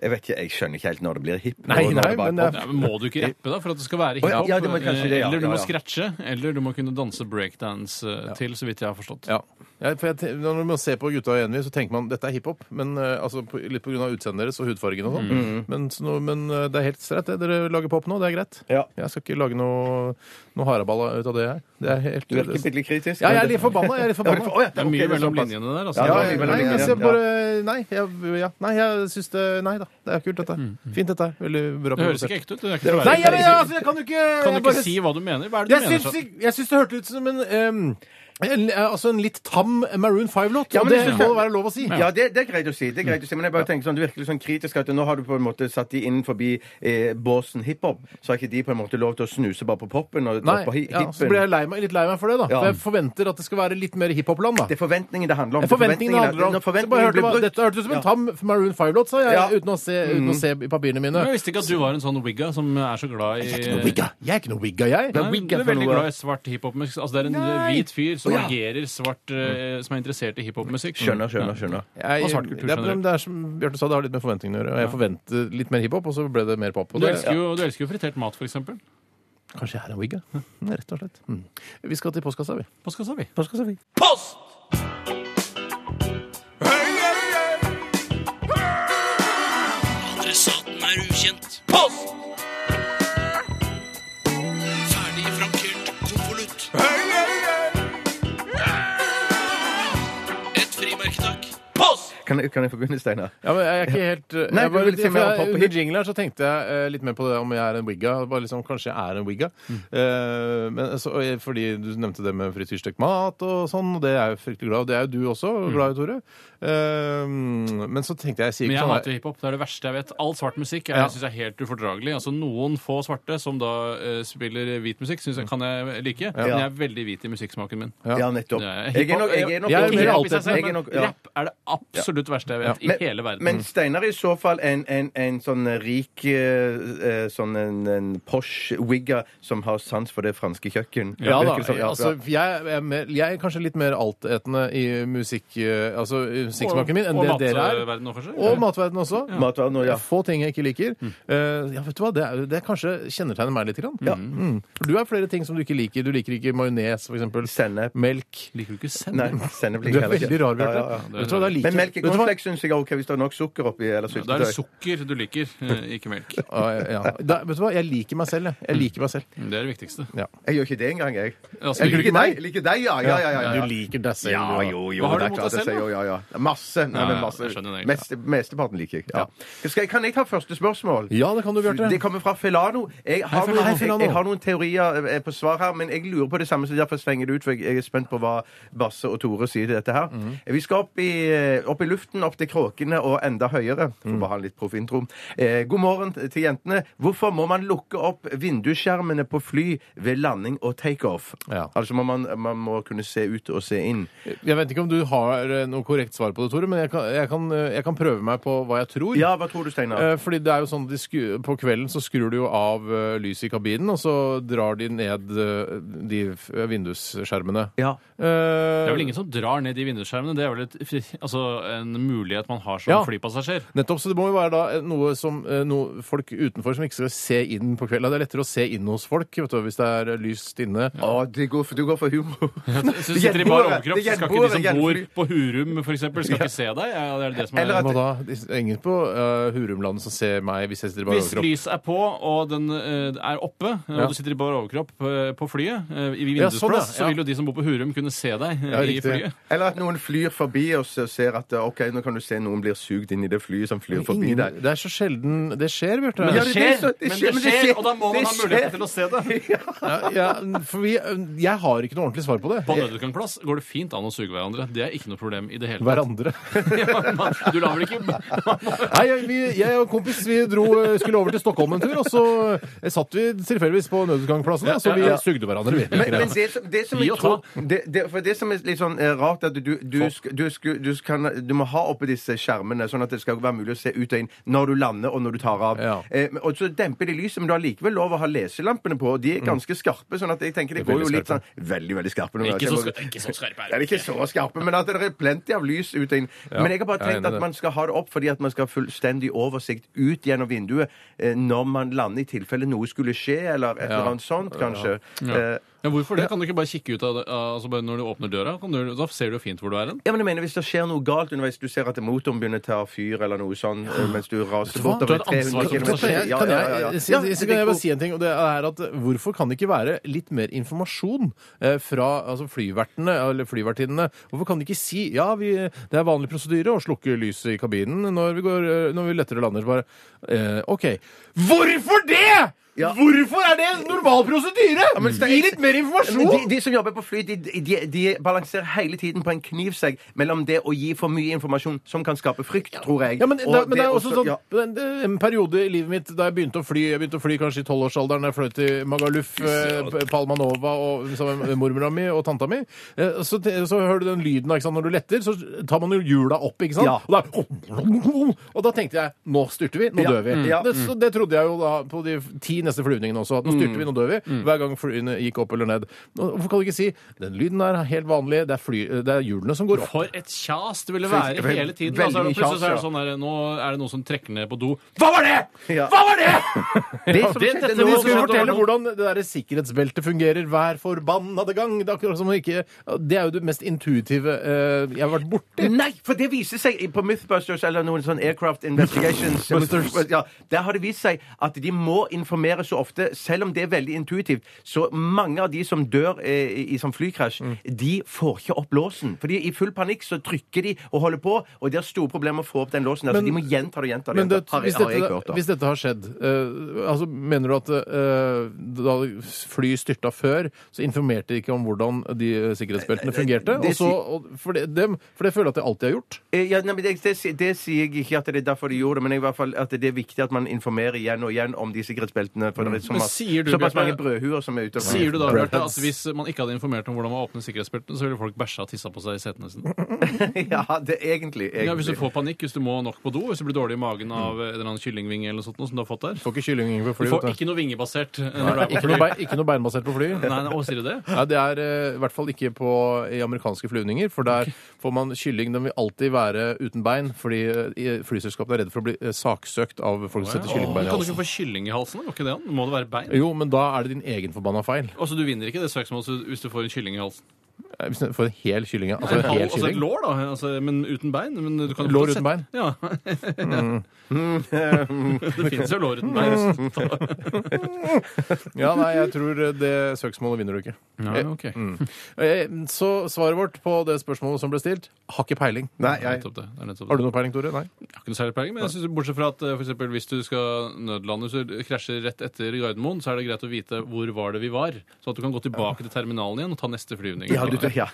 C: Jeg vet ikke, jeg skjønner ikke helt når det blir hip.
B: Nei,
C: og når
B: nei,
C: det bare
B: men eh,
C: er
B: det
C: pop.
D: Ja, men må du ikke rappe da, for at det skal være
C: Å,
D: hiphop?
C: ja, ja, det må kanskje det, ja,
D: eller du
C: ja,
D: må
C: ja.
D: scratche, eller du må kunne danse breakdance eh, til, så vidt jeg har forstått.
B: Ja. Ja, for jeg, te- når man ser på gutta i Envy, så tenker man dette er hiphop. Men eh, altså, på, litt pga. utseendet deres og hudfargen og sånn.
C: Mm.
B: Men, så nå- men eh, det er helt streit, det. Dere lager pop nå. Det er greit.
C: Ja.
B: Jeg skal ikke lage noe, noe haraballa ut av det her. Det er helt
C: Du er ikke bitte litt kritisk?
B: Ja, jeg er litt forbanna. Jeg er litt forbanna.
C: Å, ja,
D: Det er
C: ok, sånn
D: mye
C: er
D: mellom
C: såpass.
D: linjene der,
C: Ja,
D: altså.
B: Ja,
C: det
D: Det
C: er
D: er-
C: vel
B: nei,
C: en
B: men jeg ser
C: linje,
B: bare Nei, jeg, ja, nei, jeg syns det Nei da. Det er kult, dette. Fint, dette. her. Veldig bra
D: Mm. det høres
B: produsert.
D: ikke ekte ut. Det er ikke for å
B: Nei,
D: være
B: jeg, jeg,
D: ekte.
B: altså, jeg kan jo ikke
D: Kan du
B: jeg
D: ikke
B: bare-
D: si hva du mener? Hva er det
B: Jeg
D: du
B: syns,
D: mener? Sånn?
B: ikke- jeg syns det hørtes ut som en ehm, en, eh, altså en litt tam Maroon 5-låt.
C: Ja,
B: og
C: men
B: det
C: jeg synes
B: må
C: det-
B: det være lov å si.
C: Ja, det, det er greit å si. det er greit å si, Men jeg bare tenker sånn, du virker litt sånn kritisk at nå har du på en måte satt de inn forbi eh, båsen hiphop. Så har ikke de på en måte lov til å snuse bare på popen og
B: Nei,
C: på hi
B: ja,
C: hippen.
B: så blir jeg lei meg, litt lei meg for det, da.
C: Ja.
B: For jeg forventer at det skal være litt mer hiphop-land,
C: Det
B: da.
C: er forventningen det handler om.
B: Det er forventningene det
C: er
B: handler om. Så
C: når
B: jeg bare
C: forventningene
B: hørte
C: blir
B: hva-
C: brutt.
B: Dette hørtes ut som en tam Maroon 5-låt, sa jeg,
C: Ja. Mm.
B: uten, å se, uten å se i papirene mine.
D: Jeg visste ikke at du var en sånn wigga som er så glad i
B: Jeg er ikke noe wigga, jeg. er ikke noe wigga, jeg.
D: Nei,
C: wigga
D: du er
C: for
D: veldig
C: noe.
D: glad i svart hiphopmusikk. Altså, det er en eh, hvit fyr som agerer svart, eh, som er interessert i hiphopmusikk.
C: Mm. Skjønner, skjønner, skjønner.
B: Jeg,
D: Og svart kultur
B: det, er,
D: generelt.
B: det er som Bjarte sa, det har litt med forventningene å gjøre. Og jeg forventer litt mer hiphop, og så ble det mer pop. Og
D: Du
B: det,
D: elsker, jo, du elsker jo fritert mat, for eksempel.
B: Kanskje jeg er en wigga. Mm, Rett og slett. Mm. Vi skal til postkassa, vi.
D: Hva skal vi?
H: Adressaten er ukjent. Post! Ferdig frankert konvolutt. Et frimerke, takk. Post!
C: Kan, jeg- kan jeg få begynne, Steinar?
B: Ja, men jeg er ikke helt eh,
C: Nei,
B: jeg
C: du
B: bare,
C: vil si
B: for
C: mer om
B: jeg,
C: pop og
B: Under
C: hip.
B: jinglen her så tenkte jeg eh, litt mer på det om jeg er en wigga. Bare liksom, kanskje jeg er en wigga.
D: Mm.
B: Eh, men, så, og jeg- fordi du nevnte det med frityrstekt mat og sånn, og det er jeg fryktelig glad i. Og det er jo du også
D: Mm.
B: glad i, Tore. Eh, men så tenkte jeg jeg sier
D: Men
B: ikke
D: jeg
B: sånn
D: hater hiphop. Det er det verste jeg vet. All svart musikk
B: Ja.
D: jeg synes er helt ufordragelig. Altså Noen få svarte som da eh, spiller hvit musikk, synes jeg kan jeg like. Men jeg er veldig hvit i musikksmaken min.
C: Ja, nettopp.
D: Ja,
C: Jeg er nok, jeg er nok,
B: Jeg er
D: Ikke
B: mer
D: rap i
B: alt
D: seg selv,
C: jeg er
D: men
C: nok- ja.
D: Rapp er det absolutt verste jeg vet
B: Ja.
D: i hele verden.
C: men Steinar er i så fall en, en, en sånn rik eh, eh, sånn en, en posh wigger som har sans for det franske kjøkken.
B: Ja da.
C: Virker det som, ja,
B: Altså,
C: ja.
B: jeg, er mer, jeg er kanskje litt mer altetende i musikk, eh, altså, i musikksmaken min enn det
D: og
B: dere er.
D: matverdenen også, kanskje?
B: Og matverdenen også.
C: Matvarer nå, ja.
B: Få ting jeg ikke liker. Eh, ja, vet du hva, det, er, det kanskje kjennetegner meg litt. Grann. Mm. For Du er flere ting som du ikke liker. Du liker ikke majones, f.eks.
C: Sennep.
B: Melk.
D: Liker du ikke sennep?
C: Nei, sennep
B: Du
C: liker
B: er
C: jeg heller
B: veldig
C: ikke.
B: rar, Bjarte.
C: Ja, ja, ja.
B: Vet du hva, da liker
C: Men melk er
B: jeg- du hva?
C: Cornflakes syns jeg er OK hvis det er nok sukker oppi. Eller
D: Da er det
C: syltetøy.
D: sukker du liker, eh, ikke melk.
B: Ja, ja. Da, vet du hva, jeg liker meg selv, jeg. Jeg liker meg selv.
D: Det er det viktigste.
C: Jeg gjør ikke det engang, jeg.
D: Altså,
C: Jeg
D: liker
C: liker
D: du ikke
C: deg, liker deg ja. ja, ja, ja, ja.
B: Du liker deg selv.
C: Ja,
B: du, da.
C: jo, jo.
D: Hva har
C: det
D: du
C: er klart
D: mot deg
C: at jeg
D: selv,
C: sier jo, ja, ja. Masse. Nei,
D: Ja,
C: men
D: ja,
C: masse.
D: jeg skjønner det, ja.
C: Meste, mesteparten liker jeg. Ja. Skal, jeg- kan jeg ta første spørsmål?
B: Ja, det kan du, Bjarte.
C: Det kommer fra Felano. Jeg har,
B: Hei, Felano. Hei,
C: noen, jeg,
B: Felano.
C: jeg har noen teorier eh, på svar her, men jeg lurer på det samme, så derfor slenger jeg det ut. For jeg- jeg er spent på hva Basse og Tore sier til dette her.
B: Mhm.
C: Vi skal opp i, eh, opp i luften, opp til kråkene og enda høyere. Får
B: Mhm.
C: bare ha litt proffintro. Eh, god morgen til jentene. Hvorfor må man lukke opp vindusskjermene på fly ved landing og takeoff?
B: Ja.
C: Altså må man, man må kunne se ut og se inn.
B: Jeg vet ikke om du har eh, noe korrekt svar på det, Tore, men jeg kan, jeg kan, eh, jeg kan prøve meg på hva jeg tror.
C: Ja, hva tror du, Steinar?
B: Eh, Fordi det er jo sånn at de skru, På kvelden så skrur du jo av eh, lyset i kabinen, og så drar de ned eh, de f- vindusskjermene. Eh,
C: Ja.
D: Det er vel ingen som drar ned de vindusskjermene. Det er vel et, fri- altså, en mulighet man har som
B: Ja.
D: flypassasjer.
B: Nettopp, så Det må jo være da eh, noe som eh, noe folk utenfor som ikke skal se inn på kvelden. Det er lettere å se inn hos folk vet du, hvis det er eh, lyst inne.
C: Å, det går for, du går for humor.
D: Hvis du sitter i bar overkropp, så skal ikke de som bor
C: gjenboere.
D: på Hurum for eksempel, skal ikke se deg. Ja, det er det som er...
C: Eller at-
B: Hva da? Det er Ingen på eh, Hurumlandet som ser meg hvis jeg sitter i bare
D: Hvis
B: overkropp.
D: lyset er på, og den eh, er oppe, eh,
B: Ja.
D: og du sitter i bar overkropp eh, på flyet, eh, i
B: Ja,
D: vindusplass,
B: sånn, ja.
D: så vil jo de som bor på Hurum kunne se deg eh,
B: Ja,
D: i
B: riktig.
D: flyet.
C: Eller at noen flyr forbi oss og ser at eh, OK, nå kan du se noen blir sugd inn i det flyet som flyr forbi
B: Ingen,
C: deg.
B: det er så sjelden det skjer, Bjarte.
C: Men Ja, det- det- det-
D: men
C: skjer-
D: det
C: men det
D: skjer,
C: skjer-
D: og da må
C: det
D: man ha
C: skjer.
D: mulighet til å se det.
B: Ja, ja, for vi, jeg har ikke noe ordentlig svar på det.
D: På nødutgangsplass går det fint an å suge hverandre. Det er ikke noe problem i det hele tatt.
B: Hverandre.
D: Du lar vel ikke
B: Nei, jeg, vi, jeg og en kompis vi dro, skulle over til Stockholm en tur, og så eh, satt vi tilfeldigvis på nødutgangsplassen, da, så vi
D: Ja, ja.
B: sugde hverandre. Vi.
C: Men, men det, som- det som
D: Gi
C: jeg
D: og
C: tror det, det, For det som er litt sånn eh, rart, er at du, du, sk- du, sk- du, sk- kan, du må ha oppe disse skjermene, sånn at det skal være mulig å se ut og inn når du lander og når du tar av.
B: Ja.
C: Eh, men- og så demper de lyset, men du har likevel lov å ha leselampene på, og de er ganske skarpe, sånn at jeg tenker det
B: Mm. Det er
C: går jo
B: veldig
C: litt
B: skarpe.
C: sånn Veldig, veldig skarpe. noen
D: Ikke
C: ganger.
D: så skarpe- ikke så skarpe er
C: Ja,
D: det
C: det er ikke så skarpe, men at det er plenty av lys ut og inn. Men jeg har bare
B: jeg er enig i
C: tenkt at
B: det.
C: man skal ha det opp fordi at man skal ha fullstendig oversikt ut gjennom vinduet eh, når man lander, i tilfelle noe skulle skje, eller et eller annet sånt, kanskje. Eh,
D: Ja, hvorfor det? Kan du ikke bare kikke ut av det, altså bare når du åpner døra? Kan du, da ser du jo fint hvor du er hen.
C: Ja, men jeg mener Hvis det skjer noe galt underveis, du ser at motoren begynner å ta fyr eller noe sånn eh, mens du raser
B: hva?
D: Du
C: bortover
D: har et
C: 300
D: ansvar for
C: km
D: det.
B: Kan jeg,
C: sånn, Ja,
B: kan
C: ja,
B: jeg,
C: ja, ja.
B: si-
C: Ja,
B: si- kan jeg bare
C: det-
B: si en ting? Og det er at Hvorfor kan det ikke være litt mer informasjon eh, fra altså flyvertene eller flyvertinnene? Hvorfor kan de ikke si ja, vi, det er vanlig prosedyre å slukke lyset i kabinen når vi, går, eh, når vi letter og lander? Bare, eh, OK. Hvorfor det?!
C: Ja.
B: Hvorfor er det normal prosedyre?!
C: men det er-
B: Gi litt mer
C: Men
B: informasjon!
C: de, de som jobber på fly, de, de, de balanserer hele tiden på en knivsegg mellom det å gi for mye informasjon som kan skape frykt, tror jeg.
B: Ja, men,
C: og
B: det, men det er
C: å
B: også
C: så-
B: sånn
C: ja.
B: en, en periode i livet mitt da jeg begynte å fly Jeg begynte å fly kanskje i tolvårsalderen. Jeg fløy til Magaluf, eh, P- Palmanova og sammen med mormora mi og tanta mi. Eh, og Så, te- så hører du den lyden da, ikke sant? når du letter, så tar man jo hjula opp, ikke sant?
C: Ja.
B: Og, da, og da tenkte jeg nå styrter vi, nå
C: Ja.
B: dør vi.
C: Mm. Ja.
B: Det, så det trodde jeg jo da på de ti neste flyvningene også. at Nå styrter vi, nå
C: Mm.
B: dør vi. Hver gang flyene gikk opp eller ned. Nå, hvorfor kan du ikke si den lyden der er helt vanlig, det er, fly, det er hjulene som går opp?
D: For et kjas det ville være
C: Veldig-
D: hele tiden.
C: veldig
D: Altså,
C: mye
D: plutselig så er det
C: kjas, ja.
D: sånn der, Nå er det noen som trekker ned på do.
B: Hva var det?!
C: Ja.
B: Hva var det?!
C: Det som
D: det-
C: skjedde
D: dette
C: nå
D: må
B: Vi skal jo
D: skjønte
B: fortelle
D: det var
B: hvordan det der sikkerhetsbeltet fungerer hver forbannede gang. Det er, akkurat som å ikke, det er jo det mest intuitive eh, jeg har vært borti.
C: Nei, for det viser seg i- på Mythbusters eller noen sånn Aircraft Investigations
B: Busters.
C: Ja, Der har det vist seg at de må informere så ofte, selv om det er veldig intuitivt. Så mange av de som dør eh, i, i sånn flykrasj,
B: Mm.
C: de får ikke opp låsen. Fordi i full panikk så trykker de og holder på, og de har store problemer med å få opp den låsen. Altså,
B: Men-
C: de må gjenta det og gjenta det.
B: Men det,
C: gjenta. Har jeg-
B: hvis,
C: har jeg
B: dette,
C: hørt, da.
B: hvis dette har skjedd, eh, altså mener du at eh, da fly styrta før, så informerte de ikke om hvordan de sikkerhetsbeltene fungerte?
C: det
B: Og så, og, for, det, dem, for det føler jeg at jeg alltid har gjort.
C: Eh, Ja, nei, men det, det, det sier jeg ikke at det er derfor de gjorde det, men i hvert fall at det er viktig at man informerer igjen og igjen om de sikkerhetsbeltene. For det
B: Mm.
C: er
D: Men
C: såpass,
D: sier du,
C: såpass mange
D: Bjarte-
C: brødhuer som er ute og
D: Sier du da, Bjarte, at hvis man ikke hadde informert om hvordan man åpner sikkerhetsbeltene, så ville folk bæsja og tissa på seg i setene sine?
C: Ja, det er egentlig. egentlig.
D: Ja, hvis du får panikk, hvis du må nok på do, hvis du blir dårlig i magen av en eller annen kyllingvinge eller noe sånt noe som du har fått der.
B: Får ikke kylling på
D: Du
B: fly.
D: får
B: vet du.
D: ikke noe vingebasert eh, når du er på
B: Ikke noe, bein, ikke noe beinbasert på fly.
D: Nei, nei, å, sier du det?
B: Nei, det er eh, i hvert fall ikke på, i amerikanske flyvninger, for der får man kylling. Den vil alltid være uten bein, fordi eh, flyselskapene er redd for å bli eh, saksøkt av folk som setter
D: Åh,
B: kyllingbein i
D: Kan du ikke
B: halsen.
D: få kylling i halsen? Går ikke det an? Må det være bein?
B: Jo, men da er det din egen forbanna feil.
D: Altså, Du vinner ikke det søksmålet hvis du får en kylling i halsen.
B: Nei, hvis du får en hel kylling, ja. Altså,
D: Altså,
B: en hel
D: altså et
B: kylling.
D: lår, da. Altså, men uten bein. Men du kan jo
B: Lår
D: sette-
B: uten bein?
D: Ja. det fins jo lår uten bein.
B: Ja, nei, jeg tror eh, det søksmålet vinner du ikke.
D: Nei, ok.
B: Eh, Så svaret vårt på det spørsmålet som ble stilt, har ikke peiling. Nei, jeg...
D: Nettopp det. det, er nettopp det.
B: Har du noe peiling, Tore? Nei.
D: Jeg har ikke noe særlig peiling, men jeg synes, bortsett fra at eh, for eksempel, hvis du skal nødlande så krasjer rett etter Gardermoen, så er det greit å vite hvor var det vi var, sånn at du kan gå tilbake til terminalen igjen og ta neste flyvning.
C: Ja, du, ja.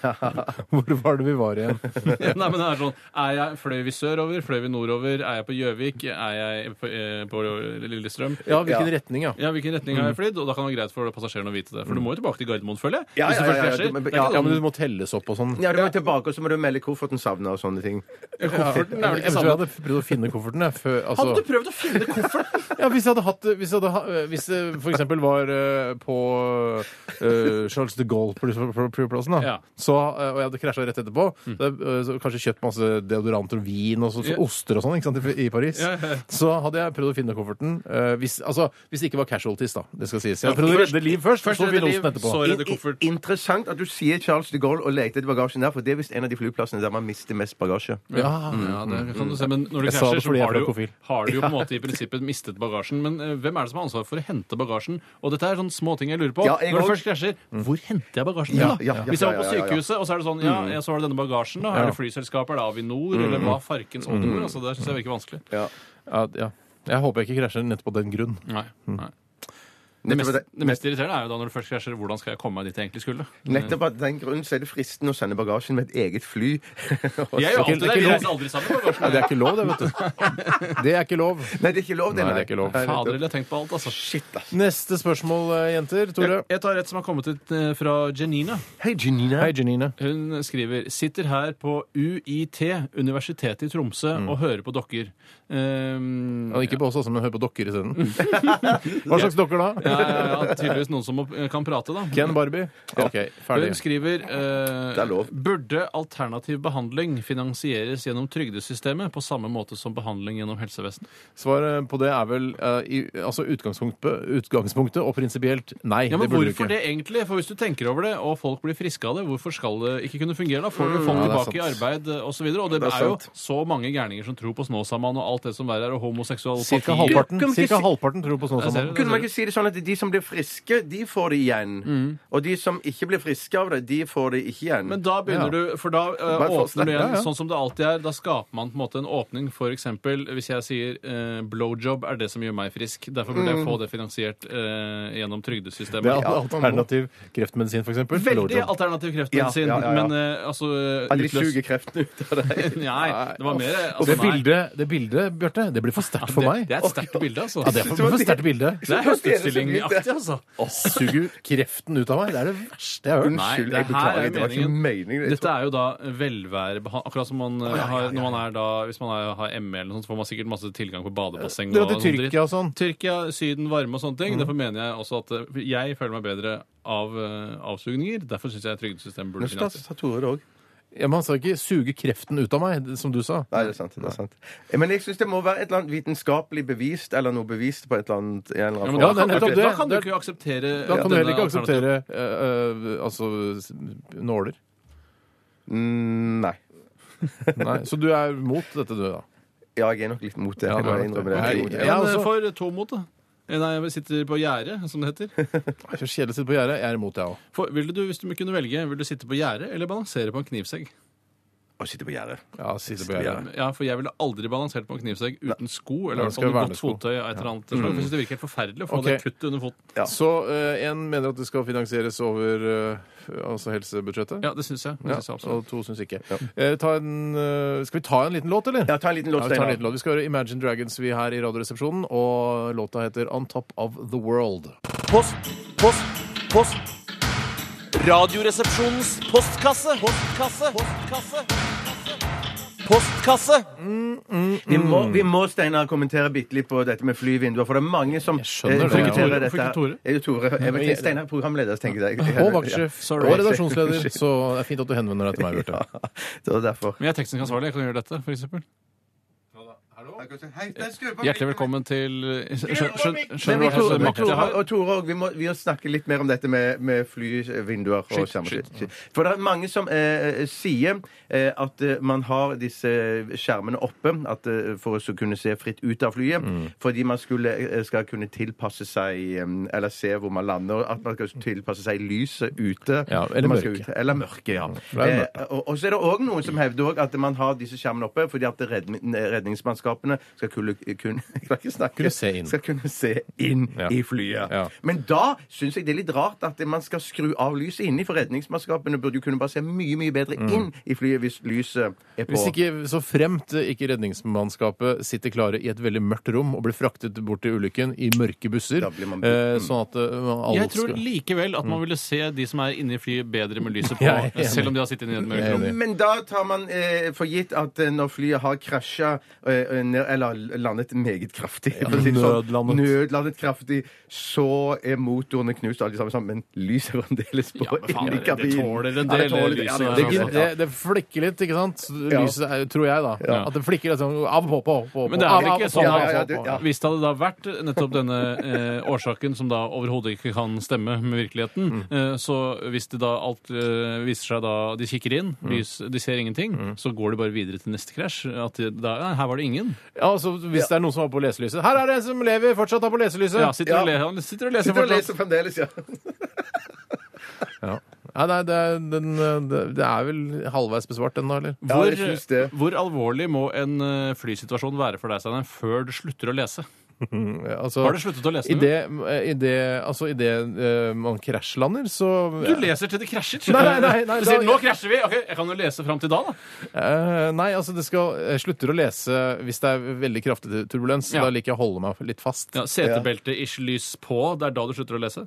B: Hvor var det vi var igjen?
D: Nei, men det er sånn, er jeg, Fløy vi sørover? Fløy vi nordover? Er jeg på Gjøvik? Er jeg på, eh, på Lillestrøm?
B: Ja, hvilken retning, ja.
D: Ja, Hvilken retning
C: Mm.
D: har jeg flydd? Og da kan det være greit for passasjerene å vite det. For du må jo tilbake til Gardermoen, føler jeg.
C: Ja,
D: hvis du
C: ja, ja,
D: først
C: ja,
D: krasjer.
C: du- men-
D: Det er
C: ja,
D: ikke
B: Ja,
D: sånn-
B: men du må telles opp og sånn.
C: ja, du må tilbake, og så må du melde kofferten savna og sånne ting.
B: Jeg
D: Kofferten er vel ikke
B: tror jeg
D: samme.
B: hadde prøvd å finne kofferten. Jeg, før, altså.
D: Hadde du prøvd å finne kofferten?
B: ja, hvis jeg hadde hatt Hvis, jeg hadde, ha- hvis det for eksempel var eh, på eh, Charles de Gaulle-flyplassen, da,
D: Ja. Mm.
B: så, eh, og jeg hadde krasja rett etterpå, så, jeg, eh, så kanskje kjøpt masse deodoranter og vin og så, så
D: Ja.
B: oster og sånn ikke sant, i i Paris,
D: Ja, ja, ja.
B: så hadde jeg prøvd å finne kofferten. eh, hvis, altså, hvis det ikke var casualties, da. Det skal sies. Jeg hadde prøvd å redde liv først,
D: Først
B: og så
D: redde
B: finne
D: liv,
B: osten etterpå.
D: så redde
C: I- i-
D: koffert.
C: Interessant at du sier Charles de Gaulle og leter etter bagasjen der, for det er visst en av de flyplassene der man mister mest bagasje.
B: Ja.
D: Ja, det kan
C: Mm.
D: du se, men når du
B: Jeg sa
D: krasjer,
B: det
D: så
B: fordi jeg er
D: har du, jo,
B: flakofil.
D: har du jo på en måte i prinsippet mistet bagasjen. Men eh, hvem er det som har ansvar for å hente bagasjen? Og dette er sånne små ting jeg lurer på.
C: Ja, jeg
D: når
C: også. Mm.
D: du først krasjer, hvor henter jeg bagasjen min,
C: Ja,
D: da?
C: ja, ja,
D: Hvis jeg var på
C: ja, Mm. ja, ja, ja.
D: sykehuset, og så er det sånn, ja, ja, så har du denne bagasjen, da. Er det flyselskaper, er det Avinor,
C: Mm.
D: eller hva farkens oldemor? Altså, det syns jeg virker vanskelig.
B: Ja, ja. Jeg håper jeg ikke krasjer nettopp av den grunn.
D: Nei,
C: Mm.
D: nei. Det mest, det mest irriterende er jo da når du først krasjer, hvordan skal jeg komme meg dit jeg egentlig skulle?
C: Nettopp av den grunn så er det fristende å sende bagasjen med et eget fly. Og
D: Jeg er
C: så-
D: jo alltid
B: det er
D: der, vi
B: ikke
D: reiser aldri sammen sånn med bagasjen.
B: Nei, det er ikke lov, det, vet du. Det er ikke lov.
C: Nei, det er ikke lov, det.
B: Nei, det er ikke lov.
C: Nei,
D: Fader,
C: nettopp.
D: eller jeg har tenkt på alt, altså.
C: Shit, ass.
B: Neste spørsmål, eh, jenter. Tore.
D: Jeg, jeg tar et som har kommet ut eh, fra Janina.
C: Hei, Janina.
B: Hei, Janine.
D: Hun skriver sitter her på UiT, Universitetet i Tromsø, og hører på dokker. Ehm,
B: Ja, ikke på oss, altså, men hør på dokker isteden. Hva slags dokker da?
D: ja, ja, ja, tydeligvis noen som må- kan prate, da.
B: Ken Barbie? OK,
D: Hun
B: ferdig.
D: skriver eh,
C: Det er lov.
D: burde alternativ behandling finansieres gjennom trygdesystemet på samme måte som behandling gjennom helsevesenet?
B: Svaret på det er vel eh, i, altså utgangspunktet, utgangspunktet og prinsipielt nei.
D: Ja, men
B: det burde du
D: Hvorfor
B: ikke.
D: det egentlig? For Hvis du tenker over det, og folk blir friske av det, hvorfor skal det ikke kunne fungere? Da får du folk
B: Ja, det er
D: tilbake i arbeid osv. Og, så videre, og det,
C: Det er
D: er jo
C: sant.
D: så mange gærninger som tror på Snåsamann og alt det som verre er, og homoseksuelle
B: Cirka
D: partier.
B: halvparten,
C: Kan vi ikke
B: cirka
C: si-
B: halvparten tror på
D: Jeg ser
B: Snåsamannen.
D: det.
C: Kunne man ikke si det sånn at de som blir friske, de får det igjen? Og de som ikke blir friske av det, de får det ikke igjen?
D: Men da begynner
B: Ja.
D: du, for da eh,
C: Bare fortsett.
D: åpner du igjen
C: Ja, ja.
D: sånn som det alltid er. Da skaper man på en måte en åpning. For eksempel hvis jeg sier eh, blowjob er det som gjør meg frisk. Derfor burde jeg få det finansiert eh, gjennom
B: Det er
D: trygdesystemet.
B: al- alternativ kreftmedisin, for eksempel.
D: Veldig
B: Blowjob.
D: alternativ kreftmedisin,
C: Ja, ja, ja, ja.
D: men eh, altså
C: at de
D: utløs-
C: suger kreftene ut av deg?
D: Nei, det var mer
B: Og
D: altså,
B: det
D: nei.
B: bildet, det bildet, Bjarte, det blir for sterkt for
D: Det,
B: meg.
D: det er et sterkt bilde, altså.
B: Ja, det er for, for sterkt bilde.
D: det er høstutstillingaktig, altså.
B: Suger kreften ut av meg. Det er det verste jeg har hørt.
D: Nei,
C: Unnskyld,
D: det
C: jeg
D: her
C: beklager.
D: er
C: Det liksom. var ikke
D: meningen.
C: meningen. Jeg
D: Dette
C: tror-
D: er jo da velværebehandling. Akkurat som man eh, har når man er da Hvis man er, har ME eller noe sånt, så får man sikkert masse tilgang på badebasseng.
B: Dra til
D: og sånn dritt.
B: Tyrkia Mm. og sånn.
D: Tyrkia, Syden, varme og sånne ting. Derfor mener jeg også at eh, jeg føler meg bedre av eh, avsugninger. Derfor syns jeg trygdesystemet burde
C: Nå sa-
D: finnes.
C: sa Tore det òg.
B: Ja, men han sa ikke 'suge kreften ut av meg', som du sa.
C: Nei, det er sant. det er sant. Eh, Men jeg syns det må være et eller annet vitenskapelig bevist, eller noe bevist på et eller annet i en eller
D: Ja,
C: annen
D: men
B: Ja,
D: da,
B: det er
C: form.
D: kan du,
B: nettopp
D: ikke- da
B: det.
D: kan du
B: Det-
D: ikke akseptere
B: Da kan du
D: denne
B: heller ikke
D: alternativet.
B: akseptere eh, eh, altså s- nåler.
C: Mm, Nei.
B: Nei, så du er mot dette, du, da?
C: Ja, jeg er nok litt mot det.
B: Ja,
C: Jeg må
B: det er
C: innrømme
B: det.
C: det. Jeg er
B: Nei,
C: mot det.
B: ja. altså. også.
D: Men eh, for to mot, da. Eh, Nei, jeg sitter på gjerdet, som det heter.
B: Det er så kjedelig å sitte på gjerdet. Jeg er imot, jeg òg.
D: For, vil du, hvis du kunne velge, vil du sitte på gjerdet eller balansere på en knivsegg?
C: Å sitte på gjerdet.
B: Ja, sitte på gjerdet.
D: Ehm, Ja, for jeg ville aldri balansert på en knivsegg uten sko, eller
B: Nei, det
D: i hvert
B: skal
D: fall
B: være
D: godt
B: sko. Mm.
D: fottøy av et eller annet slag. Jeg synes det virker helt forferdelig å få
B: Ok.
D: det kuttet under foten.
C: Ja.
B: Så eh, en mener at det skal finansieres over eh, altså helsebudsjettet.
D: Ja, det syns jeg. Det
B: Ja,
D: synes jeg absolutt.
B: og to syns ikke. Eh, ta en, eh, skal vi ta en liten låt, eller?
C: Ja, ta en liten låt,
B: Ja, vi, tar en
C: Steinar.
B: liten låt. vi skal høre Imagine Dragons vi her i Radioresepsjonen, og låta heter On Top of the World.
H: Post, post, post. Radioresepsjonens postkasse. Postkasse. Postkasse. Postkasse.
C: Vi
B: Mm.
C: må, vi må Steinar, kommentere bitte litt på dette med flyvinduer, for det er mange som
B: skjønner
C: eh,
B: det, ja.
C: frykter
D: Frykter
C: dette.
D: Tore?
C: Er det Tore? Jeg vet ikke, Steinar er programleder, tenker jeg.
B: Og vaktsjef
D: Ja, sorry.
B: og redaksjonsleder, så det er fint at du henvender deg til meg, Bjarte.
C: Ja, det var derfor.
D: Men jeg er teknisk ansvarlig, jeg kan gjøre dette, for eksempel.
B: Er
F: Jeg kan si, Hei, der skrur på
D: Hjertelig
F: mikken.
D: velkommen til Skjønner
F: på
D: skjøn,
F: mikken!
C: Men
D: skjønner
C: vi
D: du hva slags
C: tror, vi
D: makt jeg
C: tror,
D: har?
C: og Tore òg, vi, må- vi må snakke litt mer om dette med, med flyvinduer. og
D: Skyt,
C: skjermer.
D: skyt.
C: Skyt. For det er mange som eh, sier eh, at eh, man har disse eh, skjermene oppe at, eh, for å så kunne se fritt ut av flyet,
B: Mm.
C: fordi man skulle, eh, skal kunne tilpasse seg eh, Eller se hvor man lander, og at man skal tilpasse seg lyset ute.
B: Ja, eller
C: når man skal
B: mørket. Mm,
C: Ut, eller mørket, ja.
B: For det er mørkt,
C: Eh, og, og så er det òg noen som hevder også at man har disse skjermene oppe fordi at redning, redningsmannskapene skal kunne, kunne, jeg kan ikke snakke,
B: Kunne se inn.
C: skal kunne se inn
B: Ja.
C: i flyet.
B: Ja.
C: Men da syns jeg det er litt rart at man skal skru av lyset inni, for redningsmannskapene burde jo kunne bare se mye mye bedre inn i flyet hvis lyset er på.
B: Hvis ikke, så fremt ikke redningsmannskapet sitter klare i et veldig mørkt rom og blir fraktet bort til ulykken i mørke busser,
C: Da blir man- Mm.
B: eh, sånn at eh, alle
D: Jeg tror
B: skal- Mm.
D: likevel at man ville se de som er inne i flyet, bedre med lyset på,
B: Jeg er enig.
D: selv om de har sittet inne i et mørkt
B: Jeg er
D: rom.
B: enig.
C: Men da tar man eh, for gitt at eh, når flyet har krasja eh, ned- eller landet meget kraftig for å si det sånn,
B: nødlandet.
C: nødlandet kraftig, så er motorene knust, alle sammen, sammen, men lyset er fremdeles på
D: Ja, men faen,
C: inni
D: det- det
C: kabinen.
D: tåler en
C: Ja,
D: del,
C: tåler-
D: det
C: ja,
D: lyset
B: Det,
C: det
D: der,
C: gir-
D: altså.
B: det, det flikker litt, ikke sant? Lyset, er- tror jeg, da. At det flikker litt sånn av, på, på, på.
D: Men det er
B: av,
D: vel
B: av,
D: ikke
B: på,
D: sånn
B: av,
C: ja, ja,
B: på,
C: du-
B: på.
C: ja.
D: Hvis det hadde da vært nettopp denne eh, årsaken, som da overhodet ikke kan stemme med virkeligheten, eh, så hvis det da alt eh, viser seg da de kikker inn, lys, de ser ingenting, så går de bare videre til neste krasj. At de, da, ja, her var det ingen.
B: Ja, altså, hvis det er noen som har på leselyset Her er det en som lever fortsatt har på leselyset!
D: Ja, sitter, Og
C: Ja.
D: le, han sitter og leser
C: Sitter og
D: fortsatt.
C: leser fremdeles, ja.
B: Ja. Nei, nei, det, er- den, eh, det er vel halvveis besvart den da, eller?
C: Ja,
D: Hvor,
C: jeg synes det.
D: hvor alvorlig må en eh, flysituasjon være for deg, Steinar, før du slutter å lese?
B: Altså,
D: Har du sluttet å lese
B: I
D: nå?
B: det, i det, altså, i det eh, man krasjlander, så
D: Du leser til det krasjer.
B: Nei, nei, nei, nei,
D: du sier
B: da-
D: 'nå krasjer vi'. Ok, jeg kan jo lese fram til da, da.
B: Eh, Nei, altså, det skal, jeg slutter å lese hvis det er veldig kraftig turbulens.
D: Ja.
B: Da liker jeg å holde meg litt fast.
D: Ja, Setebelte-ish lys på. Det er da du slutter å lese?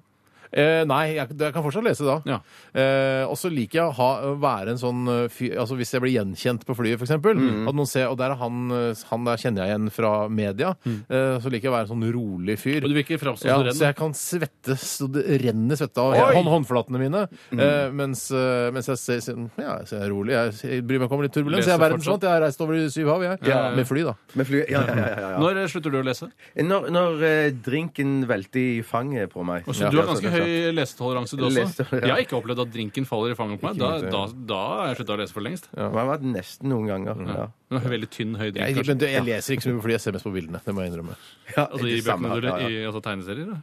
B: Eh, nei, jeg, jeg kan fortsatt lese da.
D: Ja.
B: Eh, og så liker jeg å ha, være en sånn eh, fyr altså Hvis jeg blir gjenkjent på flyet, f.eks.,
D: Mm.
B: at noen ser Og der er han, eh, han der kjenner jeg igjen fra media. Eh, så liker jeg å være en sånn rolig fyr.
D: Mm. Og du vil ikke framstå
B: Ja,
D: som redd?
B: så jeg kan svette så det renner svette av
D: Oi! Mm.
B: hånd, håndflatene mine. Eh, mens, eh, mens jeg ser, ser Ja, jeg ser rolig. Jeg, jeg bryr meg ikke om litt turbulens. Jeg er
D: Leser fortsatt.
B: verdensvant. Jeg har reist over syv hav, jeg.
D: Ja.
B: Med fly, da.
C: Med fly, ja, ja, ja, ja, ja.
D: Når eh, slutter du å lese?
C: Når, når eh, drinken velter i fanget på meg.
D: Og så
C: Ja,
D: Altså, du har
C: ja,
D: ganske
C: sånn, ja.
D: høy lesetoleranse, du også.
C: Lese- ja.
D: Jeg har ikke opplevd at drinken faller i fanget på meg. Da,
B: mitt,
D: da,
B: ja.
D: da har jeg slutta å lese for lengst.
C: Det har vært nesten noen ganger. Ja.
D: Men Veldig tynn, høy drink,
B: Jeg,
D: kanskje.
B: men du, jeg leser ikke så mye på fly. Jeg ser mest på bildene. Det må jeg innrømme.
C: Ja,
D: Altså, I
C: det samme,
D: bøkene du
C: ja, ja.
D: i altså, tegneserier? da?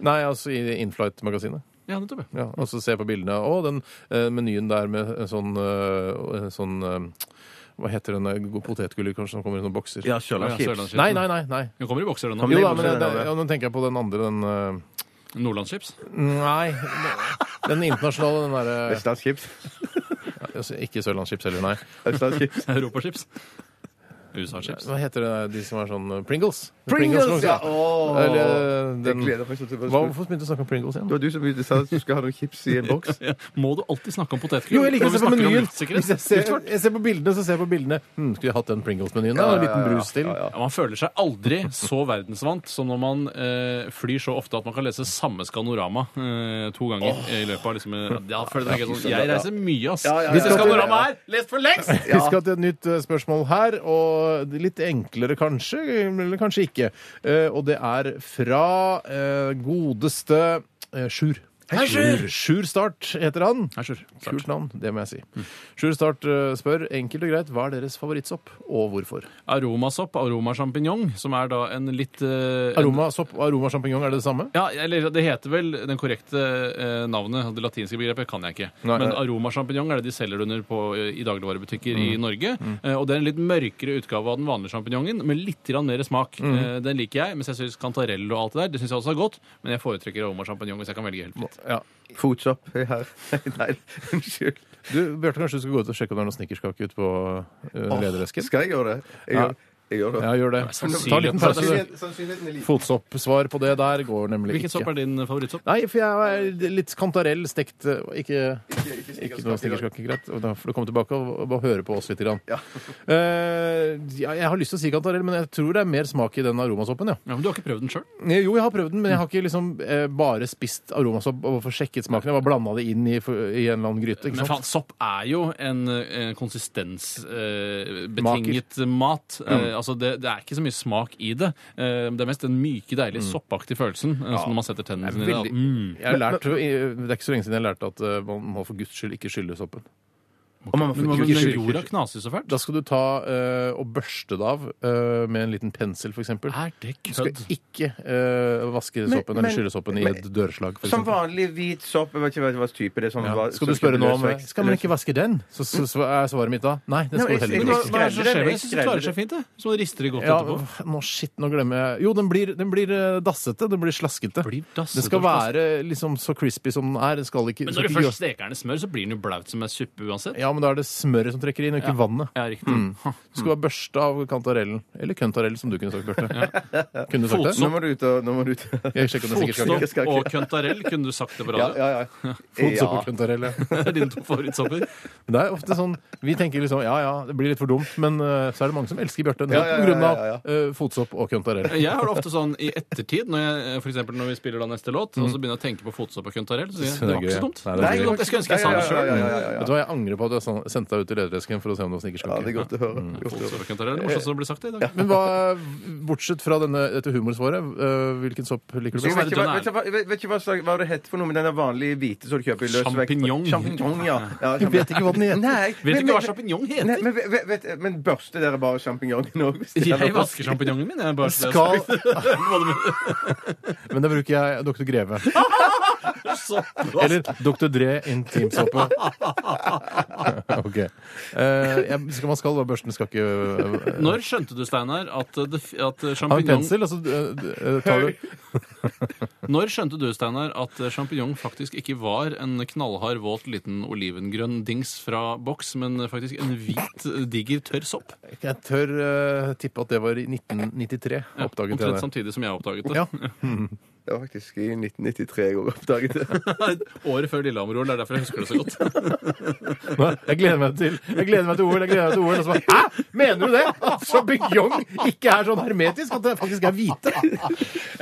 B: Nei, altså i Inflight-magasinet.
D: Ja, nettopp. ja.
B: Ja, og så se på bildene. Å, den eh, menyen der med sånn, eh, sånn eh, Hva heter den der god potetgullet kanskje som kommer i sånne bokser?
C: Ja, Sørlandschips.
D: Sørlandschips.
B: Nei, nei, nei. nei.
D: Den kommer i bokser, den
C: Kommer
B: Jo
D: òg.
C: i-
B: da, men jeg, det- ja, nå tenker jeg på den andre, den eh,
D: Nordlandschips.
B: Nei. Den internasjonale, den derre
C: Vestlandschips.
B: altså, Ikke Sørlandschips heller, nei.
C: Vestlandschips.
D: Europachips. USA-chips.
B: Hva heter det der, de som er sånn eh, Pringles?
C: Pringles, ja!
B: også,
C: Åh.
B: Eller eh,
C: Jeg
B: den
C: gleder meg sånn til å
B: hva, Hvorfor begynte du å snakke om Pringles igjen?
C: Det var du som begynte å si at du skulle ha noen chips i en boks.
D: Ja. Må du alltid snakke om potetgull?
B: Jo, jeg liker å
D: når vi
B: se på
D: snakker om
B: menyen.
D: luftsikkerhet?
B: Hvis jeg ser, jeg ser på bildene, så ser jeg på bildene. Hm, skulle jeg hatt den Pringles-menyen? da? En liten brus til?
D: Ja, Man føler seg aldri så verdensvant som når man eh, flyr så ofte at man kan lese samme Skanorama eh, to ganger i løpet av liksom, eh, ja, føler jeg, sånn, jeg reiser mye, ass.
C: Ja, ja, ja,
D: Hvis det
B: ja, ja.
D: Skanorama er lest for lengst!
B: Vi skal til et nytt eh, spørsmål her, og det er litt enklere kanskje, eller kanskje ikke. Eh, Og det er fra eh, godeste eh, Sjur.
D: Hei, Sjur!
B: Sjur Start heter han.
D: Nei, sure.
B: Kult navn, det må jeg si. Sjur Start eh, spør enkelt og greit hva er deres favorittsopp, og hvorfor?
D: Aromasopp, aromasjampinjong, som er da en litt eh, en-
B: Aromasopp og aromasjampinjong, er det det samme?
D: Ja, eller det heter vel den korrekte eh, navnet. Det latinske begrepet kan jeg ikke.
B: Nei,
D: Men
B: nei.
D: aromasjampinjong er det de selger under på, eh, i dagligvarebutikker
B: Mm.
D: i Norge. Eh, og det er en litt mørkere utgave av den vanlige sjampinjongen, med litt grann mer smak.
B: Mm.
D: Eh, den liker jeg, mens jeg syns kantarell og alt det der det synes jeg også er godt. Men jeg foretrekker aromasjampinjong hvis jeg kan velge helt fritt.
B: Ja.
C: Fotsopp her. Nei, unnskyld.
B: Du, Bjarte, kanskje du skal gå ut og sjekke om det er noen snickerskake ute på eh, lederesken?
C: Skal jeg gjøre det? Jeg
B: Ja.
C: gjør, jeg gjør det.
B: Ja, gjør det.
D: er
B: Ta
D: sannsynlig
B: en liten
D: at det er
B: pause.
F: Sannsynligheten- Sannsynligheten er liten.
B: Fotsoppsvar på det der går nemlig
D: Hvilken sopp
B: ikke.
D: er din favorittsopp?
B: Nei, for jeg er litt kantarell stekt eh, Ikke
F: ikke
B: Ikke noe snickerskakke, greit. Og Da får du komme tilbake og, og bare høre på oss litt. Grann.
C: Ja.
B: Eh, ja, jeg har lyst til å si kantarell, men jeg tror det er mer smak i den aromasoppen. ja. Eh,
D: Ja, men Du har ikke prøvd den sjøl?
B: Jo, jeg har prøvd den, men jeg har ikke liksom eh, bare spist aromasopp og fått sjekket smaken. Jeg bare blanda det inn i, i en eller annen gryte. ikke
D: Men
B: sant?
D: faen,
B: Mm.
D: sopp er jo en, en konsistensbetinget eh, betinget mat. Eh, altså det, det er ikke så mye smak i det. Eh, Det er mest den myke, deilige,
B: Mm.
D: soppaktige følelsen eh, som når man setter tennene sine i det. da.
B: veldig-
D: Mm.
B: Jeg har lært, det er ikke så lenge siden jeg lærte at eh, man må for guds skyld ikke skylle soppen.
C: Og man må
D: Men,
C: ikke
D: men
C: skylle-
D: jorda knaser så fælt.
B: Da skal du ta eh, og børste det av eh, med en liten pensel, f.eks.
D: Er det
B: Du skal
D: kødd?
B: ikke eh, vaske
C: Men-
B: soppen eller
C: men-
B: skylle soppen i
C: men-
B: et dørslag. For
C: Som
B: eksempel.
C: vanlig hvit sopp. Jeg vet ikke hva hva type det er. Sånn,
B: ja.
C: hva-
B: Skal du
C: sånn
B: spørre nå om
C: løsvekt-
B: Skal man ikke vaske den? Så, så, så er svaret mitt da nei. Den skal
C: Nei, jeg-
B: du heller
C: jeg-
B: ikke
D: Hva,
B: vaske.
D: hva er det
C: Skredder
D: som skjer?
C: det,
D: Jeg syns det klarer seg fint, det. Så rister det godt
B: Ja,
D: etterpå.
B: nå, shit, nå glemmer jeg Jo, den blir, den blir eh, dassete. Den blir slaskete.
D: Blir dassete
B: Den skal
D: og slaskete.
B: være liksom så crispy som den er. Den skal ikke,
D: Men
B: skal
D: når du
B: ikke
D: først
B: gjøre-
D: steker den i smør, så blir den jo blaut som en suppe uansett.
B: Ja, Mm. men da er det smøret som trekker inn, og ikke vannet.
D: Ja, riktig.
B: Du skal være børsta av kantarellen. Eller køntarell, som du kunne sagt, Bjarte. Kunne du sagt det?
C: Nå må du ut og Nå må du ut.
B: Jeg sjekker om det sikkert skal
C: Fotsopp.
D: Fotstopp og køntarell, kunne du sagt det
C: Ja,
D: på radio?
C: ja, ja.
B: Fotsopp
C: Ja.
B: og køntarell, ja.
D: Det er dine to favorittsopper.
B: Men Det er ofte sånn, Vi tenker liksom ja ja, det blir litt for dumt, men eh, så er det mange som elsker Bjarte
C: Ja,
B: nettopp
C: ja,
B: på grunn av
C: ja, ja,
B: eh, fotsopp og køntarell.
D: Jeg har det ofte sånn i ettertid, når jeg, eh, for eksempel når vi spiller da neste låt, og så begynner jeg å tenke på fotsopp og køntarell, så sier
B: Mm.
D: jeg
B: Det er
D: det var ikke
B: gøy,
D: så dumt.
B: ja. Nei,
D: Det
B: det er
D: var ikke
B: gøy.
D: så dumt. Jeg skulle ønske jeg sa det
C: Ja, ja, ja,
D: sjøl.
C: ja, ja, ja.
B: Vet du hva, Jeg angrer på at jeg sen- sendte deg ut i lederesken for å se om det var
C: Ja, det er
B: snikerskake.
C: godt å høre. Godt å høre.
D: Fotsopp og køntarell er det morsomste som blir sagt i dag.
B: Men hva, bortsett fra denne, dette humorsvaret, eh, hvilken sopp liker du
C: Jeg
B: best?
C: vet ikke hva, vet ikke hva, vet ikke hva, slag- hva det heter for noe med den der vanlige hvite som du kjøper i løsvekt
D: Champignon.
C: Champignon, ja. ja
B: Jeg vet ikke hva den heter.
C: Nei,
D: Vet du
C: men-
D: ikke hva
C: men-
D: sjampinjong
C: Nei,
D: heter?
C: men, vet, vet, men børste dere bare sjampinjongen òg?
D: Jeg vasker sjampinjongen min. Jeg bare
B: Skal,
D: Hva du mener.
B: men da bruker jeg Dr. Greve.
D: Så-
B: Eller Dr. Dre intimsåpe. OK. Eh, jeg, skal, man skal bare børsten, skal ikke eh,
D: Når skjønte du, Steinar, at, det f- at
B: Ha en
D: sjampinjong
B: pensel, og så eh, eh, tar du
D: Når skjønte du, Steinar, at sjampinjong faktisk ikke var en knallhard, våt, liten olivengrønn dings fra boks, men faktisk en hvit, diger, tørr sopp?
B: Jeg tør eh, tippe at det var i 1993. Oppdaget
D: Omtrent sånn.
B: jeg det.
D: samtidig som jeg oppdaget det.
B: Ja.
C: Det var faktisk i 1993 jeg også oppdaget det.
D: Året før Lillehammer-OL. Det er derfor jeg husker det så godt.
B: Nå, Jeg gleder meg til Jeg gleder meg til OL, jeg gleder meg til OL. Og så bare Hæ! Mener du det? At sjampinjong ikke er sånn hermetisk? At det faktisk er hvite?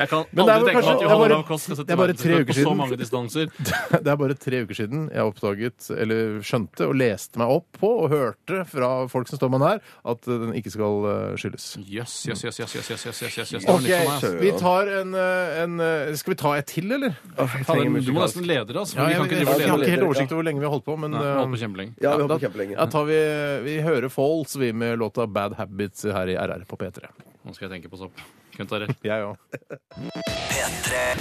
D: Jeg kan
B: Men det er
D: aldri
B: vel
D: tenke meg
B: kanskje-
D: at
B: det er
D: Johan
B: bare-
D: Olav Koss skal
B: det
D: sette
B: er bare tre
D: verdensrekord på
B: uker
D: så
B: siden.
D: mange distanser.
B: Det er bare tre uker siden jeg oppdaget, eller skjønte og leste meg opp på og hørte fra folk som står meg nær, at den ikke skal eh, skyldes.
D: Jøss, jøss, jøss, jøss, jøss, jøss, jøss, jøss, jøss, jøss. Det var
B: Ok,
D: nytt for meg, altså.
B: vi tar en, eh, en eh, Skal vi ta et til, eller?
C: Åh, jeg
D: Ta
C: trenger
D: den- Du må
C: musikalsk.
D: nesten lede det, altså. for
B: Ja,
D: vi
B: jeg, jeg,
D: kan ikke drive og
B: har
D: lede
B: ikke
D: det.
B: helt oversikt over hvor lenge vi har holdt på, men
D: Nei,
B: eh,
D: holdt på kjempelenge.
C: Ja,
B: da,
C: vi holder på kjempelenge.
B: ja, tar vi, vi hører Falls, vi, med låta Bad Habits her i RR på P3.
D: Nå skal jeg tenke på sopp. Køntarell.
B: Jeg òg.
A: P3.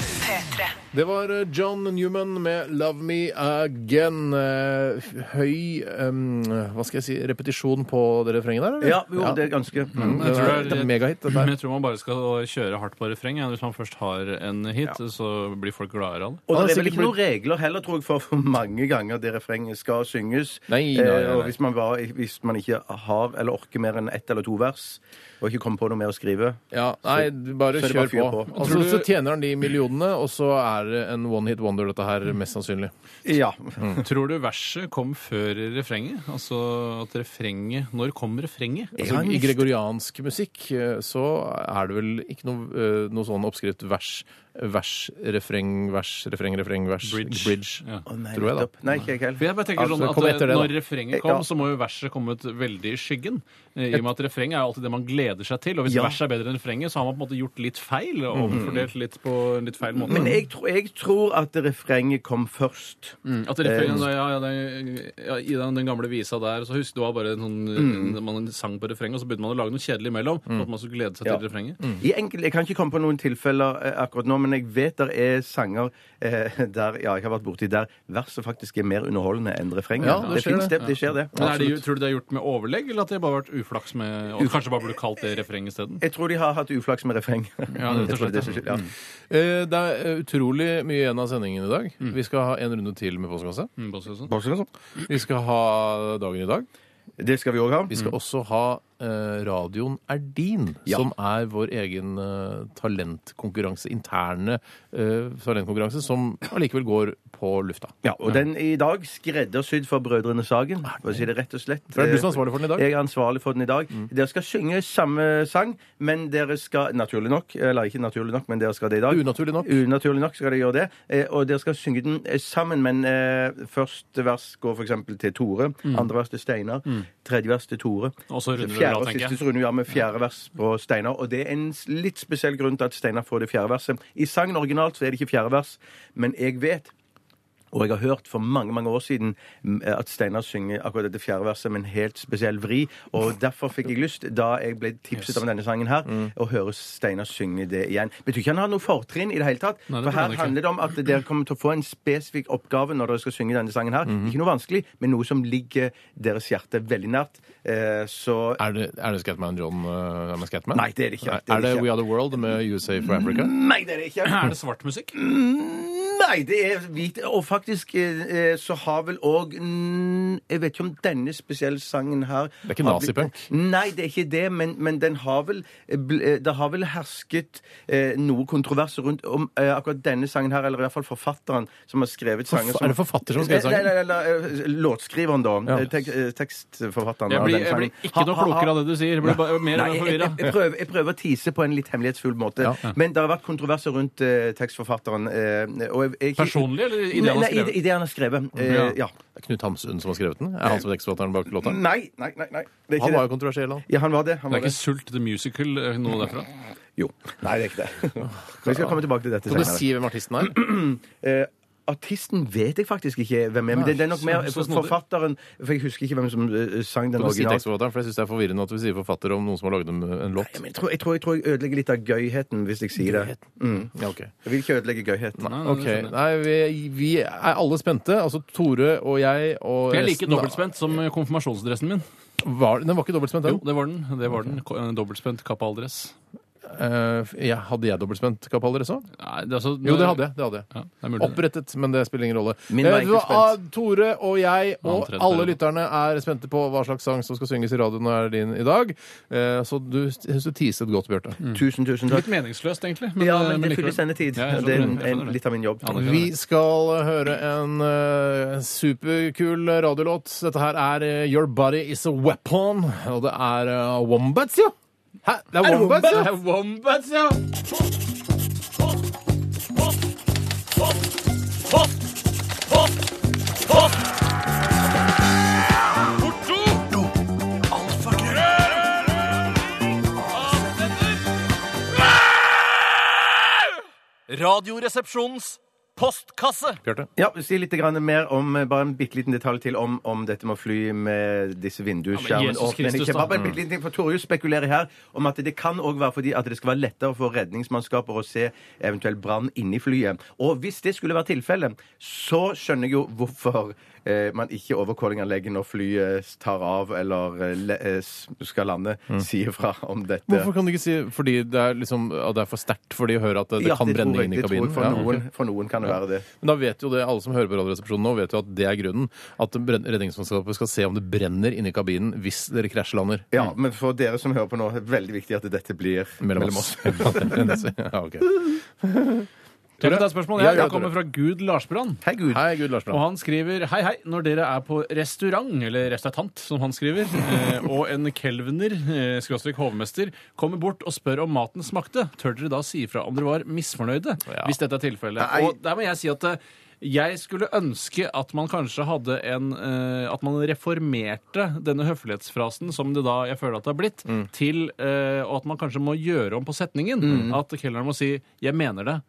B: Det var eh, John Newman med 'Love Me Again'. Eh, Høy em, hva skal jeg si, repetisjon på det refrenget der, eller?
C: Ja, Mm. jo, det er ganske
B: Det
D: tror
B: er,
D: det er-
B: det er megahit. Det
D: Men
B: der.
D: jeg tror man bare skal kjøre hardt på refreng. ja. Hvis man først har en hit, så blir folk gladere av det.
C: Og det
B: det
C: er
B: er
C: vel ikke noen regler heller, tror jeg, for hvor mange ganger det refrenget skal synges.
B: Nei, nei, nei,
C: Eh, Og
B: nei.
C: hvis man, bare, hvis man ikke har eller orker mer enn ett eller to vers, og ikke kommer på noe mer å skrive
B: Ja, nei, du bare
C: så er det
B: kjør
C: bare
B: på.
C: å fyre på.
B: Altså,
D: Tror du-
B: så tjener han de millionene, og så er det en one hit wonder, dette her, mest sannsynlig.
C: Ja.
D: Tror du verset kom før refrenget? Altså at refrenget Når kom refrenget?
B: Altså, I gregoriansk musikk eh, så er det vel ikke noe, eh, noe sånn oppskrift vers, vers, refreng, vers, refreng, refreng, vers,
D: Bridge.
B: bridge.
D: Ja.
C: Å, nei,
B: Tror jeg, da.
C: nettopp. Nei, ikke jeg
D: For
C: heller.
D: jeg bare tenker
C: Altså,
D: sånn
B: det
D: at
B: kom etter det, da.
D: Når refrenget kom,
C: Eh, Ja.
D: så må jo verset kommet veldig i skyggen. eh, I og med at refrenget er jo alltid det man gleder seg til. Og hvis
C: Ja. Mm.
D: verset er bedre enn refrenget, så har man på en måte gjort litt feil. Og omfordelt litt på en litt feil måte.
C: Men jeg, tror- jeg tror at refrenget kom først.
D: Mm, At
C: Eh,
D: refrenget, ja, ja, den, ja, I den, den gamle visa der, så husker du det var bare en
C: Mm.
D: sånn Man sang på refrenget, og så begynte man å lage noe kjedelig imellom. sånn At man skulle glede seg
C: Ja. Mm.
D: til refrenget.
C: I enkel, jeg kan ikke komme på noen tilfeller eh, akkurat nå, men jeg vet der er sanger eh, der ja, jeg har vært borti der verset faktisk er mer underholdende enn refrenget.
B: Ja, det skjer
C: finnes
B: det.
C: det. Det skjer det.
D: Men er det, jo- tror du det er gjort med overlegg, eller at det bare har vært uflaks med og Kanskje bare burde kalt det refreng isteden?
C: Jeg tror de har hatt uflaks med refreng.
D: Ja, rett og
C: Jeg tror
D: slett,
C: det er det som skjer, ja.
B: Eh, Det er eh, utrolig mye igjen av sendingen i dag. Vi skal ha en runde til med postkasse.
D: Mm, bare si det sånn.
B: Vi skal ha dagen i dag.
C: Det skal vi òg ha.
B: Vi skal også ha eh, Radioen er din,
C: Ja.
B: som er vår egen eh, talentkonkurranse, interne eh, talentkonkurranse, som allikevel går på lufta.
C: Ja, og den er i dag skreddersydd for Brødrene Sagen. For å si det rett og slett.
B: For Ah, det er du som er ansvarlig for den i dag? Mm.
C: Jeg er ansvarlig for den i dag. Dere skal synge samme sang, men dere skal Naturlig nok. Eller ikke naturlig nok, men dere skal det i dag.
B: Unaturlig nok.
C: Unaturlig nok skal dere gjøre det. Eh, Og dere skal synge
B: Mm.
C: den eh, sammen, men eh, første vers går f.eks. til Tore. Andre vers til Steinar. tredje vers til Tore.
D: Og så runder du det
C: fjerde
D: av,
C: og
D: tenker jeg.
C: siste runder vi av med fjerde vers på Steinar. Og det er en s- litt spesiell grunn til at Steinar får det fjerde verset. I sangen originalt så er det ikke fjerde vers, men jeg vet og jeg har hørt for mange mange år siden mm, at Steinar synger akkurat dette fjerde verset med en helt spesiell vri. Og derfor fikk jeg lyst, da jeg ble tipset om denne sangen her,
D: Mm.
C: å høre Steinar synge det igjen. Betyr ikke han har noe fortrinn i det hele tatt. for
D: Nei, det burde
C: her
D: han ikke.
C: handler det om at dere kommer til å få en spesifikk oppgave når dere skal synge denne sangen her.
D: Mhm.
C: Ikke noe vanskelig, men noe som ligger deres hjerte veldig nært. Eh, så
B: Er det, er det Scatman John eh, med Scatman?
C: Nei, det er det ikke.
B: Nei,
C: Det er
B: er det
C: det ikke.
B: We Are The World med USA for Africa?
C: Nei, det er det ikke!
D: Er det svart musikk?
C: Mm, Nei, det er hvit. Og faktisk eh, eh, så har vel òg Jeg vet ikke om denne spesielle sangen her
B: Det er ikke
C: har blitt-
B: nazipunk?
C: Nei, det er ikke det, men, men den har vel eh, bl- eh, Det har vel hersket eh, noe kontrovers rundt om eh, akkurat denne sangen her, eller i hvert fall forfatteren som har skrevet sangen.
B: er det forfatter som har skrevet sangen?
C: Nei, nei, nei, nei, eh, låtskriveren, da.
B: Ja.
C: Eh, Tek, eh, tekstforfatteren.
D: Jeg
C: av
D: blir,
C: denne
D: jeg
C: sangen.
D: blir ikke noe
C: Ha- ha- ha-
D: klokere av det du sier. Jeg blir bare mer
C: Nei, jeg,
D: forvirra.
C: jeg, jeg, prøver, jeg prøver å tise på en litt hemmelighetsfull måte.
B: Ja.
C: Men det har vært kontroverser rundt eh, tekstforfatteren. eh, og jeg, jeg,
D: Personlig, eller i det han har
C: Nei,
D: skrevet?
C: i, i det han har skrevet. Eh,
D: Ja.
C: ja.
B: Det er Knut Hamsun som har skrevet den? Er han som er tekstforfatteren bak låta?
C: Nei, nei, nei. nei.
B: Han
C: Det Mm, er ikke
B: var
C: det.
B: jo kontroversiell, han.
C: Ja, han var det. Han
D: Det
C: var
D: er ikke Sult the Musical eh, noe derfra?
C: Jo. Nei, det er ikke det. Vi skal komme tilbake til dette
B: Kan du
C: senere.
B: si hvem artisten er?
C: Eh, Artisten vet jeg faktisk ikke hvem er, men det, det er nok mer
D: så- så snodig.
C: forfatteren For jeg husker ikke hvem som eh, sang den
B: Kan du si
C: originalt.
B: tekstforfatteren? For jeg syns det er forvirrende at vi sier forfatter om noen som har laget en, en låt.
C: Men Jeg tror, jeg tror jeg tror jeg ødelegger litt av gøyheten hvis jeg sier det.
B: Ja, ok.
C: Jeg vil ikke ødelegge gøyheten.
D: Nei, nei,
B: Ok,
D: det skjønner jeg.
B: nei, vi, vi er alle spente. Altså Tore og jeg og
D: Jeg er like
B: resten av-
D: dobbeltspent som eh, konfirmasjonsdressen min.
B: Var, den var ikke dobbeltspent,
D: Jo,
B: den.
D: det var den. Det var den. Ko- en Dobbeltspent kappaldress.
B: Eh, jeg, hadde jeg dobbeltspent kappaller også?
D: Nei, det er altså-
B: Jo, det hadde jeg. Det hadde jeg.
D: Ja, det er mulig. det.
B: Opprettet, men det spiller ingen rolle.
C: Min var
B: Eh,
C: egentlig
B: hva- ah, Tore og jeg
D: Annen
B: og
D: tredje
B: alle
D: periode.
B: lytterne er spente på hva slags sang som skal synges i radioen og er din i dag. Eh, Så du, jeg synes du teaset godt, Bjørte.
C: Tusen, tusen takk.
D: Litt meningsløst, egentlig. eh,
C: Ja, men det
D: likevel.
C: fylles sendetid.
D: Ja, jeg skjønner
C: Det er en,
D: jeg skjønner
C: en, litt av min jobb.
D: Ja, det-
B: Vi skal høre en eh, superkul radiolåt. Dette her er eh, Your Body Is A Weapon, og det er eh, Wombats, jo! Hæ? Det er Wombats,
D: Det
B: jo!
D: er Wombats, ja!
H: Radioresepsjonens postkasse.
B: Bjarte.
C: Ja, Si litt grann mer om eh, bare en bitte liten detalj til om, om dette med å fly med disse
D: Ja, men
C: vindusskjermene
D: Jesus
C: åpne eller
D: Kristus,
C: ikke.
D: da.
C: Bare en bitte liten ting, for Torjus spekulerer her om at det kan òg være fordi at det skal være lettere for redningsmannskaper å se eventuell brann inni flyet. Og hvis det skulle være tilfellet, så skjønner jeg jo hvorfor eh, man ikke overkålinganlegget når flyet tar av eller eh, le, eh, s- skal lande, sier fra om dette.
B: Hvorfor kan du ikke si fordi det er, liksom, at det er for sterkt for de hører at det, det
C: Ja,
B: kan
C: tror
B: brenne
C: jeg-
B: inn i
C: det tror jeg
B: kabinen?
C: For,
B: Ja,
C: noen,
B: ok.
C: for noen kan det være det.
B: Men da vet jo det, alle som hører på Radioresepsjonen nå, vet jo at det er grunnen. At brenn- Redningsmannskapet skal se om det brenner inni kabinen hvis dere krasjlander.
C: Ja, men for dere som hører på nå, er det veldig viktig at dette blir
B: Mellom oss. ja, ok.
D: Jeg har et spørsmål.
B: Ja,
D: Jeg,
B: ja,
D: jeg kommer fra Gud Larsbrand.
C: Hei, Gud.
B: Hei, Gud Larsen.
D: Og han skriver Hei, hei, når dere er på restaurant, eller restaurantant, som han skriver, eh, og en kelvner, eh, skråstrek hovmester, kommer bort og spør om maten smakte, tør dere da si ifra om dere var misfornøyde?
B: Ja.
D: Hvis dette er tilfellet.
C: Nei.
D: Og der må jeg si at eh, jeg skulle ønske at man kanskje hadde en eh, At man reformerte denne høflighetsfrasen, som det da jeg føler at det har blitt,
B: Mm.
D: til eh, Og at man kanskje må gjøre om på setningen. At kelneren må si 'jeg mener det'.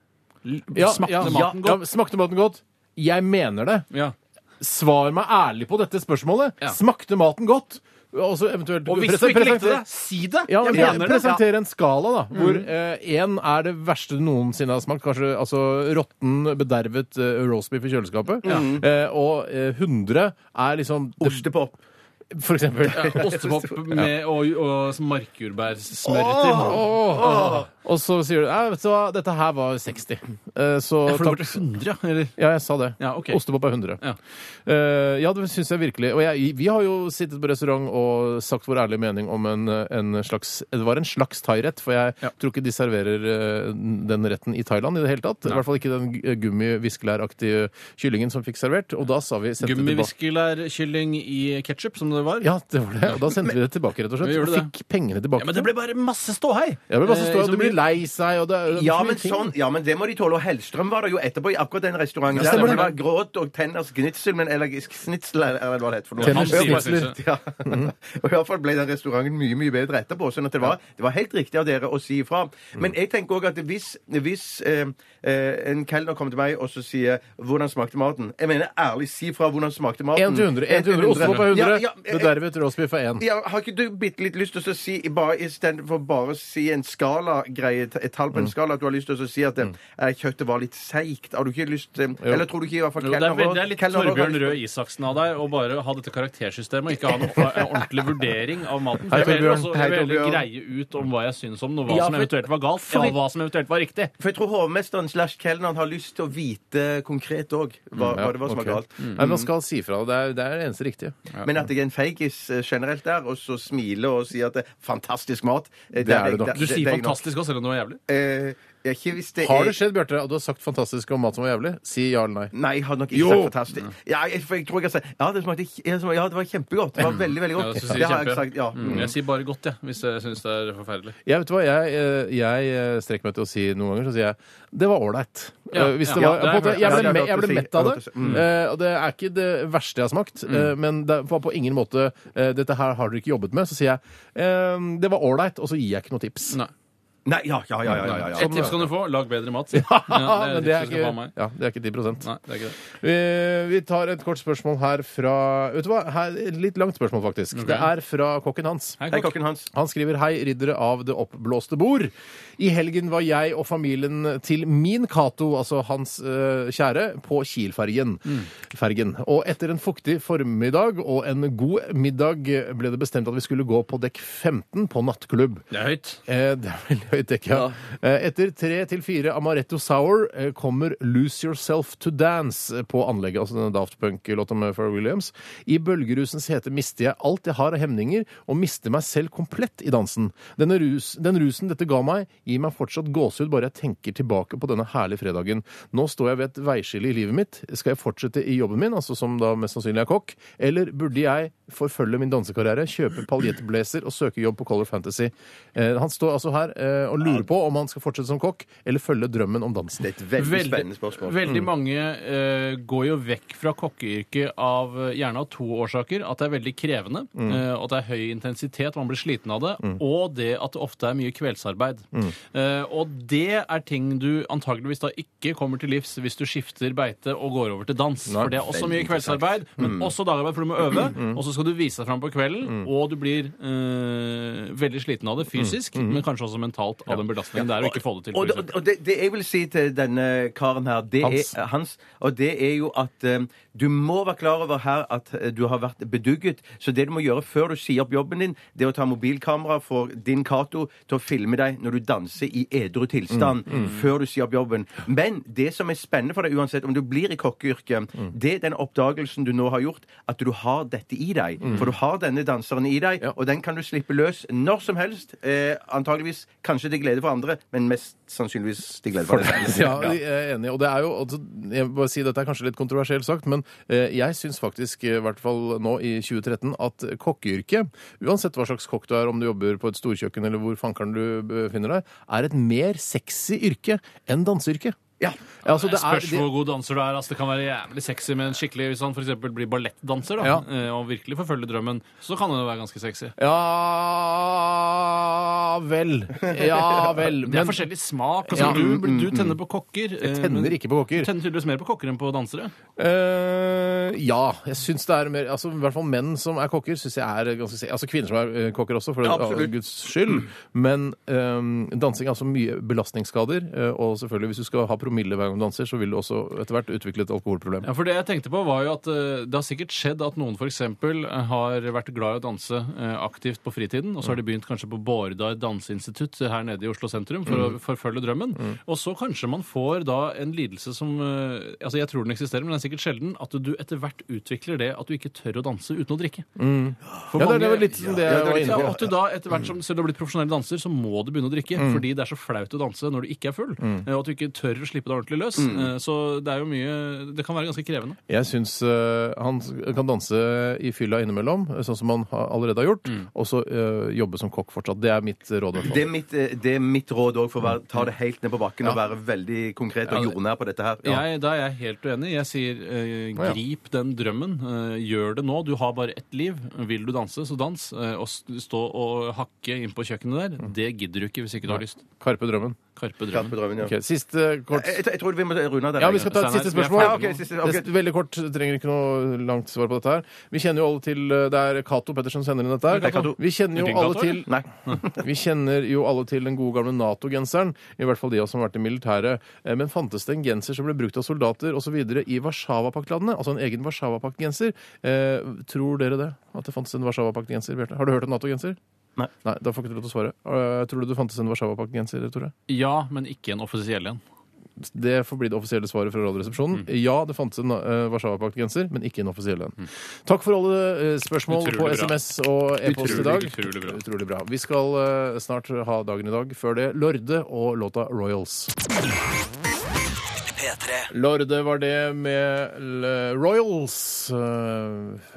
D: L- Smakte maten
B: Mm. ja,
D: godt?
B: smakte maten godt? Jeg mener det.
D: Ja.
B: Svar meg ærlig på dette spørsmålet.
D: Ja.
B: Smakte maten godt? Og så eventuelt
D: Og hvis du
B: presen-
D: ikke likte
B: presenter-
D: det, si det!
B: Ja,
D: jeg
B: ja,
D: mener det. Mm. Ja.
B: presentere en skala, da. Hvor én er det verste du noensinne har smakt. Kanskje altså, råtten, bedervet uh, roastbeef i kjøleskapet. Eh, og eh, 100 er liksom
C: Ostepop.
B: For eksempel.
D: Ja, Ostepop med, og, og markjordbærsmør
B: Åh,
D: til.
B: åh. Og så sier du Nei, vet du hva, dette her var 60. Eh, så
D: Jeg får det
B: takk.
D: bort til 100, eller?
B: Ja, jeg sa det.
D: Ja, ok.
B: Ostepop er 100.
D: Ja.
B: Eh, ja, det syns jeg virkelig. Og jeg, vi har jo sittet på restaurant og sagt vår ærlige mening om en, en slags Det var en slags thairett, for jeg
D: Ja.
B: tror ikke de serverer eh, den retten i Thailand i det hele tatt. I hvert fall ikke den gummi-viskelæraktige kyllingen som fikk servert. Og da sa vi sendte det tilbake.
D: Gummivisskelærkylling i ketsjup, som det var.
B: Ja, det var det. Og da sendte vi det tilbake, rett og slett.
D: Vi gjorde
B: og
D: det.
B: fikk pengene tilbake.
D: Ja, men det ble bare masse ståhei!
B: Ja, det ble masse ståhei,
D: Eh,
B: og
D: som
B: det blir blir lei seg, og det er det er
C: Ja
B: så mye
C: men,
B: ting.
C: sånn, ja, men det må de tåle. Og Hellstrøm var det jo etterpå i akkurat den restauranten.
B: Ja,
C: der,
B: stemmer
C: det
B: det.
C: var gråt og tenners gnitsel, men eller snitsel, eller eller hva det heter for noe.
B: Tenners
C: Og i hvert fall-
B: snitsel.
C: Ja. Og i hvert fall ble den restauranten mye, mye bedre etterpå. Sånn at det var, det var helt riktig av dere å si ifra. Men jeg tenker òg at hvis, hvis eh, eh, en kelner kommer til meg og så sier 'Hvordan smakte maten?' Jeg mener ærlig, si fra 'Hvordan smakte maten?'
B: 1 til 100. 1 til 100. Ostepop er 100.
C: Ja, ja,
B: det der vet Roastbiff er 1.
C: ja, har ikke du bitte litt lyst til å si bare, Istedenfor bare å si en skala-greie, et- et tall på en
D: Mm.
C: skala, at du har lyst til å si at eh, kjøttet var litt seigt? Har du ikke lyst til Eller tror du ikke i hvert fall
D: Jo, det, er,
C: kelner-
D: veldig- det er litt
C: kelner-
D: Torbjørn Røe Isaksen av deg å bare ha dette karaktersystemet og ikke ha noe en ordentlig vurdering av maten. For
B: Hei,
D: Jeg vil heller
B: Torbjørn.
D: også
C: Hei,
D: jeg vil heller
C: Torbjørn.
D: greie ut om hva jeg syns om noe, hva
C: Ja,
D: som
C: for-
D: eventuelt var galt,
C: fordi-
D: og hva som eventuelt var riktig.
C: For jeg tror hovmesteren slash kelneren har lyst til å vite konkret òg
D: Mm,
C: hva, hva det var som
B: ok.
C: var galt.
B: Nei, man skal si fra. Det er det, er det eneste riktige.
C: Men at jeg er en feigis eh, generelt der, og så smiler og sier at det er fantastisk mat eh,
B: Det er
C: jeg-
B: du nok.
C: der-
D: Du
C: det-
D: sier
C: det er jeg nok.
D: fantastisk også, selv om det var jævlig.
C: Eh, jeg er ikke hvis det
B: Har
C: er
B: det skjedd, Bjarte, at du har sagt fantastisk om mat som var jævlig? Si ja eller nei.
C: Nei, jeg hadde nok ikke
B: Jo.
C: sagt fantastisk. Ja, jeg, for jeg tror jeg har sagt Ja, det smakte ikke- jeg smakte- ja, det var kjempegodt. Det var veldig, veldig
D: Mm. Ja,
C: godt.
D: så sier
C: det har jeg
D: kjempe.
C: sagt. Ja.
D: Mm. Jeg sier bare godt, jeg, hvis jeg syns det er forferdelig.
B: Jeg vet du hva, jeg, eh, jeg eh, strekker meg til å si noen ganger, så sier jeg det var ålreit.
D: Ja,
B: Eh, Hvis
D: ja.
B: det var,
D: Ja, det har
B: på en måte,
D: jeg hørt.
B: jeg
C: Ja, det
B: ble,
C: er
B: me-
C: godt
B: jeg
C: å
B: ble
C: si.
B: mett av
C: Godt
B: det.
C: å si. Mm.
B: Eh, Og det er ikke det verste jeg har smakt, eh, men det var på ingen måte eh, Dette her har dere ikke jobbet med. Så sier jeg eh, det var ålreit, og så gir jeg ikke noe tips.
D: Nei.
C: Nei, ja, ja, ja. ja, ja, Sånn, ja.
D: Et tips kan du få. Lag bedre mat.
B: Men det er
D: tipset du skal
B: ikke,
D: få av meg.
B: ja, det er ikke 10
D: Nei, det er ikke det.
B: Eh, Vi tar et kort spørsmål her fra Vet du hva? Her, et litt langt spørsmål, faktisk. Det er fra kokken hans.
D: Hei,
C: Hei,
D: kokk.
C: kokken Hans.
B: Han skriver Hei, riddere av det oppblåste bord. I helgen var jeg og familien til min Cato, altså hans eh, kjære, på Kielfergen. Fergen. Og etter en fuktig formiddag og en god middag ble det bestemt at vi skulle gå på dekk 15 på nattklubb.
D: Det er høyt.
B: Eh, Det er veldig høyt dekk, ja. Eh, Etter tre til fire Amaretto Sour eh, kommer Lose Yourself to Dance eh, på anlegget, altså denne Daft Punk-låta med Pharrell Williams. I bølgerusens hete mister jeg alt jeg har av hemninger, og mister meg selv komplett i dansen. Denne rus, den rusen dette ga meg, gir meg fortsatt gåsehud bare jeg tenker tilbake på denne herlige fredagen. Nå står jeg ved et veiskille i livet mitt. Skal jeg fortsette i jobben min, altså som da mest sannsynlig er kokk, eller burde jeg forfølge min dansekarriere, kjøpe paljettblazer og søke jobb på Color Fantasy. Eh, han står altså her eh, og lurer på om han skal fortsette som kokk eller følge drømmen om dansen.
C: Det er et veldig,
D: Veldig-
C: spennende spørsmål. Mm.
D: Veldig mange eh, går jo vekk fra kokkeyrket av eh, gjerne av to årsaker. At det er veldig krevende,
C: Mm.
D: eh, og at det er høy intensitet, man blir sliten av det. Og det at det ofte er mye kveldsarbeid.
C: Mm.
D: Eh, og det er ting du antageligvis da ikke kommer til livs hvis du skifter beite og går over til dans. for det er også mye kveldsarbeid, men
C: Mm.
D: også dagarbeid, for du må øve. Og så skal du vise deg fram på kvelden, og du blir eh, veldig sliten av det fysisk, men kanskje også mentalt av den belastningen det er å ikke få det til. for
C: Mm. Og,
D: eksempel.
C: det- og det, det jeg vil si til denne karen her, det
B: Hans.
C: Er, Eh, hans, og det er jo at eh, du må være klar over her at eh, du har vært bedugget. Så det du må gjøre før du sier opp jobben din, det er å ta mobilkamera for din Cato til å filme deg når du danser i edru tilstand før du sier opp jobben. Men det som er spennende for deg, uansett om du blir i kokkeyrket, det er den oppdagelsen du nå har gjort, at du har dette i deg. For du har denne danseren i deg, og den kan du slippe løs når som helst. Eh, antageligvis kanskje til glede for andre, men mest sannsynligvis til glede for deg selv.
B: Ja, jeg er enig. Og det er jo altså, jeg vil bare si, Dette er kanskje litt kontroversielt sagt, men eh, jeg syns faktisk, eh, i hvert fall nå i 2013, at kokkeyrket, uansett hva slags kokk du er, om du jobber på et storkjøkken eller hvor fankeren du befinner deg, er et mer sexy yrke enn danseyrket.
C: Ja.
B: Altså, det
D: Det
B: er-
D: spørs hvor god danser du er. Altså, det kan være jævlig sexy med en skikkelig Hvis han f.eks. blir ballettdanser da,
B: Ja.
D: eh, og virkelig forfølger drømmen, så kan det være ganske sexy.
B: Ja vel. Ja vel.
D: Det er
B: Men
D: forskjellig smak. Altså,
B: Ja. Mm,
D: du, du tenner på kokker. Jeg
B: tenner ikke på
D: Du
B: kokker.
D: tenner tydeligvis mer på kokker enn på dansere.
B: Eh, ja. Jeg syns det er mer altså, I hvert fall menn som er kokker, syns jeg er ganske se- Altså kvinner som er eh, kokker også, for
C: Absolutt.
B: all guds skyld. Men eh, dansing er altså mye belastningsskader. eh, og selvfølgelig, hvis du skal ha promille hver gang du danser, så vil du også etter hvert utvikle et alkoholproblem.
D: Ja, for Det jeg tenkte på var jo at eh, det har sikkert skjedd at noen f.eks. har vært glad i å danse eh, aktivt på fritiden, og så har de begynt kanskje på Bårdar danseinstitutt her nede i Oslo sentrum for
B: Mm.
D: å forfølge drømmen. Og så kanskje man får da en lidelse som eh, altså Jeg tror den eksisterer, men den er sikkert sjelden. At du etter hvert utvikler det at du ikke tør å danse uten å drikke.
B: Mm. Ja, det er- det
D: mange-
B: var litt som det
C: Ja, Mm.
B: jeg
C: det er
B: var
C: litt-
B: inne
D: Ja,
B: på.
D: og at du da etter
C: Mm.
D: hvert som selv om du har blitt profesjonell danser, så må du begynne å drikke. Fordi det er så flaut å danse når du ikke er full. eh, Og at du ikke tør å slippe deg ordentlig løs.
C: Mm.
D: Eh, Så det er jo mye Det kan være ganske krevende.
B: Jeg syns eh, han kan danse i fylla innimellom, sånn som han har- allerede har gjort, og så eh, jobbe som kokk fortsatt. Det er mitt råd. i hvert fall.
C: Det er mitt, eh, det er mitt råd òg, for å være, ta det helt ned på bakken og være veldig konkret og jordnær på dette her. Ja.
D: Jeg, da er jeg helt uenig. Jeg sier eh,
B: ja.
D: grip den drømmen. Eh, gjør det nå. Du har bare ett liv. Vil du danse, så dans. Eh, og st- stå og hakke inn på
C: Mm.
D: kjøkkenet der, det gidder du ikke hvis ikke du har lyst.
B: Karpe drømmen.
D: Karpe
C: Katt
D: drømmen.
C: på drømmen, ja. Eh,
B: Ok, Siste kort
C: Jeg, jeg, tror- jeg tror vi må runde av den.
B: Ja, vi skal ta et
D: Steinar,
B: siste
D: vi er
B: spørsmål.
D: ferdig
C: nå. Ja, ok, siste- ok.
B: Det er Veldig kort, trenger ikke noe langt svar på dette her. Vi kjenner jo alle til eh, Det er Cato Pettersen som sender inn dette
C: Hei,
B: her.
C: Cato.
B: Vi kjenner jo
D: Er det
B: alle
D: Cato,
B: til
C: Nei.
B: vi kjenner jo alle til den gode gamle Nato-genseren, i hvert fall de av oss som har vært i militæret. Eh, Men fantes det en genser som ble brukt av soldater osv. i Warszawapakt-landene? Altså en egen Warszawapakt-genser? Eh, tror dere det? At det fantes en Warszawapakt-genser? Bjarte? Har du hørt om Nato-genser?
C: Nei.
B: Nei, Da får ikke du lov til å svare. Eh, tror du det fantes en Warszawapakt-genser, Tore?
D: Ja, men ikke en offisiell en.
B: Det får bli det offisielle svaret fra Radioresepsjonen. Ja, det fantes en eh, Warszawapakt-genser, men ikke en offisiell en. Takk for alle eh, spørsmål
D: Utrolig
B: på
D: bra.
B: SMS og e-post i dag.
D: Utrolig, utrolig bra.
B: utrolig bra. Vi skal eh, snart ha dagen i dag. Før det Lorde og låta Royals.
A: P3.
B: Lorde var det med L- Royals. Eh,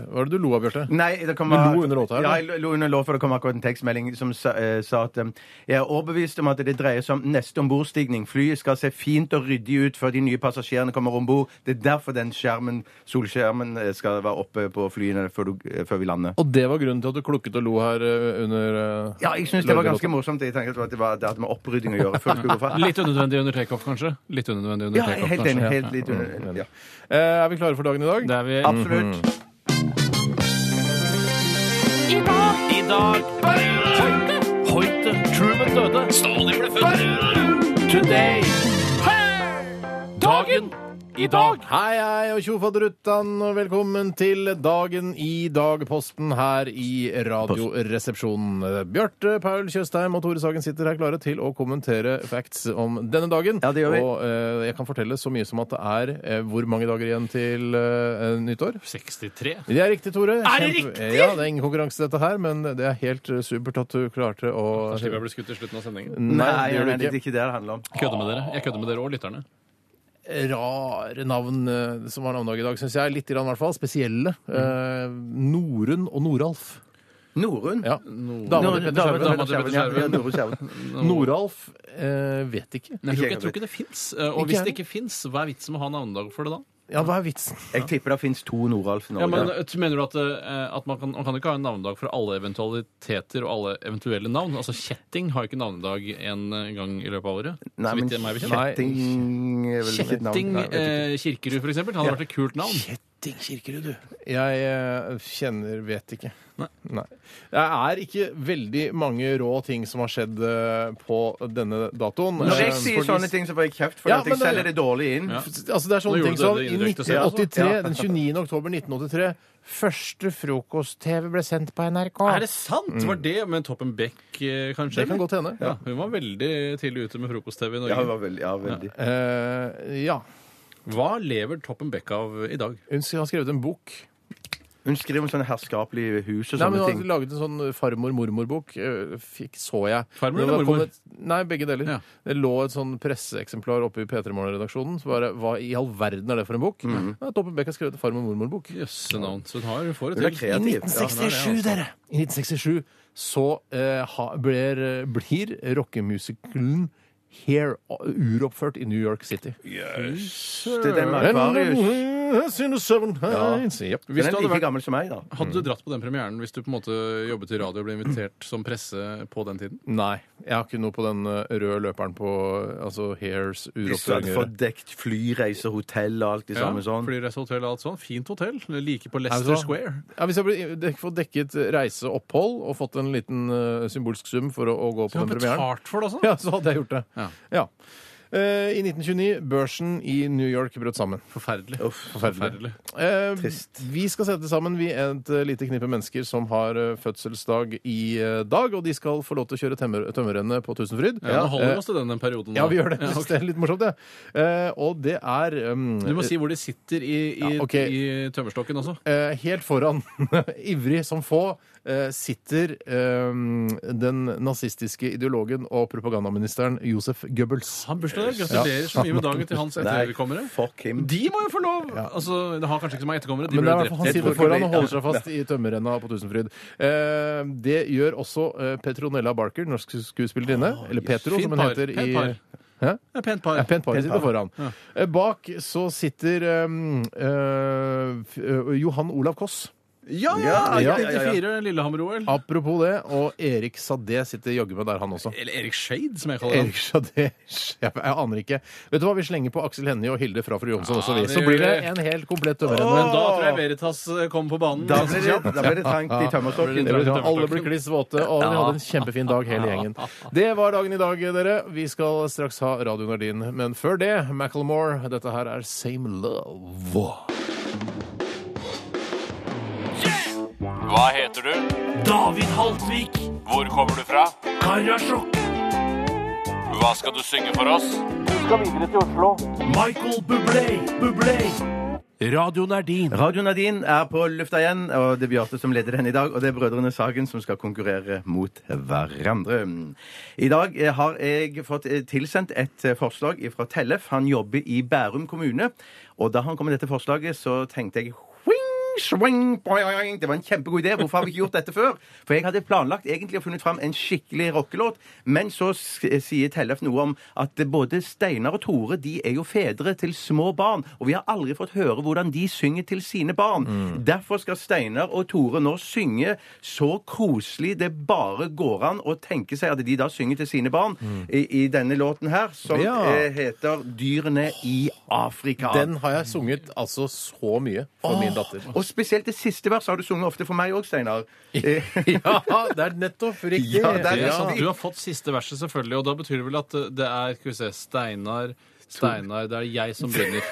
B: Hva var det du lo av, Bjarte?
C: Nei, det kom
B: Du lo under låta her,
C: Ja,
B: da?
C: jeg lo under låta, for det kom akkurat en tekstmelding som sa, eh, sa at eh, jeg er overbevist om at det dreier seg om neste ombordstigning. Flyet skal se fint og ryddig ut før de nye passasjerene kommer om bord. Det er derfor den skjermen, solskjermen eh, skal være oppe på flyene før, du, eh, før vi lander.
B: Og det var grunnen til at du klukket og lo her eh, under eh,
C: Ja, jeg syns det var
B: Lorde-låta.
C: ganske morsomt. Jeg tenkte at det var det hadde med opprydding å gjøre. før vi skulle gå fra.
D: Litt unødvendig under takeoff, kanskje? Litt unødvendig under
C: Ja, jeg er
D: takeoff,
C: helt enig.
D: kanskje.
C: Helt litt under, ja.
B: Eh, Er vi klare for dagen i dag?
D: Det er vi
C: Absolutt.
D: I dag Hoite, hoite, Truman døde Stalin ble født Today Dagen i dag
B: Hei, hei, og tjofaderuttan, og velkommen til Dagen i dag-posten her i Radioresepsjonen. Bjarte Paul Tjøstheim og Tore Sagen sitter her klare til å kommentere facts om denne dagen.
C: Ja, det gjør vi.
B: Og eh, jeg kan fortelle så mye som at det er eh, hvor mange dager igjen til eh, nyttår?
D: 63
B: Det er riktig, Tore.
D: Er det
B: Kjempe-
D: riktig?
B: Ja, det er ingen konkurranse dette her, men det er helt eh, supert at du klarte å
D: ble skutt i slutten av sendingen
B: det
C: Nei,
B: gjør
C: nei,
B: du
C: nei, det er ikke det det handler om.
D: Kødde med dere, jeg kødde med dere og lytterne
B: rare navn eh, som har navnedag i dag, syns jeg. Litt grann, i hvert fall. Spesielle. Eh, Norunn og Noralf.
C: Norun?
B: Ja. Dama til
C: Norun-
B: Petter
C: Dama
B: Skjerven.
D: Norun-
C: til Petter Skjerven, ja, Norun Skjerven.
B: Noralf eh, vet ikke.
D: Nei, jeg, tror ikke, jeg tror ikke det finnes Eh,
B: Ikke
D: Og hvis det
B: jeg.
D: ikke finnes, hva er vitsen med å ha navnedag for det da?
B: Ja, hva er vitsen?
C: Jeg tipper det fins to Noralf i
D: Ja,
C: Norge.
D: men eh, Mener du at, eh, at man, kan, man kan ikke ha en navnedag for alle eventualiteter og alle eventuelle navn? Altså Kjetting har jo ikke navnedag en eh, gang i løpet av året.
C: Nei,
D: så
C: men
D: vidt jeg meg bekjent.
C: Kjetting er vel ikke et navn.
D: Kjetting
C: Nei, jeg vet ikke.
D: eh, Kirkerud, for eksempel, hadde vært et kult navn.
B: Kjetting Kirkerud, du. Jeg eh, kjenner vet ikke. Nei. Det er ikke veldig mange rå ting som har skjedd eh, på denne datoen.
C: Når jeg
B: Eh,
C: sier
B: fordi-
C: sånne ting, så får jeg kjeft for
B: Ja,
C: at jeg
B: men det-
C: selger det dårlig inn.
D: Ja.
B: Altså det er sånne
D: Nå
B: ting
D: gjorde
B: som
D: du det
B: I
D: indirekte selv, altså.
B: 1983, den 29. oktober 1983, første frokost-TV ble sendt på NRK.
D: Ah, Er det sant? Var det med Toppen Beck, eh, kanskje?
B: Det kan godt hende.
D: Ja, hun var veldig tidlig ute med frokost-TV
C: Ja,
D: i
C: det
D: Norge.
C: var veldig, ja, veldig.
B: Eh, ja.
D: Hva lever Toppen Beck av i dag?
B: Hun har skrevet en bok.
C: Hun skriver om sånne herskapelige hus og
B: Nei, men
C: sånne
B: Hun har
C: ting.
B: laget en sånn farmor-mormor-bok. eh, Fikk, så jeg.
D: Farmor
B: Det
D: eller
B: var
D: mormor?
B: kommet- Nei, begge deler.
D: Ja.
B: Det lå et sånn presseeksemplar oppe i P3 Morgen-redaksjonen. Så bare, Hva i all verden er det for en bok?
D: Mhm.
B: Ja, Toppen Beck har skrevet en farmor-mormor-bok.
D: Jøsse navn. Så hun har,
C: Hun
D: får det altså.
C: er
D: til.
C: kreativ.
B: altså.
C: Ja.
B: 1967, dere! I 1967 så eh, ha, blir, blir rockemusikalen Hair uroppført i New York City.
C: Det er den med Akvarius.
B: Jepp.
C: Den
D: du
C: er
D: hadde
C: like
D: vært-
C: gammel som meg, da.
D: Hadde du
B: Mm.
D: dratt på den premieren hvis du på en måte jobbet i radio og ble invitert som presse på den tiden?
B: Nei, jeg har ikke noe på den eh, røde løperen på altså Hairs
C: De
B: uroppføring
C: satt
B: å gjøre.
C: fordekt flyreiser, hotell og alt det samme sånn.
D: Flyreise hotell og alt sånn. Fint hotell. Like på
B: Er det
D: Leicester
B: så?
D: Square.
B: Ja, hvis jeg ble- dek- får dekket reise og opphold og fått en liten eh, symbolsk sum for å, å gå på
D: Du har
B: den premieren
D: betalt for det, altså?
B: Ja, så hadde jeg gjort det.
D: Ja.
B: Ja. Eh, I 1929 børsen i New York brøt sammen.
D: Forferdelig.
B: forferdelig.
D: Forferdelig.
B: Eh,
C: Trist.
B: Vi skal sette sammen vi et eh, lite knippe mennesker som har eh, fødselsdag i eh, dag, og de skal få lov til å kjøre tømmer, tømmerrennet på Tusenfryd.
D: Ja, nå holder
B: Eh,
D: vi oss til denne perioden.
B: ja,
D: nå.
B: vi gjør det.
D: Ja, ok.
B: Det er litt morsomt, det. Eh, og det er um,
D: Du må si hvor de sitter i, i,
B: Ja, ok.
D: i tømmerstokken også.
B: eh, Helt foran, ivrig som få, eh, sitter eh, den nazistiske ideologen og propagandaministeren Josef Goebbels.
D: Han bursdag det. Gratulerer så mye med dagen til hans etterkommere.
C: Fuck him.
D: De må jo få lov! Altså, det har kanskje ikke så mange etterkommere. De
B: Men det
D: ble
B: er i
D: jo
B: hvert fall han
D: drept.
B: sitter foran og holder seg fast i tømmerrenna på Tusenfryd. Eh, det gjør også eh, Petronella Barker, norsk skuespillerinne. Eller Petro,
D: Fint
B: som hun
D: par.
B: heter i
D: Pent
B: Hæ?
D: Det er pent par.
B: Ja, pent par sitter foran. Eh, Bak så sitter ehm, eh, f- eh, Johan Olav Koss.
D: Ja, ja,
C: Ja,
D: ja,
C: ja, ja, ja.
D: 94 Lillehammer-OL.
B: Apropos det, og Erik Sadé sitter jaggu meg der, han også.
D: Eller Erik Shade, som jeg kaller
B: Erik
D: ham.
B: Sadé Jeg aner ikke. Vet du hva, vi slenger på Aksel Hennie og Hilde fra Fru Jonsson også, vi.
D: det
B: Så
D: gjør
B: blir det
D: vi.
B: en helt komplett tømmerrenne.
D: Men da tror jeg Veritas kom på banen.
C: Da
D: ganske
C: ble
D: kjapt.
C: det, da ble det trangt i
B: Det
C: tømmerstokken.
B: blir sånn, Alle blir kliss våte, og vi hadde en kjempefin dag, hele gjengen. Det var dagen i dag, dere. Vi skal straks ha Radio Nardin, men før det, Macclemore. Dette her er Same Love.
I: Hva heter du? David Haltvik. Hvor kommer du fra? Karasjok. Hva skal du synge for oss? Du skal videre til Oslo. Michael Bublé. Bublé. Radioen er din.
C: Radio Nadine er på lufta igjen, og det er Bjarte som leder den i dag. Og det er Brødrene Sagen som skal konkurrere mot hverandre. I dag eh, har jeg fått eh, tilsendt et eh, forslag fra Tellef. Han jobber i Bærum kommune. Og da han kom med dette forslaget, så tenkte jeg Whing! Swing, boing, det var en kjempegod idé. Hvorfor har vi ikke gjort dette før? For jeg hadde planlagt egentlig å funnet fram en skikkelig rockelåt, men så s- sier Tellef noe om at både Steinar og Tore de er jo fedre til små barn, og vi har aldri fått høre hvordan de synger til sine barn.
B: Mm.
C: Derfor skal Steinar og Tore nå synge så koselig det bare går an å tenke seg at de da synger til sine barn i, i denne låten her, som
B: Mm. Ja.
C: eh, heter 'Dyrene i Afrika'.
B: Den har jeg sunget altså så mye for min datter.
C: Og spesielt det siste verset har du sunget ofte for meg òg, Steinar. Eh,
B: Ja, det er nettopp riktig.
C: Ja, det er
D: Det er
C: Ja.
B: liksom
D: sant. Du har fått siste verset, selvfølgelig, og da betyr det vel at eh, det er skal vi se, Steinar Steinar, det er jeg som brenner.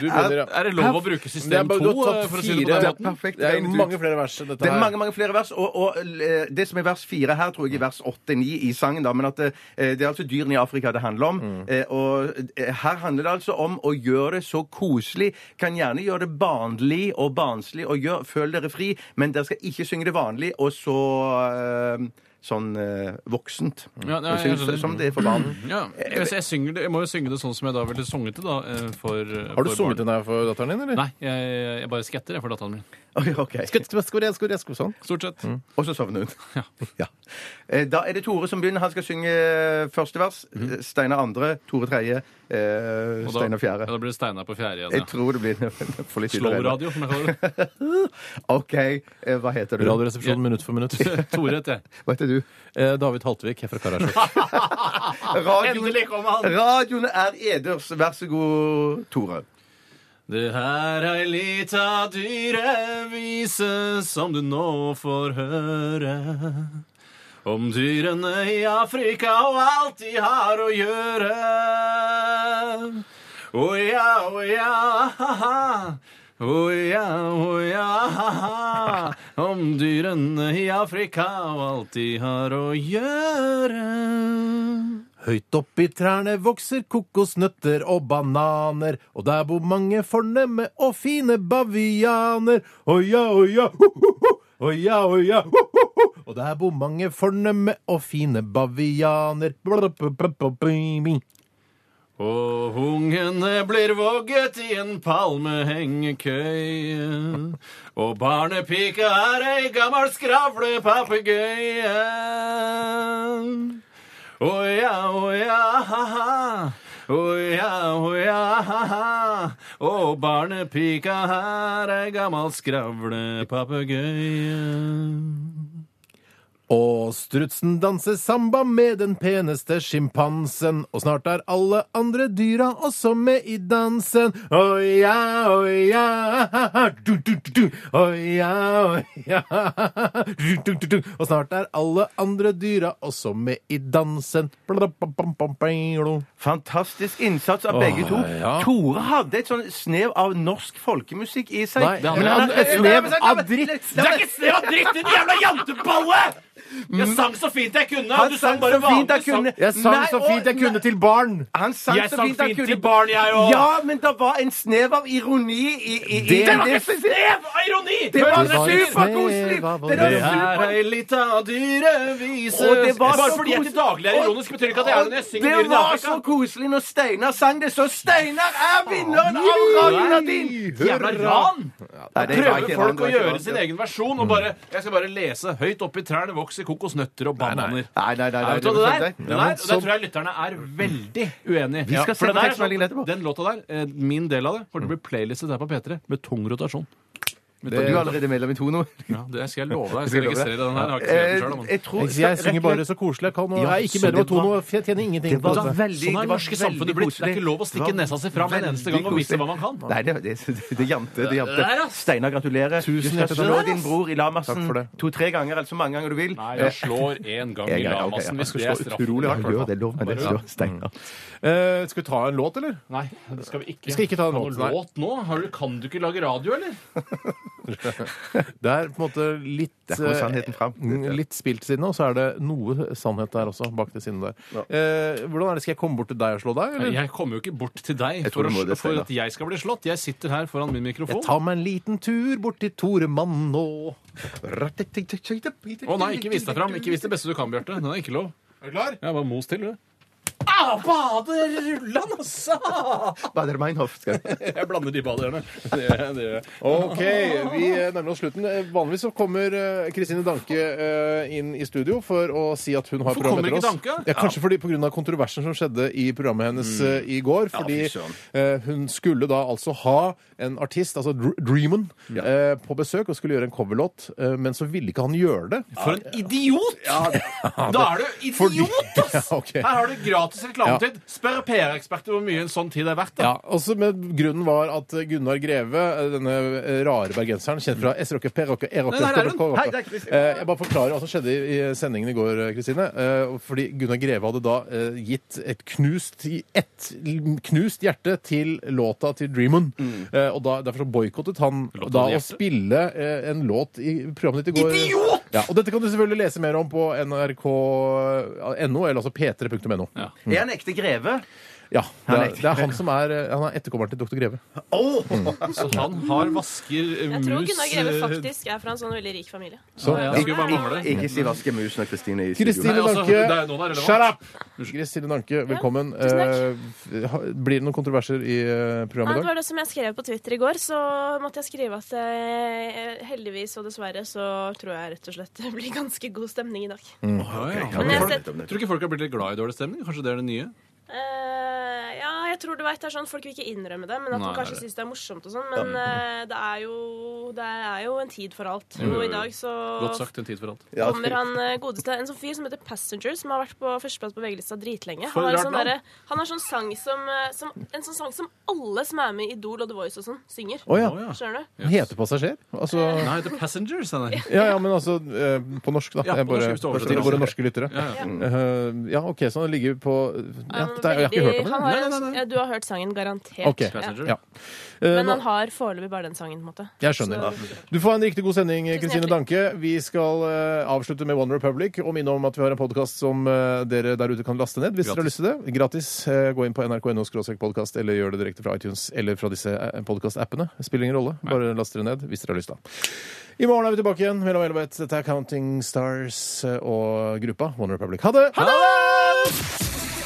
B: Du begynner, ja.
D: Er det lov å bruke
B: Det er
D: system
B: bare, du
D: 2,
B: har tatt
D: for å si
B: fire
D: det på den
C: Det er
D: måten?
C: perfekt
B: Det er
C: regnet ut.
B: mange flere vers enn dette
C: Det er
B: her.
C: mange mange flere vers, og, og eh, det som er vers fire her, tror jeg er vers åtte ni i sangen. da, Men at eh, det er altså dyrene i Afrika det handler om.
D: Mm.
C: Eh, Og eh, her handler det altså om å gjøre det så koselig. Kan gjerne gjøre det barnlig og barnslig og gjør, føl dere fri, men dere skal ikke synge det vanlig og så eh, sånn eh, voksent.
D: Ja, ja, Mm. jeg skjønner. Mm.
C: som det er for barn.
D: Ja, jeg, jeg, synger det, jeg må jo synge det sånn som jeg da ville sunget det, da. eh, For,
B: Har du sunget den her for datteren din, eller?
D: Nei, jeg, jeg bare skatter jeg for datteren min.
C: Oi, ok.
B: Skutt, skutt, skutt, skutt, skutt, skutt, sånn.
D: Stort sett.
C: Og så sovner hun. Ja. Eh, Da er det Tore som begynner. Han skal synge eh, første vers.
B: Mhm.
C: Steinar andre, Tore tredje, eh,
D: Og da-
C: Steinar
D: Ja,
C: fjerde.
D: da blir det Steinar på fjerde igjen.
C: Jeg
D: Ja.
C: tror det blir for litt irriterende.
D: Slow-radio, som jeg kaller det.
C: OK, eh, hva heter du?
B: Radioresepsjonen minutt for minutt.
D: Tore heter jeg.
C: Hva heter du?
B: Eh, David Haltvik, jeg er fra Karasjok.
D: Ah,
C: Radioen,
D: kom han!
C: radioen er eders. Vær så god, Tore.
D: Det her er ei lita dyrevise som du nå får høre. Om dyrene i Afrika og alt de har å gjøre. Å ja, å ja, ha-ha. Å ja, å ja, ha-ha. Om dyrene i Afrika og alt de har å gjøre.
B: Høyt oppi trærne vokser kokosnøtter og bananer, og der bor mange fornemme og fine bavianer. Oja, oja, ho, ho, ho. Oja, oja, ho, ho, ho. Og der bor mange fornemme og fine bavianer. Blablabla.
D: Og ungene blir vogget i en palmehengekøye. Og barnepika er ei gammel skravlepapegøye. Å ja, å ja, ha-ha. Å ja, å ja, ha-ha. Og barnepika her ei gammel skravlepapegøye.
B: Og strutsen danser samba med den peneste sjimpansen, og snart er alle andre dyra også med i dansen. Oja, oja, du, du, du, du. Oja, oja, du, du, du, du. Og snart er alle andre dyra også med i dansen. Blablabla.
C: Fantastisk innsats av begge to.
B: ja.
C: Tore hadde et sånn snev av norsk folkemusikk i seg. Eh,
B: Nei, det
C: Men
B: hadde
C: han-
B: et snev av dritt.
C: Det er ikke
I: Det var dritt, din jævla janteballe!
D: Jeg sang så fint jeg kunne!
C: Han
D: du
C: sang
D: sang bare
C: så fint jeg
D: vanlig sang.
C: kunne.
B: Jeg sang
C: Nei,
B: så
C: å,
B: fint jeg
C: nei.
B: kunne til barn.
C: Han sang
D: Jeg
C: så
D: sang
C: fint han
D: fint
C: kunne.
D: til barn, jeg òg.
C: Ja, men det var en snev av ironi i, i, i
B: Det var ikke
D: Snev av ironi!
C: Det var
B: Det var en
C: superkoselig!
B: snev av
C: Det var
B: ironi.
D: er
C: super-
D: ei lita dyrevise
C: Og det var
D: Bare
C: så
D: fordi jeg til
C: koselig.
D: daglig er ironisk, betyr ikke at jeg er det når jeg synger
C: Det
D: Dyren i
C: var
D: Afrika.
C: så koselig når Steinar sang det, så Steinar er vinneren av Radio Nadine!
D: Jævla ran!
C: Nei, det var
D: Prøver
C: ikke han, det var
D: folk å
C: ikke
D: gjøre
C: han.
D: sin egen versjon og bare Jeg skal bare lese. Høyt oppi trærne vokser kokosnøtter og bananer.
C: Nei, nei, nei. nei,
D: Vet du hva det der?
C: det
D: Det
C: var
D: der, og der tror jeg lytterne er veldig uenige. Vi
C: skal sende tekstmeldingen etterpå.
D: sånn- Den låta der, eh, min del av det, kommer til å bli playlistet her på P3 med tung rotasjon.
C: Du er allerede medlem i Tono.
D: Ja, det skal jeg love deg. Jeg skal
C: love deg.
D: registrere den her. Jeg har ikke skrevet den selv, da,
C: Eh,
D: men.
C: Jeg tror-
B: Jeg synger bare så koselig jeg kan, og jeg er ikke
C: så
B: bedre
C: det
B: på tono. Jeg tjener ingenting på
C: var
B: dette.
C: veldig-
D: Sånn er
C: det
D: det
C: var
D: norske
C: veldig
D: samfunnet blitt. Det er ikke
C: koselig.
D: lov å stikke nesa si fram en
C: Veldig
D: eneste gang og vise
C: koselig.
D: hva man kan.
C: Nei, det, det, det, det jante. Det jante.
D: Der, ass.
C: Steinar, gratulerer.
B: Tusen
C: du
B: hjertelig
C: skal slå
B: takk.
C: din bror i Lamarsen
B: Takk for det.
C: to-tre ganger, eller så mange ganger du vil.
D: Nei, jeg slår én gang i
C: Jeg- ja, ok,
D: lamassen
C: ja.
D: hvis det er Mm. straff.
B: utrolig hardt, i hvert
C: Lov,
B: fall.
C: det er lov, men det er lov, Steinar.
B: Eh, Skal vi ta en låt, eller?
D: Nei, det skal vi ikke.
B: skal ikke ta den
D: Har du
B: låten, nei.
D: låt nå? Har du, kan du ikke lage radio, eller?
B: Det er på en måte litt
C: Der kommer
B: eh,
C: sannheten fram.
B: mm, Litt spilt sinne, og så er det noe sannhet der også, bak det sinnet der. Eh, hvordan er det? Skal jeg komme bort til deg og slå deg, eller?
D: Jeg kommer jo ikke bort til deg
C: tror
D: for,
C: du må
D: å,
C: det,
D: for
C: Steinar.
D: at jeg skal bli slått. Jeg sitter her foran min mikrofon.
B: Jeg tar meg en liten tur bort til Toremann nå.
D: Å nei, ikke vis deg fram. Ikke vis det beste du kan, Bjarte. Den er ikke lov.
B: Er du klar?
D: Jeg bare mos til, du. Au, baderullan, Ah, altså!
C: Bader Meinhof. Skal jeg.
D: Jeg blander de baderne. Det, det gjør jeg.
B: OK, vi eh, nærmer oss slutten. Eh, Vanligvis så kommer eh, Kristine Danke eh, inn i studio for å si at hun har
D: Hvorfor
B: program
D: kommer
B: etter oss.
D: ikke Danke? Mm.
B: Ja, kanskje fordi pga. kontroversen som skjedde i programmet hennes eh, i går. Fordi
C: fy søren.
B: eh, hun skulle da altså ha en artist, altså Dr Dreamen, eh, på besøk og skulle gjøre en coverlåt, eh, men så ville ikke han gjøre det.
D: For en idiot! Da er du idiot, ass!
B: Ja, ok.
D: Her har du gratis reklametid. Spør PR-eksperter hvor mye en sånn tid er verdt. Da.
B: Ja, også med Grunnen var at Gunnar Greve, denne eh, rare bergenseren, kjent fra S-Rocke, P-Rocke, E-Rocke
D: Nei, der er hun.
B: K-Rocke.
C: Hei, det er Kristin.
B: Eh, Jeg bare forklarer hva som skjedde i sendingen i går, Kristine. Eh, Fordi Gunnar Greve hadde da eh, gitt et knust, et knust hjerte til låta til Dreamon. Eh, Og da, derfor så boikottet han
D: Låta
B: da
D: hadde
B: å
D: hjerte?
B: spille eh, en låt i programmet ditt i går. Idiot! Ja, og dette kan du selvfølgelig lese mer om på nrk.no, eller altså p3.no. Ja.
C: Er han ekte greve?
B: det, er, det er han som er, eh, han er etterkommeren til Dr. Greve.
C: Åh!
D: Så han har vasker eh, mus
J: Jeg tror Gunnar Greve
D: eh,
J: faktisk er fra en sånn veldig rik familie.
B: Så,
D: Ja, ja, skulle bare mangle.
C: Ikke si vaske musen og Kristine i studio.
B: Kristine
D: Nei, altså, det er- nå er
B: Danke,
D: det relevant.
B: shut up! Kristine Danke, velkommen.
J: tusen takk.
B: Eh, ha- blir det noen kontroverser i eh,
J: Nei,
B: programmet i
J: det
B: dag?
J: var det som jeg skrev på Twitter i går. Så måtte jeg skrive at eh, heldigvis og dessverre så tror jeg rett og slett det blir ganske god stemning i dag.
D: Ja, ja.
J: Men jeg har sett-
D: Tror du ikke folk har blitt litt glad i dårlig stemning? Kanskje det er det nye?
J: Eh, ja, jeg tror du vet, det er sånn folk vil ikke innrømme det, men
D: Nei,
J: at man
D: det er
J: kanskje
D: det.
J: syns det er morsomt og sånn. Men eh, det, er jo, det er jo en tid for alt. Og i dag så
D: Godt sagt, en tid for alt.
J: kommer han eh, godeste En sånn fyr som heter Passenger, som har vært på førsteplass på VG-lista dritlenge.
D: For
J: Han har,
D: rart
J: sånn
D: navn.
J: derre- han har sånn sang som, eh, som En sånn sang som alle som er med i Idol og The Voice og sånn, synger.
B: Å ja.
D: Å, ja.
J: Skjønner du?
B: Den heter passasjer? Altså,
D: Nei, det heter Passengers. Den der.
B: ja, ja, men altså eh, på norsk, da.
D: Ja, på
B: Jeg bare,
D: norsk, hvis du oversetter
B: til
D: det.
B: våre norske lyttere.
D: Ja, ja.
J: Mm.
B: Eh, ja, OK, så han ligger på ja,
J: Han er
B: det er, Jeg har ikke hørt
J: Um, veldig-
B: om
J: han
B: det.
J: har
D: Nei,
J: en-
D: nei, nei, nei.
J: ja, Du har hørt sangen, garantert.
B: OK.
J: Ja.
D: Passenger.
B: Ja. Eh,
J: Men altså,
B: nå-
J: han har foreløpig bare den sangen, på en måte.
B: jeg skjønner.
J: Så-
B: Du får ha en riktig god sending, Kristine
J: hjertelig.
B: Danke. Vi skal eh, avslutte med One Republic og minne om at vi har en podkast som eh, dere der ute kan laste ned hvis dere har
D: Gratis.
B: lyst til det. Gratis. Eh, gå inn på nrk.no podkast eller gjør det direkte fra iTunes eller fra disse eh, podkastappene. Spiller ingen rolle. Bare last dere ned hvis dere har lyst, da. I morgen er vi tilbake igjen. Mellom elleve og ett. Dette er Counting Stars eh, og gruppa One Republic. Ha det! Ha det!